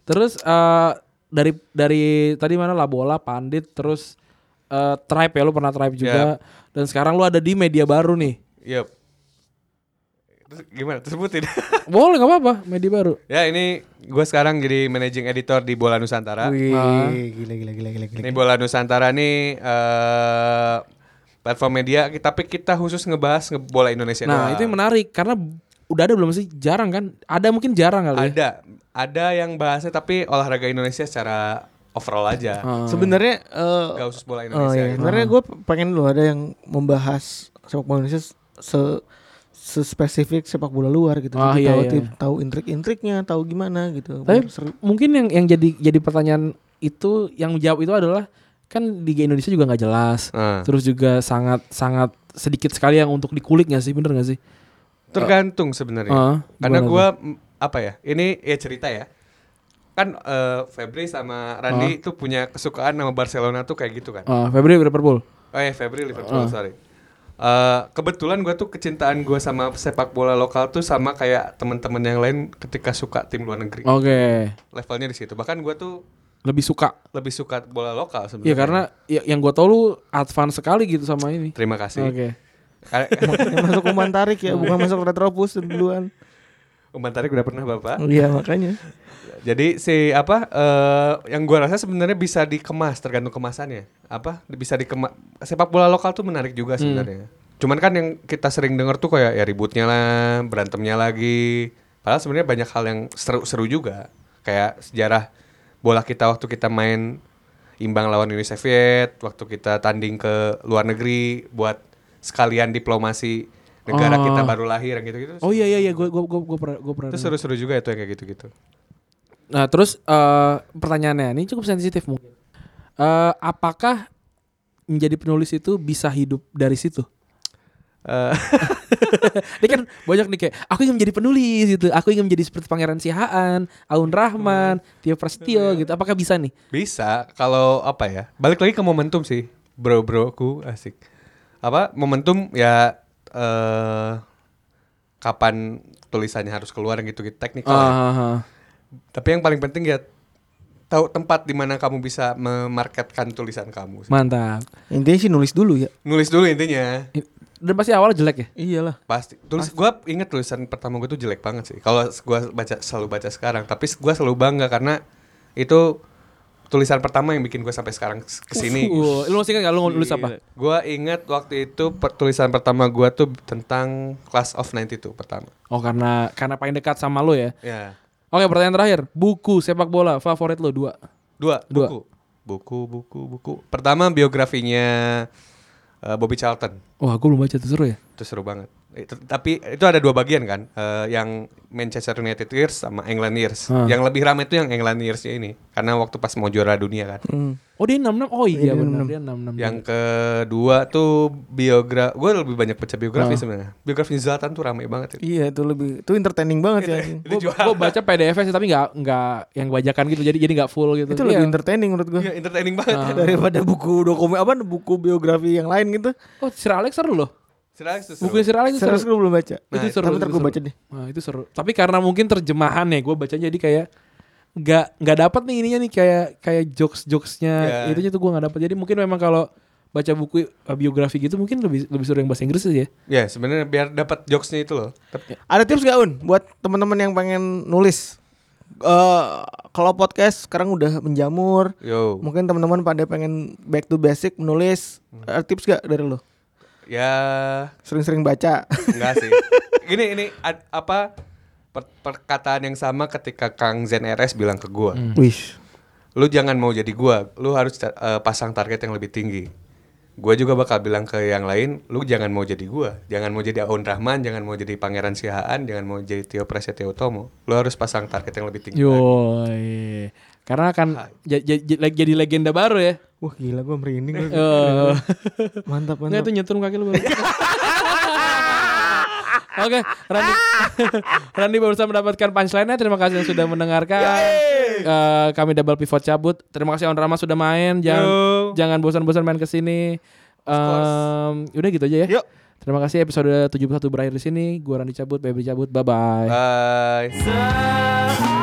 [SPEAKER 2] terus eh, dari dari tadi mana Labola Pandit terus eh, Tribe ya lu pernah Tribe juga dan sekarang lu ada di media baru nih
[SPEAKER 4] Yup. Terus gimana tersebutin
[SPEAKER 2] boleh nggak apa-apa media baru
[SPEAKER 4] ya ini gue sekarang jadi managing editor di Bola Nusantara
[SPEAKER 3] Wih,
[SPEAKER 2] Ah.
[SPEAKER 3] gila gila gila gila gila.
[SPEAKER 4] Ini bola Nusantara nih eh platform media kita tapi kita khusus ngebahas nge- bola Indonesia.
[SPEAKER 2] nah
[SPEAKER 4] doang.
[SPEAKER 2] itu yang menarik karena udah ada belum sih jarang kan ada mungkin jarang kali ya
[SPEAKER 4] ada ada yang bahasnya tapi olahraga Indonesia secara overall aja.
[SPEAKER 2] Ah.
[SPEAKER 3] Sebenarnya eh,
[SPEAKER 4] Gak khusus bola
[SPEAKER 3] oh
[SPEAKER 4] Indonesia.
[SPEAKER 3] iya,
[SPEAKER 4] gitu.
[SPEAKER 3] sebenarnya gue pengen lu ada yang membahas sepak bola Indonesia se sespesifik sepak bola luar gitu.
[SPEAKER 2] Ah,
[SPEAKER 3] Jadi
[SPEAKER 2] iya,
[SPEAKER 3] tahu
[SPEAKER 2] iya.
[SPEAKER 3] tip- tahu intrik-intriknya, tahu gimana gitu.
[SPEAKER 2] Tapi
[SPEAKER 3] Biar seru.
[SPEAKER 2] mungkin yang yang jadi jadi pertanyaan itu yang jawab itu adalah kan Liga Indonesia juga nggak jelas.
[SPEAKER 4] Hmm.
[SPEAKER 2] Terus juga sangat sangat sedikit sekali yang untuk dikulik nggak sih bener nggak sih?
[SPEAKER 4] Tergantung sebenarnya.
[SPEAKER 2] Ah,
[SPEAKER 4] Karena
[SPEAKER 2] gimana
[SPEAKER 4] gue apa ya? Ini ya cerita ya. Kan eh, Febri sama Randy tuh punya kesukaan sama Barcelona tuh kayak gitu kan.
[SPEAKER 2] Ah, Febri Liverpool.
[SPEAKER 4] Oh ya Febri Liverpool sorry. Eh, kebetulan gue tuh kecintaan gue sama sepak bola lokal tuh sama kayak teman-teman yang lain ketika suka tim luar negeri.
[SPEAKER 2] Oke,
[SPEAKER 4] Levelnya di situ. Bahkan gue tuh
[SPEAKER 2] lebih suka.
[SPEAKER 4] lebih suka bola lokal sebenarnya.
[SPEAKER 2] Ya karena ya, yang gue tau lu advance sekali gitu sama ini.
[SPEAKER 4] terima kasih.
[SPEAKER 2] Oke.
[SPEAKER 4] Karena-
[SPEAKER 3] Yang Eh, masuk umpan tarik ya, bukan masuk retropus duluan.
[SPEAKER 4] Umpan tarik udah pernah bapak.
[SPEAKER 3] Iya makanya.
[SPEAKER 4] Jadi si apa eh, yang gua rasa sebenarnya bisa dikemas tergantung kemasannya. Apa bisa dikemas sepak bola lokal tuh menarik juga sebenarnya. Cuman kan yang kita sering dengar tuh kayak ya ributnya lah, berantemnya lagi. Padahal sebenarnya banyak hal yang seru-seru juga. Kayak sejarah bola kita waktu kita main imbang lawan Uni Soviet, waktu kita tanding ke luar negeri buat sekalian diplomasi negara kita baru lahir yang gitu-gitu.
[SPEAKER 2] Oh iya iya iya gue gue gue gue pernah gue pernah.
[SPEAKER 4] Itu seru-seru juga itu yang kayak gitu-gitu.
[SPEAKER 2] Nah terus eh, pertanyaannya ini cukup sensitif mungkin. Eh, apakah menjadi penulis itu bisa hidup dari situ?
[SPEAKER 4] Eh,
[SPEAKER 2] Ini kan banyak nih kayak aku ingin menjadi penulis gitu, aku ingin menjadi seperti Pangeran Sihaan, Aun Rahman, Tio Prasetyo gitu. Apakah bisa nih?
[SPEAKER 4] Bisa kalau apa ya? Balik lagi ke momentum sih, bro-broku asik. Apa momentum ya eh kapan tulisannya harus keluar yang gitu-gitu
[SPEAKER 2] Ah.
[SPEAKER 4] teknikal. ya. Tapi yang paling penting ya tahu tempat di mana kamu bisa memarketkan tulisan kamu. sih.
[SPEAKER 2] Mantap.
[SPEAKER 3] Intinya sih nulis dulu ya.
[SPEAKER 4] Nulis dulu intinya.
[SPEAKER 2] I- dan pasti awalnya jelek ya.
[SPEAKER 1] Iyalah.
[SPEAKER 4] Pasti. Tulis gua inget tulisan pertama gue tuh jelek banget sih. Kalau gua baca selalu baca sekarang, tapi gua selalu bangga karena itu tulisan pertama yang bikin gua sampai sekarang s- kesini.
[SPEAKER 2] Uh, lu masih ingat gak lu nulis apa?
[SPEAKER 4] Iya. Gua inget waktu itu per- tulisan pertama gua tuh tentang Class of 92 pertama.
[SPEAKER 2] Oh karena karena paling dekat sama lu ya.
[SPEAKER 4] Ya.
[SPEAKER 2] Oke pertanyaan terakhir, buku sepak bola favorit lu dua.
[SPEAKER 4] Dua,
[SPEAKER 2] Dua.
[SPEAKER 4] buku. Buku, buku, buku. Pertama biografinya eh, Bobby Charlton.
[SPEAKER 2] Wah gue belum baca tuh seru ya.
[SPEAKER 4] Itu seru banget. Itu- tapi itu ada dua bagian kan, Eh, yang Manchester United years sama England years.
[SPEAKER 2] Hmm.
[SPEAKER 4] Yang lebih ramai itu yang England yearsnya ini, karena waktu pas mau juara dunia kan.
[SPEAKER 2] Oh dia 66 oh iya benar dia 66.
[SPEAKER 4] Yang kedua tuh biografi, gue lebih banyak baca biografi sebenarnya. Biografi Zlatan tuh ramai banget. itu.
[SPEAKER 3] Iya itu lebih itu entertaining banget ya. anjing.
[SPEAKER 4] Itu juara.
[SPEAKER 2] gue baca PDF sih tapi nggak nggak yang bajakan gitu jadi jadi nggak full gitu. Iya.
[SPEAKER 3] Itu
[SPEAKER 2] Ah.
[SPEAKER 3] lebih entertaining menurut gua
[SPEAKER 4] Iya, entertaining banget.
[SPEAKER 3] Ah. daripada buku dokumen apa buku biografi yang lain gitu.
[SPEAKER 2] Oh Sir Alex seru loh.
[SPEAKER 4] Silakan, Sus.
[SPEAKER 2] Buku Sir Alex itu seru.
[SPEAKER 3] Serius gue belum baca.
[SPEAKER 2] Nah, itu seru, itu
[SPEAKER 3] Tapi ntar gue
[SPEAKER 2] seru.
[SPEAKER 3] baca deh.
[SPEAKER 2] Nah, itu seru. Tapi karena mungkin terjemahan ya gue baca jadi kayak nggak nggak dapat nih ininya nih kayak kayak jokes jokesnya
[SPEAKER 4] Ya.
[SPEAKER 2] itunya tuh gue nggak dapat. Jadi mungkin memang kalau baca buku eh, biografi gitu mungkin lebih lebih seru yang bahasa Inggris sih ya.
[SPEAKER 4] Ya sebenarnya biar dapat jokesnya itu loh. Tapi,
[SPEAKER 3] Ada tips gak Un buat teman-teman yang pengen nulis? Eh kalau podcast sekarang udah menjamur.
[SPEAKER 4] yo,
[SPEAKER 3] Mungkin teman-teman pada pengen back to basic menulis. Ada tips gak dari lo?
[SPEAKER 4] ya
[SPEAKER 3] Sering-sering baca.
[SPEAKER 4] Enggak sih. Ini ini ad- apa per- perkataan yang sama ketika Kang Zen RS bilang ke gua.
[SPEAKER 3] Hmm. Wih.
[SPEAKER 4] Lu jangan mau jadi gua, lu harus ta- eh, pasang target yang lebih tinggi. Gua juga bakal bilang ke yang lain, lu jangan mau jadi gua, jangan mau jadi Aun Rahman, jangan mau jadi Pangeran Sihaan, jangan mau jadi Tio Prasetyo Utomo. Lu harus pasang target yang lebih tinggi. lagi.
[SPEAKER 2] Yoi. Karena akan ja- ja- ja- jadi legenda baru ya.
[SPEAKER 3] Wah gila gue merinding.
[SPEAKER 2] Eh, Enggak
[SPEAKER 3] mantap mantap.
[SPEAKER 2] itu nyetrum kaki lu baru. Oke, Randi, Randi barusan mendapatkan punchline-nya. Terima kasih yang sudah mendengarkan. Eh, kami double pivot cabut. Terima kasih On Rama sudah main. Jangan jangan bosan-bosan main ke sini. Em, udah gitu aja ya.
[SPEAKER 3] Yuk.
[SPEAKER 2] Terima kasih episode 71 berakhir di sini. Gua Randi cabut, Baby cabut. Bye bye.
[SPEAKER 4] Bye.
[SPEAKER 2] Bye.